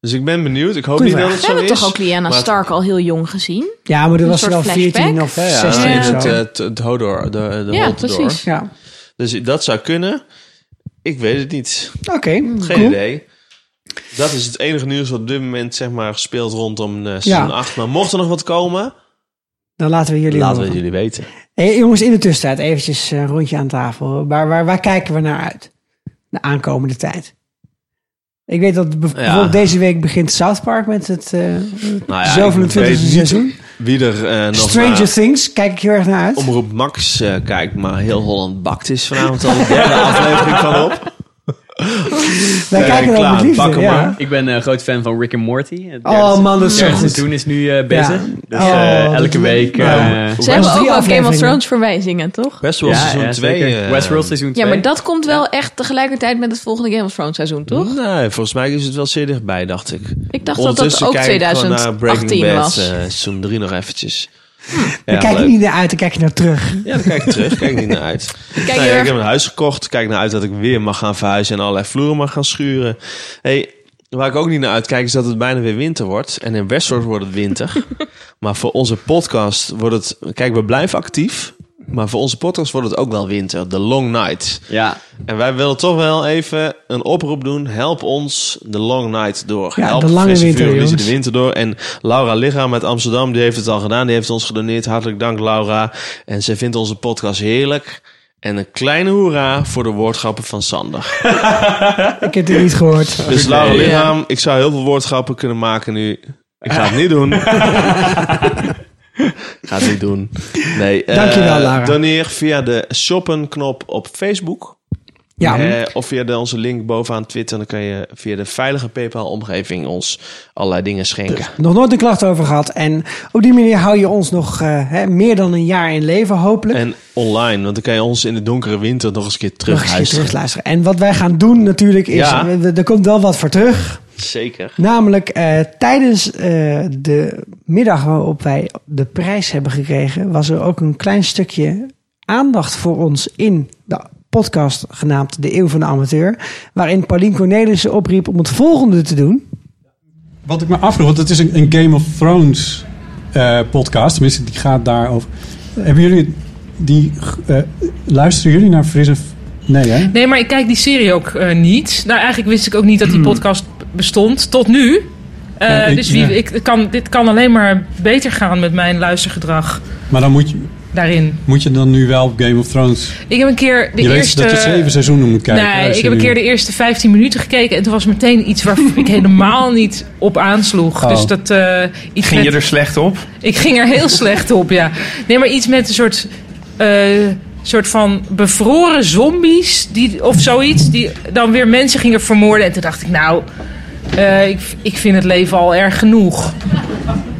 Dus ik ben benieuwd. Ik hoop
Goeie
niet
vraag.
dat het
We
zo
hebben
is.
toch ook Liana
maar-
Stark al heel jong gezien?
ja, maar dat
Een
was
soort
wel
flashback?
14 of
Ja, ja,
16 of
Ja.
zo.
Het, eh, het, het Hodor, de, de
Ja,
Holdor.
precies.
Ja,
Dus dat zou kunnen. Ik weet het niet.
oké.
Geen
cool.
idee. Dat is het enige nieuws wat op dit moment zeg maar, speelt rondom eh seizoen
Ja.
8. Maar mocht er nog wat komen,
Dan laten we jullie
laten we
horen.
het jullie weten.
Hey, jongens, in de tussentijd eventjes eh, een rondje aan tafel. Waar, waar, waar kijken we naar uit? De aankomende tijd. Ik weet dat bev- bijvoorbeeld deze week begint South Park met het eh
Nou ja, ik
27e
weet niet
seizoen.
Wie er eh, nog
Stranger
naar
Things, kijk ik heel erg naar uit.
Omroep Max eh, kijkt, maar heel Holland bakt is vanavond al de derde aflevering van op.
Wij kijken er ook met
reclame,
liefde.
pak hem
ja.
maar.
Ik ben een groot fan van Rick and Morty. Het
Oh,
derde
man, dat is zo
derde
goed.
seizoen is nu eh, bezig.
Ja.
Dus
Oh,
eh,
dat
elke
is-
week... eh,
Nou,
Ze
West-
hebben
drie
ook al Game of
afleveringen.
Thrones verwijzingen, toch?
Westworld seizoen eh. 2.
zeker. Westworld seizoen 2.
Ja, maar dat komt wel echt tegelijkertijd met het volgende Game of Thrones seizoen, toch?
Nee, volgens mij is het wel zeer dichtbij, dacht ik.
Ik dacht dat dat
Ondertussen
ook
kijk ik gewoon naar
2018
Breaking Bad,
was.
eh, seizoen 3 nog eventjes.
Daar
Ja,
kijk ik
leuk.
niet naar uit, daar kijk ik naar terug.
Ja, dan kijk ik terug. Kijk niet naar uit.
Kijk
Nee,
heel
ik
erg-
heb een huis gekocht. Kijk naar uit dat ik weer mag gaan verhuizen en allerlei vloeren mag gaan schuren. Hey, waar ik ook niet naar uitkijk is dat het bijna weer winter wordt. En in Westworld wordt het winter. maar voor onze podcast wordt het... Kijk, we blijven actief. Maar voor onze podcast wordt het ook wel winter. De long night.
Ja,
En wij willen toch wel even een oproep doen. Help ons de long night door.
Ja,
Help
de lange
Frisse
winter,
Vuur Elise
jongens.
de winter door. En Laura Lichaam uit Amsterdam, die heeft het al gedaan. Die heeft ons gedoneerd. Hartelijk dank, Laura. En ze vindt onze podcast heerlijk. En een kleine hoera voor de woordgrappen van Sander.
Ik heb het niet gehoord.
Dus Laura Lichaam, ik zou heel veel woordgrappen kunnen maken nu. Ik ga het niet doen. ik ga het niet doen. Nee, eh,
Dankjewel, Laura.
Doneer via de shoppen knop op Facebook.
Ja.
Eh, of via de, onze link bovenaan Twitter. Dan kan je via de veilige PayPal-omgeving ons allerlei dingen schenken.
Nog nooit een klacht over gehad. En op die manier hou je ons nog eh, hè, meer dan een jaar in leven, hopelijk.
En online, want dan kan je ons in de donkere winter nog eens een keer
Nog eens een keer
terugluisteren.
terugluisteren. En wat wij gaan doen natuurlijk is,
Ja.
eh, er er komt wel wat voor terug.
Zeker.
Namelijk eh, tijdens eh, de middag waarop wij de prijs hebben gekregen, was er ook een klein stukje aandacht voor ons in de podcast genaamd De Eeuw van de Amateur. Waarin Paulien Cornelissen opriep om het volgende te doen.
Wat ik me afvroeg, want het is een, een Game of Thrones eh, podcast. Tenminste, die gaat daarover. Hebben jullie die... eh, luisteren jullie naar Frisse... F- Nee, hè?
Nee, maar ik kijk die serie ook eh, niet. Nou, eigenlijk wist ik ook niet dat die podcast b- bestond. Tot nu. Eh,
Hmm. Ja, ik-
dus wie,
ja.
ik, het kan, dit kan alleen maar beter gaan met mijn luistergedrag
Maar dan moet je,
daarin.
moet je dan nu wel op Game of Thrones...
Ik heb een keer de
je
eerste...
weet dat je zeven seizoenen moet kijken.
nee, ik
als je
heb een
nu-
keer de eerste 15 minuten gekeken en toen was meteen iets waar ik helemaal niet op aansloeg.
Oh.
Dus dat eh, iets
Ging je
met-
er slecht op?
Ik ging er heel slecht op, ja. Nee, maar iets met een soort, eh, soort van bevroren zombies die, of zoiets. Die dan weer mensen gingen vermoorden. En toen dacht ik, nou, eh, ik, ik vind het leven al erg genoeg.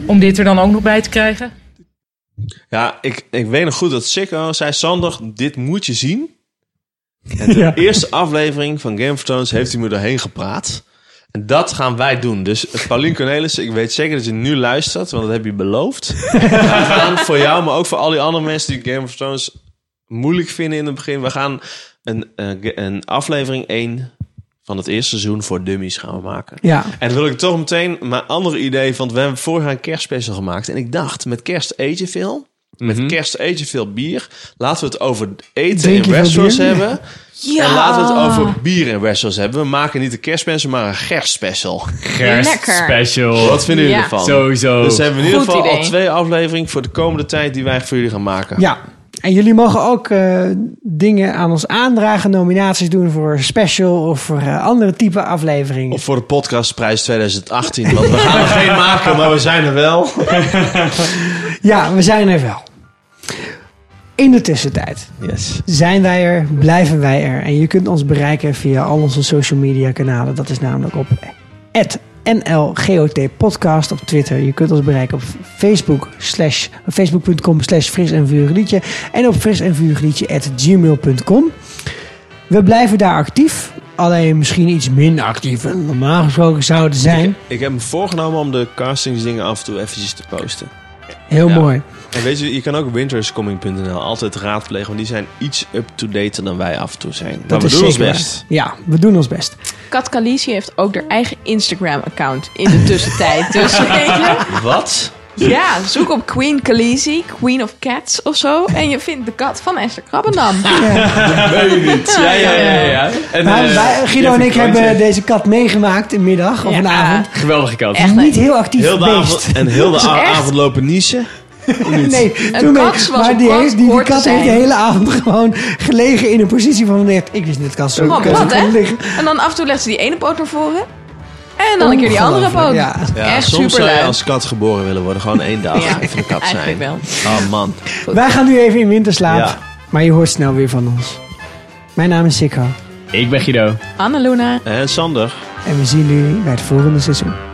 Om dit er dan ook nog bij te krijgen.
Ja, ik, ik weet nog goed dat Sikko zei... Sander, dit moet je zien. En de eerste aflevering van Game of Thrones heeft hij me doorheen gepraat. En dat gaan wij doen. Dus Paulien Cornelissen, ik weet zeker dat je nu luistert... want dat heb je beloofd. Wij gaan voor jou, maar ook voor al die andere mensen... die Game of Thrones moeilijk vinden in het begin. We gaan een, eh, ge- een aflevering 1 van het eerste seizoen voor dummies gaan we maken.
Ja.
En dan wil ik toch meteen mijn andere idee... want we hebben vorig jaar een kerstspecial gemaakt. En ik dacht, met kerst eet je veel... Met kerst eet je veel bier. Laten we het over eten
Drink je
in
veel
restaurants
bier?
hebben.
Ja.
En laten we het over bier in restaurants hebben. We maken niet een kerstspecial, maar een gerstspecial.
Gerstspecial. Lekker.
Wat vinden jullie
Ja.
ervan?
Sowieso.
Dus hebben we in ieder
Goed
geval al
idee.
twee afleveringen voor de komende tijd die wij voor jullie gaan maken.
Ja, en jullie mogen ook eh, dingen aan ons aandragen, nominaties doen voor special of voor eh, andere type afleveringen.
Of voor de podcastprijs 2018. Want we gaan er geen maken, maar we zijn er wel.
Ja, we zijn er wel. In de tussentijd
Yes.
zijn wij er, blijven wij er. En je kunt ons bereiken via al onze social media kanalen. Dat is namelijk op NLGOT Podcast op Twitter. Je kunt ons bereiken op Facebook slash, facebook.com slash fris en vurig liedje. En op fris en vurig liedje at gmail.com. We blijven daar actief. Alleen misschien iets minder actief dan normaal gesproken zouden zijn.
Ik heb me voorgenomen om de castingsdingen af en toe eventjes te posten.
Heel
Ja.
mooi.
En weet je, je kan ook winterscoming.nl altijd raadplegen, want die zijn iets up-to-date dan wij af en toe zijn. maar we
is
doen ons
zeker waar.
best.
Ja, we doen ons best.
Kat Kalisi heeft ook haar eigen Instagram-account in de tussentijd. dus weet je,
Wat?
ja, zoek op Queen Khaleesi, Queen of Cats of zo. En je vindt de kat van Esther Krabbenam.
Dat weet ik niet. Ja, ja, ja. ja, ja. En,
Maar
eh,
wij, Guido en
Jeffrey
ik hebben
Kroonje.
deze kat meegemaakt een middag of een avond.
Geweldige kat.
Echt niet heel actief
Heel de
beest.
avond- en heel de
Dat is
a-
echt-
avond lopen niezen.
Nee,
Een
toen
kat
nee.
zoals
maar
een
die,
kat
heeft, die, die
hoort te
kat heeft de
zijn.
hele avond gewoon gelegen in een positie van een Ik wist niet dat kat zo
Wat,
kan
Oh, wat, hè?
kan liggen.
En dan af en toe legt ze die ene poot naar voren. En dan een keer die andere poot.
Ongelooflijk,
Ja,
Echt
soms
super
zou je als kat geboren willen worden. Gewoon één dag
Ja,
even een kat zijn.
eigenlijk wel.
Oh man.
Wij gaan nu even in winterslaap.
Ja.
Maar je hoort snel weer van ons. Mijn naam is Sikko.
Ik ben Guido.
Anna Luna.
En Eh, Sander.
En we zien jullie bij het volgende seizoen.